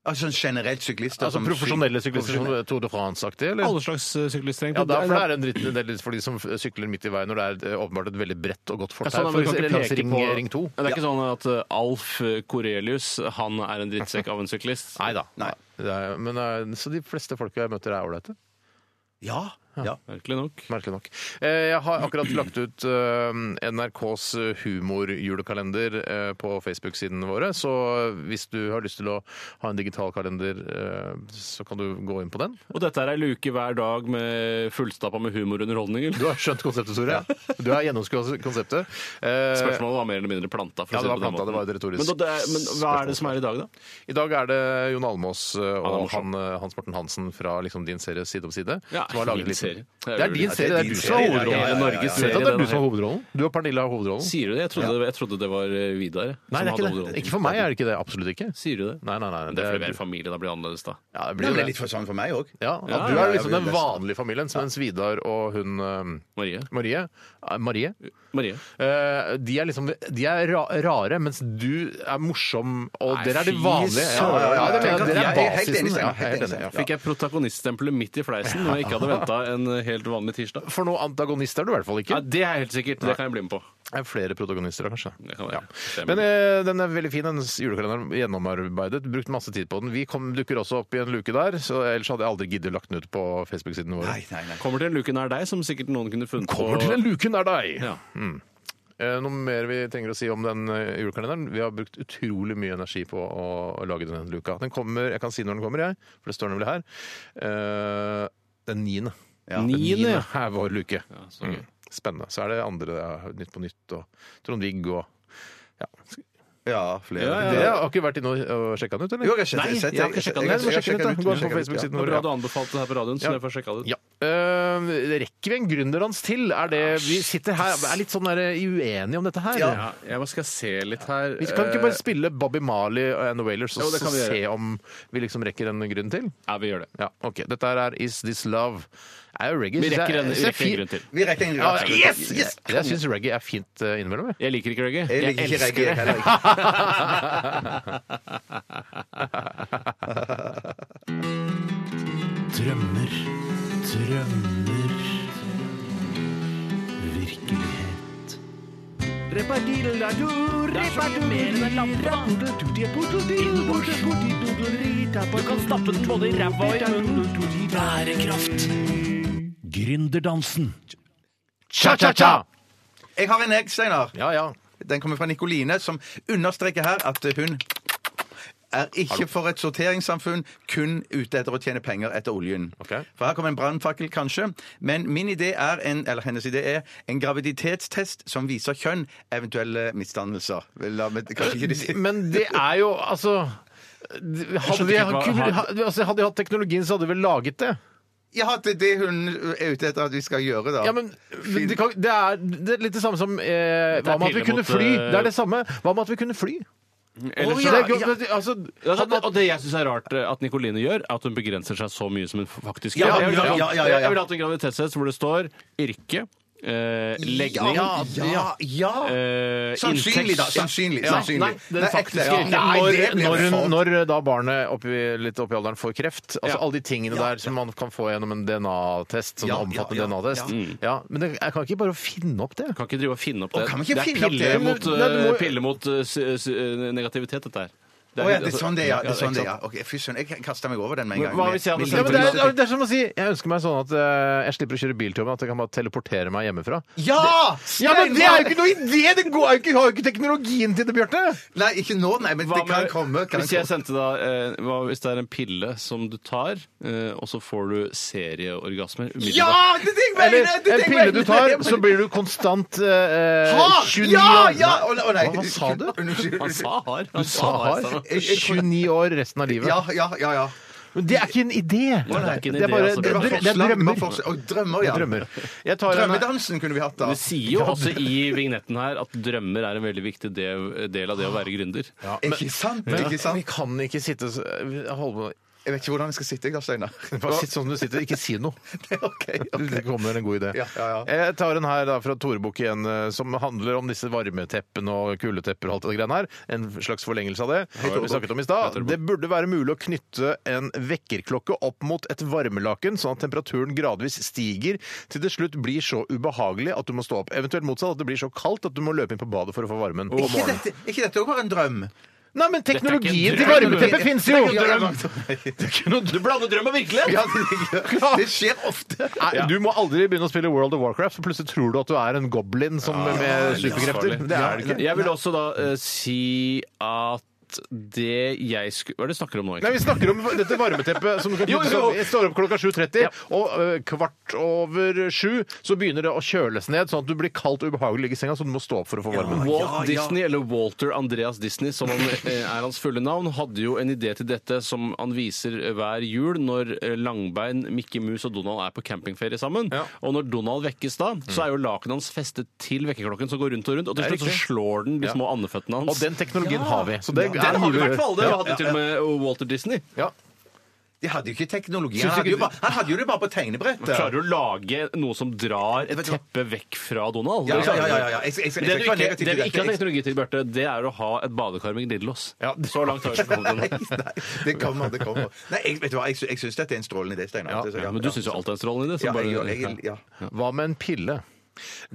Speaker 2: Altså generelt syklister?
Speaker 1: Altså
Speaker 2: som
Speaker 1: Profesjonelle
Speaker 2: syk-
Speaker 1: syklister som
Speaker 2: sånn profesjonelle.
Speaker 1: Tour de France-aktige? eller?
Speaker 3: Alle slags eh, syklister,
Speaker 1: Ja,
Speaker 3: egentlig.
Speaker 1: da, for det er en dritt del for de som sykler midt i veien når det er eh, åpenbart et veldig bredt og godt
Speaker 3: Ja,
Speaker 1: fortau.
Speaker 3: sånn,
Speaker 1: for
Speaker 3: men du kan
Speaker 1: eksempel
Speaker 3: ikke
Speaker 1: langs
Speaker 3: peke
Speaker 1: ring,
Speaker 3: på-
Speaker 1: ring 2.
Speaker 3: Ja, Det er ikke sånn at eh, Alf Korelius han er en drittsekk av en syklist.
Speaker 1: Nei da.
Speaker 2: Nei.
Speaker 1: Det er- Men, eh, så de fleste folka jeg møter, er ålreite.
Speaker 2: Ja. ja.
Speaker 3: Merkelig nok.
Speaker 1: Merkelig nok. Eh, Jeg har akkurat lagt ut eh, NRKs humorjulekalender eh, på Facebook-sidene våre, så hvis du har lyst til å ha en digital kalender, eh, så kan du gå inn på den.
Speaker 3: Og dette er ei luke hver dag med fullstappa med humorunderholdning.
Speaker 1: Du har skjønt konseptet, Tore. Du har gjennomskuet konseptet. Eh,
Speaker 3: Spørsmålet var mer eller mindre planta. For
Speaker 1: Ja,
Speaker 3: å
Speaker 1: det
Speaker 3: si
Speaker 1: var
Speaker 3: på den
Speaker 1: planta, det var
Speaker 3: måten.
Speaker 1: et retorisk
Speaker 3: men, da- det, er- men hva er det som er i dag, da?
Speaker 1: I dag er det Jon Almås eh, og
Speaker 3: morsom.
Speaker 1: han, eh, Hans Morten Hansen fra liksom din serie Side om side.
Speaker 3: Ja,
Speaker 1: som har laget
Speaker 3: min
Speaker 1: litt-
Speaker 3: serie.
Speaker 1: Det er din serie. Det er
Speaker 2: din
Speaker 1: du som har
Speaker 2: serie.
Speaker 1: hovedrollen.
Speaker 2: Ja, ja, ja, ja, ja.
Speaker 3: Norges
Speaker 1: Du vet at det
Speaker 3: serie,
Speaker 1: er du som
Speaker 3: den
Speaker 1: har
Speaker 3: her.
Speaker 1: hovedrollen? Du og Pernille har hovedrollen.
Speaker 3: Sier du det? Jeg trodde, det- jeg trodde det var eh, Vidar.
Speaker 1: Nei,
Speaker 3: som
Speaker 1: det er
Speaker 3: hadde
Speaker 1: ikke det.
Speaker 3: hovedrollen.
Speaker 1: Ikke for meg er det ikke det. Absolutt ikke.
Speaker 3: Sier du det?
Speaker 1: Nei, nei, nei.
Speaker 3: Det er fordi vi
Speaker 1: det
Speaker 3: er familie, da blir det annerledes, da.
Speaker 1: ja, det
Speaker 2: Det
Speaker 1: blir
Speaker 2: ble
Speaker 1: jo
Speaker 2: litt
Speaker 1: det.
Speaker 2: for sånn for meg òg.
Speaker 1: Ja, at
Speaker 3: Ja,
Speaker 1: du
Speaker 3: ja,
Speaker 1: er
Speaker 2: ja,
Speaker 1: liksom
Speaker 2: jeg
Speaker 1: den
Speaker 2: blir
Speaker 1: vanlige familien, som mens Vidar og hun eh,
Speaker 3: Marie.
Speaker 1: Marie, eh, Marie
Speaker 3: Marie.
Speaker 1: eh, de er liksom de er ra rare, mens du er morsom, og
Speaker 3: Nei,
Speaker 1: dere er de
Speaker 3: fy
Speaker 1: vanlige. Ja, ja, ja, det
Speaker 2: søren.
Speaker 1: mener jeg. Dere er
Speaker 2: Jeg er helt enig,
Speaker 1: basisen.
Speaker 2: Stein.
Speaker 1: Ja, jeg er helt enig. Ja.
Speaker 3: Fikk jeg protagoniststempelet midt i fleisen når jeg ikke hadde venta en eh, helt vanlig tirsdag?
Speaker 1: For noen antagonister er du i hvert fall ikke.
Speaker 3: Nei, det er helt sikkert. Det kan jeg bli med på.
Speaker 1: Det er flere protagonister, da, kanskje.
Speaker 3: Det kan være.
Speaker 1: Ja.
Speaker 3: Det er
Speaker 1: Men
Speaker 3: mulig.
Speaker 1: eh, den er veldig fin, den julekalenderen. Gjennomarbeidet. Brukt masse tid på den. Vi kom, dukker også opp i en luke der, så ellers hadde jeg aldri giddet lagt den ut på Facebook-siden vår.
Speaker 2: Nei, nei, nei.
Speaker 3: Kommer til en luke nær deg, som sikkert noen kunne funnet
Speaker 1: Kommer til en luke nær deg!
Speaker 3: Ja.
Speaker 1: Eh, Noe mer vi trenger å si om den eh, julekalenderen? Vi har brukt utrolig mye energi på å, å lage denne luka. Den kommer, Jeg kan si når den kommer, jeg, for det står nemlig her. Eh, den niende.
Speaker 2: Ja.
Speaker 1: Den
Speaker 3: Niende, ja.
Speaker 1: er vår luke.
Speaker 3: så gøy.
Speaker 1: Mm. Spennende. Så er det andre ja, Nytt på nytt og Trond-Viggo og
Speaker 2: Ja, flere.
Speaker 3: Ja, ja,
Speaker 1: Dere har ikke vært inne og- og sjekka den ut, eller?
Speaker 2: Jo, jeg har sett-
Speaker 3: Nei,
Speaker 2: sett-
Speaker 3: jeg har ikke
Speaker 2: jeg har
Speaker 3: sjekket den.
Speaker 1: Nei, du må sjekke den ut,
Speaker 2: sjekket
Speaker 1: da. Gå inn på
Speaker 2: jeg har sjekket den ut, ja.
Speaker 1: Facebook-siden
Speaker 3: Det var
Speaker 1: vår.
Speaker 3: bra
Speaker 1: ja.
Speaker 3: du anbefalte det her på radioen, så jeg får sjekka det ut.
Speaker 1: Ja. Eh, rekker vi en gründerdans til? Er det, vi sitter her er litt sånn der, eh, uenige om dette her.
Speaker 3: Ja, jeg bare skal se litt her.
Speaker 1: Vi kan ikke
Speaker 3: Eh,
Speaker 1: bare spille Bobby Marley and The Wailers og
Speaker 3: Jo, det kan vi gjøre.
Speaker 1: se om vi liksom rekker en grunn til?
Speaker 3: Ja, vi gjør det.
Speaker 1: Ja, ok. Dette her er Is This Love. Er jo reggae. synes
Speaker 3: Vi
Speaker 1: jeg-
Speaker 3: rekker en, vi
Speaker 1: synes jeg
Speaker 3: rekker en
Speaker 1: er
Speaker 3: grunn til.
Speaker 2: Vi rekker en
Speaker 1: Ja,
Speaker 2: rask-
Speaker 1: yes! yes! Jeg syns reggae er fint eh, innimellom. jeg.
Speaker 3: Jeg liker ikke reggae.
Speaker 2: Jeg liker ikke reggae
Speaker 3: elsker det.
Speaker 2: heller. ikke.
Speaker 4: Drømmer, drømmer Virkelighet Du kan stappe den både i ræva og i munnen Bærekraft Gründerdansen
Speaker 1: Cha-cha-cha!
Speaker 2: Jeg har en egg, Steinar.
Speaker 1: Ja, ja.
Speaker 2: Den kommer fra Nikoline, som understreker her at hun er ikke for et sorteringssamfunn, kun ute etter å tjene penger etter oljen.
Speaker 1: Ok.
Speaker 2: For her kommer en brannfakkel, kanskje. Men min idé er en, eller hennes idé er en graviditetstest som viser kjønn, eventuelle misdannelser. Vel, La meg kanskje ikke de si
Speaker 1: Men det er jo altså hadde
Speaker 3: skjønte
Speaker 1: vi,
Speaker 3: ikke hva-
Speaker 1: kunne- altså, hadde vi hatt teknologien, så hadde vi vel laget det.
Speaker 2: Ja, det er det hun er ute etter at vi skal gjøre, da.
Speaker 1: Ja, men men det, kan, det, er, det er litt det samme som eh, Hva med at vi
Speaker 3: pille
Speaker 1: kunne
Speaker 3: mot,
Speaker 1: fly?
Speaker 3: eh,
Speaker 1: Det er det samme. Hva med at vi kunne fly? Å,
Speaker 3: Ellers så-
Speaker 1: det er godt, altså,
Speaker 3: Ja,
Speaker 1: hadde-
Speaker 3: og det jeg syns er rart eh, at Nikoline gjør, er at hun begrenser seg så mye som hun faktisk
Speaker 2: Ja,
Speaker 3: gjør. Jeg vil ha-
Speaker 2: ja, ja, ja, ja.
Speaker 3: Jeg vil ha hatt en graviditetstest hvor det står yrke, eh, legning
Speaker 2: Ja, ja, ja.
Speaker 3: eh,
Speaker 2: Sannsynlig,
Speaker 3: inntekt.
Speaker 2: da. Sannsynlig.
Speaker 3: Ja.
Speaker 2: sannsynlig.
Speaker 3: Nei, den
Speaker 2: Nei, ekte,
Speaker 3: faktiske
Speaker 2: ja.
Speaker 3: yrken.
Speaker 2: Nei,
Speaker 1: når,
Speaker 2: det blir
Speaker 1: når,
Speaker 2: for-
Speaker 1: hun, når eh, da barnet oppi, litt oppi alderen får kreft, altså
Speaker 3: Ja.
Speaker 1: alle de tingene der som man kan få gjennom en DNA-test, sånn
Speaker 2: Ja,
Speaker 1: omfattende
Speaker 2: ja, ja,
Speaker 1: DNA-test.
Speaker 2: ja.
Speaker 1: Ja. Men det, jeg kan ikke bare finne opp det.
Speaker 3: Kan ikke drive og finne opp
Speaker 2: Å,
Speaker 3: det.
Speaker 2: kan vi ikke
Speaker 3: det
Speaker 2: finne opp
Speaker 3: pille
Speaker 2: det?
Speaker 3: mot,
Speaker 1: Nei, du
Speaker 3: eh,
Speaker 1: må-
Speaker 3: pille mot eh, s- s- eh, negativitet, dette her.
Speaker 2: Å
Speaker 1: Eh,
Speaker 2: ja, det er sånn det er. ja. Det er sånn det er.
Speaker 3: Altså, ikke
Speaker 2: ja.
Speaker 3: sant?
Speaker 2: Ok, Fy søren, jeg kasta meg over den med en
Speaker 3: Men
Speaker 2: gang.
Speaker 3: hva hvis jeg hadde
Speaker 2: Med-
Speaker 1: Ja,
Speaker 3: stemt
Speaker 1: men det, er, det er som å si Jeg ønsker meg sånn at eh, jeg slipper å kjøre bil til jobben, at jeg kan bare teleportere meg hjemmefra.
Speaker 2: Ja!
Speaker 1: Ja, men det er jo ikke noe idé! Det går, jo ikke, har jo ikke teknologien til det, Bjarte!
Speaker 2: Nei, ikke nå, nei, men
Speaker 3: Hva
Speaker 2: det kan
Speaker 3: med-
Speaker 2: komme. Kan
Speaker 3: hvis, jeg
Speaker 2: komme.
Speaker 3: sendte da, eh, hva, hvis det er en pille som du tar, eh, og så får du serieorgasmer umiddelbart
Speaker 2: Ja! Det er det jeg
Speaker 1: Eller
Speaker 2: mener! det er
Speaker 1: en
Speaker 2: det jeg
Speaker 1: pille du
Speaker 2: mener.
Speaker 1: tar, så blir du konstant eh,
Speaker 2: Ha!
Speaker 1: 29
Speaker 2: Ja! ja!
Speaker 1: år.
Speaker 2: Å, nei, å, nei.
Speaker 1: Hva- hva sa du?
Speaker 2: Unnskyld.
Speaker 3: Han sa hard.
Speaker 1: Du sa har
Speaker 2: Jeg- jeg-
Speaker 1: 29 år resten av livet.
Speaker 2: Ja, ja, ja. ja.
Speaker 1: Men det er ikke en idé!
Speaker 3: Nei, det er ikke en
Speaker 1: Det er
Speaker 3: idé,
Speaker 1: bare
Speaker 3: altså.
Speaker 1: det,
Speaker 2: Det var
Speaker 1: det, det er
Speaker 2: forslag, det var
Speaker 1: drømmer.
Speaker 2: forslag. Å, drømmer,
Speaker 1: Det
Speaker 2: ja.
Speaker 1: er drømmer. Jeg tar en,
Speaker 2: Drømmedansen kunne vi hatt, da.
Speaker 3: Du sier jo også i vignetten her at drømmer er en veldig viktig del, del av det å være gründer.
Speaker 2: Ikke sant?
Speaker 1: men
Speaker 2: Ikke
Speaker 1: vi
Speaker 2: sant?
Speaker 1: kan ikke sitte og holde på
Speaker 2: Jeg vet ikke hvordan jeg skal sitte, jeg da, Steinar.
Speaker 1: Bare sitt sånn du sitter, ikke si noe.
Speaker 2: OK.
Speaker 1: Det
Speaker 2: ok.
Speaker 1: kommer en god idé.
Speaker 2: Ja, ja, ja.
Speaker 1: Jeg tar en her da fra Torebukk igjen, eh, som handler om disse varmeteppene og kuldetepper og alt det greiene her. En slags forlengelse av det vi snakket om i stad. Det burde være mulig å knytte en vekkerklokke opp mot et varmelaken, sånn at temperaturen gradvis stiger til det slutt blir så ubehagelig at du må stå opp. Eventuelt motsatt, at det blir så kaldt at du må løpe inn på badet for å få varmen.
Speaker 2: Ikke dette, ikke dette også var en drøm?
Speaker 1: Nei, men teknologien til varmeteppet fins jo! Du blander drøm og virkelighet!
Speaker 2: Ja, det, det skjer ofte.
Speaker 1: Nei, Du må aldri begynne å spille World of Warcraft, for plutselig tror du at du er en goblin som med superkrefter. Det er det ikke.
Speaker 3: Jeg vil også da eh, si at det jeg skulle Hva er det du snakker om nå?
Speaker 1: Nei,
Speaker 3: egentlig?
Speaker 1: Vi snakker om dette varmeteppet som du kan
Speaker 3: Jo,
Speaker 1: putte
Speaker 3: jo.
Speaker 1: opp. Jeg står opp klokka 7.30, og ø, kvart over sju så begynner det å kjøles ned, sånn at du blir kaldt og ubehagelig i senga, så du må stå opp for å få varmen.
Speaker 3: Walt Disney, eller Walter Andreas Disney, som han, eh, er hans fulle navn, hadde jo en idé til dette som han viser hver jul når eh, Langbein, Mikke Mus og Donald er på campingferie sammen.
Speaker 1: Ja. Mm.
Speaker 3: Og når Donald vekkes da, så er jo lakenet hans festet til vekkerklokken som går rundt og rundt, og til
Speaker 1: Det er
Speaker 3: slutt så
Speaker 1: riktig.
Speaker 3: slår den de små andeføttene
Speaker 1: Og
Speaker 3: hans.
Speaker 1: den teknologien har vi. Så det
Speaker 3: Den
Speaker 1: er
Speaker 3: har vi i
Speaker 1: mulig å
Speaker 3: hvert
Speaker 1: gjøre.
Speaker 3: fall! Det hadde til og med Walter Disney.
Speaker 1: Ja.
Speaker 2: De hadde jo ikke teknologi.
Speaker 1: Syns
Speaker 2: Han hadde
Speaker 1: ikke
Speaker 2: jo bare, han hadde jo det bare på tegnebrettet.
Speaker 3: Klarer du å lage noe som drar et teppe vekk fra Donald?
Speaker 2: Ja, ja, ja, ja, ja. Jeg, jeg, jeg, jeg, skal
Speaker 3: Men Det du
Speaker 2: ikke være
Speaker 3: ikke,
Speaker 2: negativ til
Speaker 3: det vi ikke har
Speaker 2: dette.
Speaker 3: teknologi til, Bjarte, det er å ha et badekar med glidelås.
Speaker 1: Ja.
Speaker 3: Så langt har vi ikke kommet ennå.
Speaker 2: Nei, det kommer, det kommer. Nei, jeg, vet du hva, jeg, sy- jeg syns dette er en strålende idé, Steinar. Det er så-
Speaker 3: Ja, men du syns jo alt er en strålende idé. så
Speaker 2: ja,
Speaker 3: bare-
Speaker 2: jeg, gjør- jeg, ja.
Speaker 1: Hva med en pille?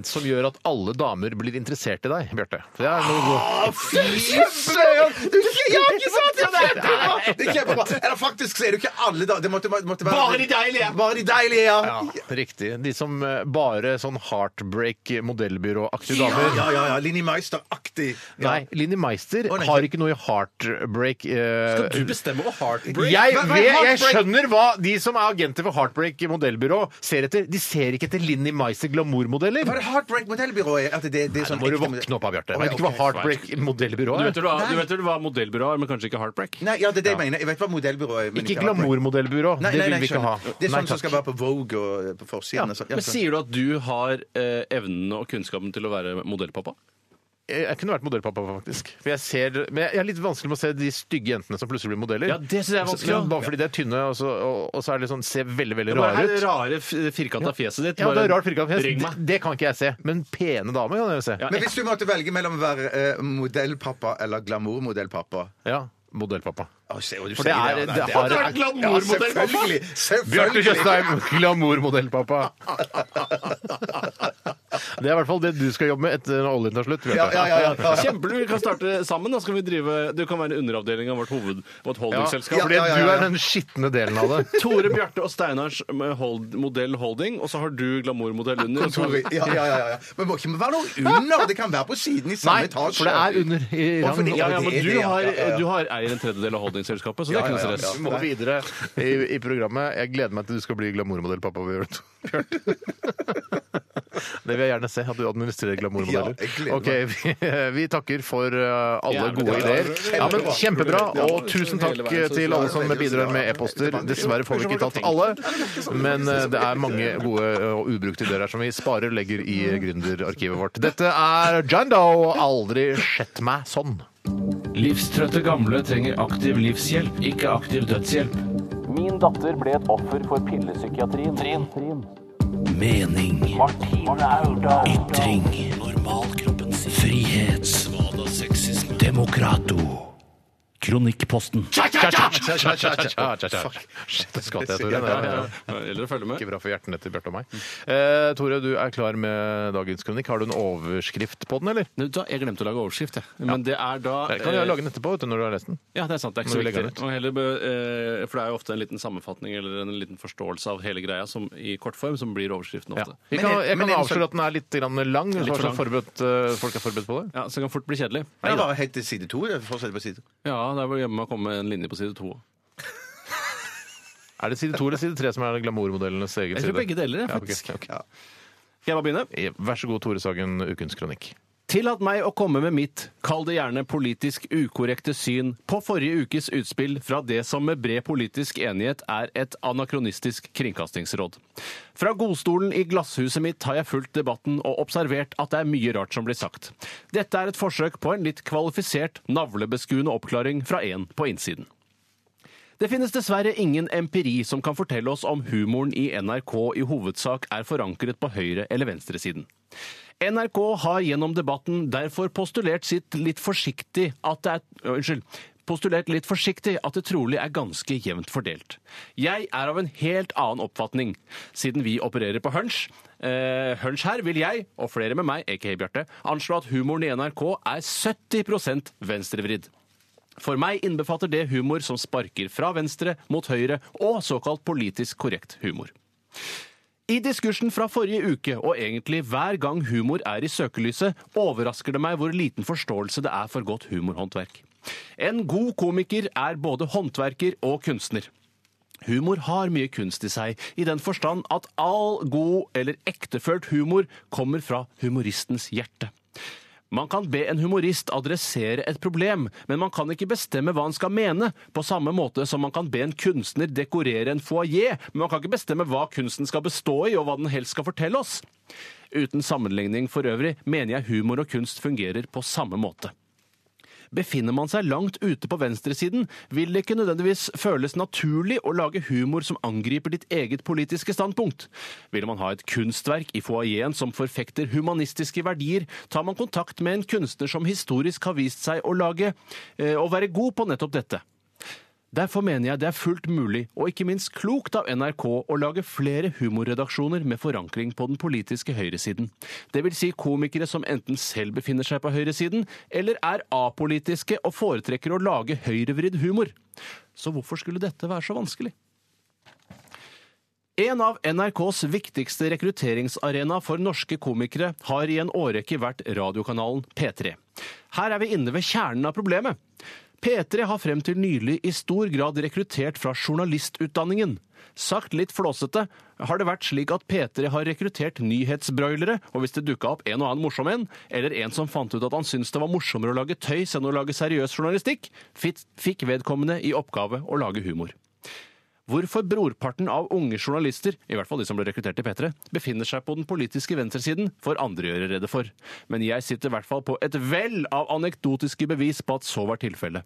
Speaker 1: Som gjør at alle damer blir interessert i deg, Bjarte. Det er noe godt.
Speaker 2: Du, ja, ikke sant? Ah, Ja, det er kjempebra! Det er kjempebra. Eller faktisk så er det jo ikke alle, da. Det måtte, måtte være
Speaker 3: Bare de deilige.
Speaker 2: Bare de deilige, ja.
Speaker 1: Ja, riktig. De som eh, bare sånn heartbreak modellbyråaktige
Speaker 2: Ja,
Speaker 1: damer.
Speaker 2: ja, ja, ja. Linni Meister-aktig. Ja.
Speaker 1: Nei, Linni Meister
Speaker 2: Å, nei.
Speaker 1: har ikke noe i heartbreak eh,
Speaker 3: Skal du bestemme over heartbreak?
Speaker 1: jeg,
Speaker 2: Hva- hva er
Speaker 1: vet, jeg
Speaker 2: heartbreak?
Speaker 1: skjønner hva de som er agenter for Heartbreak modellbyrå ser etter. De ser ikke etter Linni Meister glamourmodeller.
Speaker 2: Hva er det Heartbreak Modellbyrå er? At det, det er
Speaker 1: Nå
Speaker 2: sånn
Speaker 1: må du
Speaker 2: ekte-
Speaker 1: våkne opp, Bjarte.
Speaker 2: Å, ja,
Speaker 1: Vet du ikke hva
Speaker 2: ok.
Speaker 1: Heartbreak modellbyrå
Speaker 3: Du vet
Speaker 1: er?
Speaker 3: vel hva, du vet vel hva modellbyrå er, men kanskje ikke heartbreak?
Speaker 2: Nei, ja, det er det jeg mener. Jeg vet hva modellbyrået er. men
Speaker 1: Ikke
Speaker 2: Heartbreak.
Speaker 1: glamourmodellbyrå.
Speaker 2: Nei,
Speaker 1: Det
Speaker 2: nei,
Speaker 1: vil
Speaker 2: nei,
Speaker 1: vi ikke
Speaker 2: skjønner.
Speaker 1: ha.
Speaker 2: Det er
Speaker 1: Nei,
Speaker 2: sånn som
Speaker 1: takk.
Speaker 2: skal være på Vogue og på forsiden. og sånn. Ja,
Speaker 3: Men
Speaker 2: skjønner.
Speaker 3: Sier du at du har eh, evnen og kunnskapen til å være modellpappa?
Speaker 1: Eh, Jeg jeg kunne vært modellpappa, faktisk. For jeg ser, men jeg er litt vanskelig med å se de stygge jentene som plutselig blir modeller.
Speaker 3: Ja, det synes jeg er vanskelig,
Speaker 1: Men
Speaker 3: ja.
Speaker 1: Bare fordi de er tynne, og så, og, og så er de sånn, ser veldig, veldig
Speaker 3: Bare
Speaker 1: rare
Speaker 3: her
Speaker 1: ut.
Speaker 3: rare firkanta fjeset ditt.
Speaker 1: Ja, det
Speaker 3: bare-
Speaker 1: er rart firkantet.
Speaker 3: Ring
Speaker 1: Det,
Speaker 3: meg.
Speaker 1: det kan ikke jeg se. Men pene damer kan jeg jo se.
Speaker 3: Ja,
Speaker 2: Men hvis du måtte velge mellom å være eh, modellpappa eller glamourmodellpappa
Speaker 1: Ja, modellpappa.
Speaker 2: Å, se hva du
Speaker 1: For
Speaker 2: sier
Speaker 1: det er-
Speaker 2: der, da.
Speaker 1: det har-
Speaker 2: Ja,
Speaker 1: det er
Speaker 3: glamourmodellpappa.
Speaker 2: Selvfølgelig!
Speaker 1: Bjarte
Speaker 2: selvfølgelig.
Speaker 1: Tjøstheim, glamourmodellpappa. Det er i hvert fall det du skal jobbe med etter når oljen tar slutt.
Speaker 2: Ja,
Speaker 1: Bjarte.
Speaker 2: ja, ja, ja.
Speaker 3: Kjempelurt! Vi kan starte sammen. da skal vi drive, Du kan være en underavdeling av vårt hoved- vårt
Speaker 1: Ja,
Speaker 3: holdingselskap.
Speaker 1: fordi
Speaker 2: Ja, ja, ja,
Speaker 1: du
Speaker 2: ja.
Speaker 1: er den skitne delen av det.
Speaker 3: Tore Bjarte og Steinars med hold, modell holding, og så har du glamourmodell under.
Speaker 2: Sorry. Ja, ja, ja, ja. Men må ikke være noe under. Det kan være på siden
Speaker 1: Nei,
Speaker 2: i samme etasje.
Speaker 1: for det er under i
Speaker 2: Å, fordi-
Speaker 1: rang.
Speaker 3: Ja, ja, men
Speaker 2: Det er
Speaker 3: du,
Speaker 2: det, ja.
Speaker 3: har,
Speaker 2: Ja, ja, ja.
Speaker 3: du har, eier en tredjedel av holdingselskapet, så det
Speaker 2: Ja,
Speaker 3: er ikke
Speaker 2: ja,
Speaker 3: noe
Speaker 2: ja,
Speaker 3: stress.
Speaker 1: Vi må videre i, i programmet. Jeg gleder meg til du skal bli glamourmodell, pappa. Bjørn. Det vil jeg gjerne se, at du administrerer
Speaker 2: Ja, jeg
Speaker 1: glamourmodeller.
Speaker 2: gleder
Speaker 1: Ok, vi, vi takker for uh, alle
Speaker 3: Jævlig
Speaker 1: gode
Speaker 3: bra.
Speaker 1: ideer. Ja, men Kjempebra, og tusen takk
Speaker 3: Hele veien, så
Speaker 1: til alle som
Speaker 2: bra.
Speaker 1: bidrar med e-poster. Dessverre får vi ikke tatt alle, men uh, det er mange gode og ubrukte ideer her som vi sparer og legger i gründerarkivet vårt. Dette er Jando og Aldri sett meg sånn.
Speaker 4: Livstrøtte gamle trenger aktiv livshjelp, ikke aktiv dødshjelp. Min datter ble et offer for pillepsykiatrien. Mening. Ytring. Normalkroppen sin. Frihet. Svada sexisme. Demokrato. Kronikkposten.
Speaker 1: Fuck. Shit, det skatt jeg, Tore. Det er
Speaker 3: Eller å følge med.
Speaker 1: Ikke bra for hjertene til Bjarte og meg. Eh, Tore, du er klar med dagens kronikk. Har du en overskrift på den, eller?
Speaker 3: Nei, vet du hva, Jeg glemte å lage overskrift, jeg. Men det er da
Speaker 1: Jeg kan jo
Speaker 3: eh,
Speaker 1: lage den etterpå vet du, når du har lest den.
Speaker 3: Ja, det er sant. Det er ikke
Speaker 1: Må
Speaker 3: så
Speaker 1: vi legge
Speaker 3: viktig.
Speaker 1: den ut?
Speaker 3: Og heller, be- eh, for det er jo ofte en liten sammenfatning eller en liten forståelse av hele greia som, i kortform som blir overskriften
Speaker 1: Ja.
Speaker 3: ofte. Ja.
Speaker 1: Vi kan, jeg
Speaker 2: men
Speaker 1: kan
Speaker 2: er den
Speaker 1: avsløre at den er litt grann lang. så kanskje
Speaker 3: liksom for lang.
Speaker 1: Forberedt, eh, folk er forberedt på det.
Speaker 3: så det kan fort bli kjedelig.
Speaker 2: Det er bare helt til side to. Fortsett på side to.
Speaker 3: Ja, det er vel hjemme å komme med en linje på side to.
Speaker 1: Er det side to eller side tre som er glamourmodellenes egen
Speaker 3: Jeg tror begge
Speaker 1: side?
Speaker 3: deler, jeg,
Speaker 1: Ja, ok,
Speaker 3: faktisk.
Speaker 1: ok.
Speaker 3: Skal jeg bare begynne?
Speaker 1: Eh, Vær så god, Tore Sagen, ukens kronikk.
Speaker 3: Tillat meg å komme med mitt, kall det gjerne politisk ukorrekte syn, på forrige ukes utspill fra det som med bred politisk enighet er et anakronistisk kringkastingsråd. Fra godstolen i glasshuset mitt har jeg fulgt debatten og observert at det er mye rart som blir sagt. Dette er et forsøk på en litt kvalifisert, navlebeskuende oppklaring fra en på innsiden. Det finnes dessverre ingen empiri som kan fortelle oss om humoren i NRK i hovedsak er forankret på høyre- eller venstresiden. NRK har gjennom debatten derfor postulert sitt litt forsiktig at det er Ø, Unnskyld. Postulert litt forsiktig at det trolig er ganske jevnt fordelt. Jeg er av en helt annen oppfatning, siden vi opererer på hunch. Eh, hunch her vil jeg, og flere med meg, aka Bjarte, anslå at humoren i NRK er 70 venstrevridd. For meg innbefatter det humor som sparker fra venstre mot høyre, og såkalt politisk korrekt humor. I diskursen fra forrige uke, og egentlig hver gang humor er i søkelyset, overrasker det meg hvor liten forståelse det er for godt humorhåndverk. En god komiker er både håndverker og kunstner. Humor har mye kunst i seg, i den forstand at all god eller ektefølt humor kommer fra humoristens hjerte. Man kan be en humorist adressere et problem, men man kan ikke bestemme hva han skal mene, på samme måte som man kan be en kunstner dekorere en foajé, men man kan ikke bestemme hva kunsten skal bestå i, og hva den helst skal fortelle oss. Uten sammenligning for øvrig mener jeg humor og kunst fungerer på samme måte. Befinner man seg langt ute på venstresiden, vil det ikke nødvendigvis føles naturlig å lage humor som angriper ditt eget politiske standpunkt. Vil man ha et kunstverk i foajeen som forfekter humanistiske verdier, tar man kontakt med en kunstner som historisk har vist seg å lage eh, å være god på nettopp dette. Derfor mener jeg det er fullt mulig, og ikke minst klokt av NRK, å lage flere humorredaksjoner med forankring på den politiske høyresiden. Det vil si komikere som enten selv befinner seg på høyresiden, eller er apolitiske og foretrekker å lage høyrevridd humor. Så hvorfor skulle dette være så vanskelig? En av NRKs viktigste rekrutteringsarena for norske komikere har i en årrekke vært radiokanalen P3. Her er vi inne ved kjernen av problemet. P3 har frem til nylig i stor grad rekruttert fra journalistutdanningen. Sagt litt flåsete har det vært slik at P3 har rekruttert nyhetsbroilere, og hvis det dukka opp en og annen morsom en, eller en som fant ut at han syntes det var morsommere å lage tøys enn å lage seriøs journalistikk, fit- fikk vedkommende i oppgave å lage humor hvorfor brorparten av unge journalister, i hvert fall de som ble rekruttert til P3, befinner seg på den politiske venstresiden, får andre gjøre rede for. Men jeg sitter i hvert fall på et vell av anekdotiske bevis på at så var tilfellet.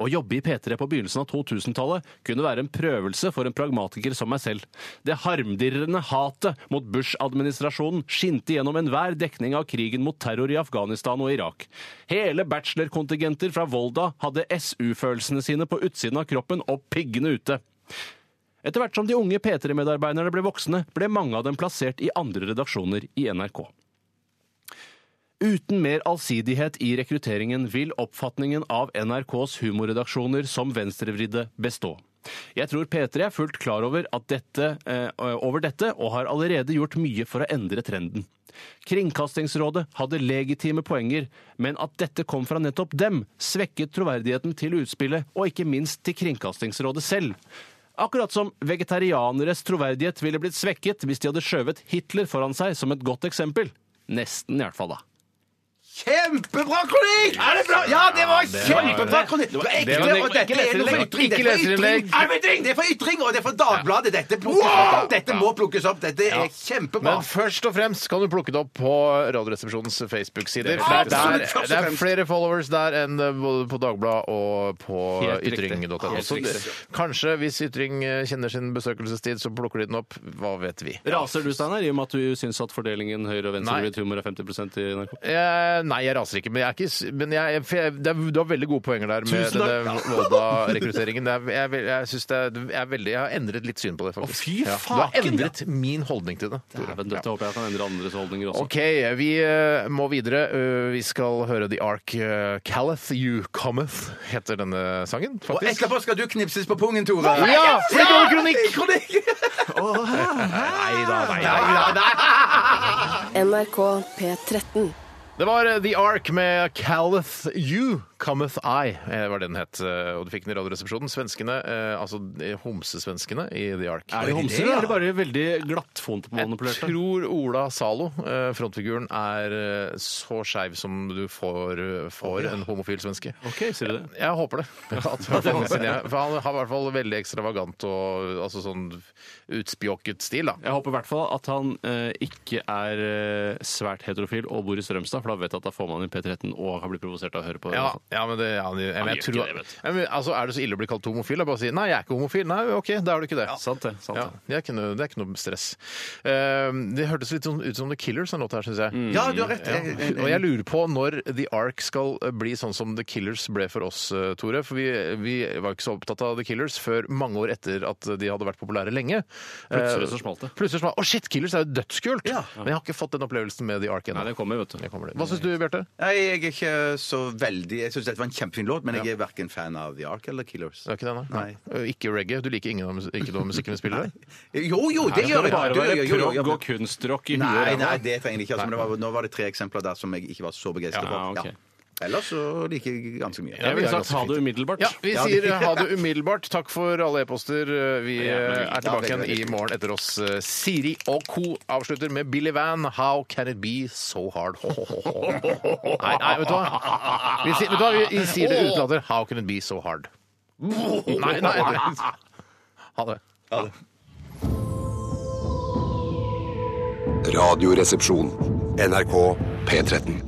Speaker 3: Å jobbe i P3 på begynnelsen av 2000-tallet kunne være en prøvelse for en pragmatiker som meg selv. Det harmdirrende hatet mot Bush-administrasjonen skinte gjennom enhver dekning av krigen mot terror i Afghanistan og Irak. Hele bachelorkontingenter fra Volda hadde SU-følelsene sine på utsiden av kroppen og piggene ute. Etter hvert som de unge P3-medarbeiderne ble voksne, ble mange av dem plassert i andre redaksjoner i NRK. Uten mer allsidighet i rekrutteringen vil oppfatningen av NRKs humorredaksjoner som venstrevridde bestå. Jeg tror P3 er fullt klar over, at dette, eh, over dette og har allerede gjort mye for å endre trenden. Kringkastingsrådet hadde legitime poenger, men at dette kom fra nettopp dem, svekket troverdigheten til utspillet og ikke minst til Kringkastingsrådet selv. Akkurat som vegetarianeres troverdighet ville blitt svekket hvis de hadde skjøvet Hitler foran seg som et godt eksempel. Nesten, i hvert fall, da.
Speaker 2: Kjempebra kronikk! Er det bra? Ja, det var kjempebra kronikk! Det var
Speaker 1: det
Speaker 2: ekte,
Speaker 1: var-
Speaker 2: og dette er noe for ytring.
Speaker 1: Ikke
Speaker 2: Dette er for
Speaker 1: leserinnlegg.
Speaker 2: ytring. Nei, men det er- Det er for ytring, og det er for Dagbladet. Dette, plukkes opp. dette må plukkes opp. Dette er kjempebra.
Speaker 1: Men først og fremst kan du plukke det opp på Radioresepsjonens Facebook-sider.
Speaker 2: Det er
Speaker 1: for Det,
Speaker 2: absolutt
Speaker 1: er der-
Speaker 2: først og
Speaker 1: det er
Speaker 2: fremst.
Speaker 1: flere followers der enn eh, både på Dagbladet og på
Speaker 3: Helt riktig.
Speaker 1: ytring.no.
Speaker 3: Helt
Speaker 1: Så det- Kanskje, hvis Ytring eh, kjenner sin besøkelsestid, så plukker de den opp. Hva vet vi?
Speaker 3: Raser du, Steinar, i og med at du syns at fordelingen høyre- og venstrevridd humor er 50 i NRK?
Speaker 1: Eh, nei, jeg raser ikke. Men, jeg er ikke, s- men jeg, for jeg, det er, du har veldig gode poenger der med
Speaker 3: Tusen takk.
Speaker 1: denne Volda-rekrutteringen. Det er- Jeg, jeg, jeg, synes det er, jeg, er veldig, jeg har endret litt syn på det, faktisk.
Speaker 3: fy
Speaker 1: Ja. Du har
Speaker 3: faken,
Speaker 1: endret min holdning til det. Tore.
Speaker 3: Dæven døtte, håper jeg kan endre andres holdninger også.
Speaker 1: Ok, vi eh, må videre. Eh, vi skal høre The Ark uh, Calleth You Cometh, heter denne sangen,
Speaker 2: Og
Speaker 1: faktisk.
Speaker 2: etterpå skal du knipses på pungen, Tore.
Speaker 1: Ja, fordi det var kronikk!
Speaker 2: Kronikk!
Speaker 1: Nei da, nei da.
Speaker 5: NRK P13.
Speaker 1: Det var eh, The Ark med Calleth You Cometh I, eh, var det den het. eh, Og du fikk den i Radioresepsjonen. Svenskene, eh, altså eh, homsesvenskene i The Ark.
Speaker 3: Er de homser, eller er de bare veldig glattfontmanipulerte?
Speaker 1: Jeg tror Ola Zalo, eh, frontfiguren, er eh, så skeiv som du får, eh, får en homofil svenske.
Speaker 3: Ok, sier du det?
Speaker 1: Jeg håper det. At, i hvert fall nesten jeg. for han har i hvert fall veldig ekstravagant og altså sånn utspjåket stil, da.
Speaker 3: Jeg håper i hvert fall at han eh, ikke er eh, svært heterofil og bor i Strømstad, for for da vet jeg at da får man en P13 og kan bli provosert av å høre på.
Speaker 1: Ja, ja, men det, ja, men jeg,
Speaker 3: Han gjør
Speaker 1: tror,
Speaker 3: ikke det, vet du.
Speaker 1: Ja, men, altså, Er det så ille å bli kalt homofil? Jeg bare sier nei, jeg er ikke homofil. Nei, OK, da er du ikke det.
Speaker 3: Sant det. sant
Speaker 1: Ja,
Speaker 3: det.
Speaker 1: det, er ikke noe, det er ikke noe stress. Eh, det hørtes litt sånn ut som The Killers, den låta her, syns jeg.
Speaker 3: Mm.
Speaker 2: Ja, du har rett.
Speaker 1: Ja. Og jeg lurer på når The Ark skal bli sånn som The Killers ble for oss, eh, Tore. For vi, vi var ikke så opptatt av The Killers før mange år etter at de hadde vært populære lenge.
Speaker 3: Plutselig så smalt det.
Speaker 1: Eh, Plutselig smalt. Å shit, Killers er jo dødskult!
Speaker 2: Ja.
Speaker 1: Men jeg har ikke fått den opplevelsen med The Ark
Speaker 3: Nei,
Speaker 1: ennå.
Speaker 3: det kommer, vet du.
Speaker 1: Det kommer det. Hva syns du, Bjarte?
Speaker 2: Nei, jeg er ikke så veldig Jeg syns dette var en kjempefin låt, men jeg er verken fan av The Ark eller Killers.
Speaker 1: Det er ikke det, nei?
Speaker 2: Nei.
Speaker 1: Eh, Ikke reggae? Du liker ingen av, mus- ikke noe av musikken vi spiller?
Speaker 2: Jo, jo, det
Speaker 3: Det
Speaker 2: gjør
Speaker 3: skal
Speaker 2: jeg!
Speaker 3: bare
Speaker 2: Det gjør
Speaker 3: være
Speaker 2: jeg, jo, jo, ja,
Speaker 3: prog
Speaker 2: men-
Speaker 3: og kunstrock i huet.
Speaker 2: Nei,
Speaker 3: og
Speaker 2: nei,
Speaker 3: ræva.
Speaker 2: det trenger de ikke. Altså, men det var, nå var det tre eksempler der som jeg ikke var så begeistra
Speaker 3: Ja,
Speaker 2: for.
Speaker 3: ok.
Speaker 2: Ellers så liker jeg ganske mye.
Speaker 3: Jeg
Speaker 1: det
Speaker 3: ville
Speaker 1: er
Speaker 3: sagt ha
Speaker 1: ganske
Speaker 3: det umiddelbart.
Speaker 1: Ja, vi
Speaker 2: Ja,
Speaker 1: sier
Speaker 2: det-
Speaker 1: eh, ha det umiddelbart. Takk for alle e-poster. Eh, Vi eh, er tilbake igjen i morgen etter oss. Eh, Siri og co. avslutter med Billy Van. How can it be so hard? Ho, ho, ho, ho. Nei, nei, vet du hva? Vi sier, vet du hva? Vi sier det uten latter. How can it be so hard? Nei, nei. nei. Ha det.
Speaker 6: Radioresepsjon. NRK P13.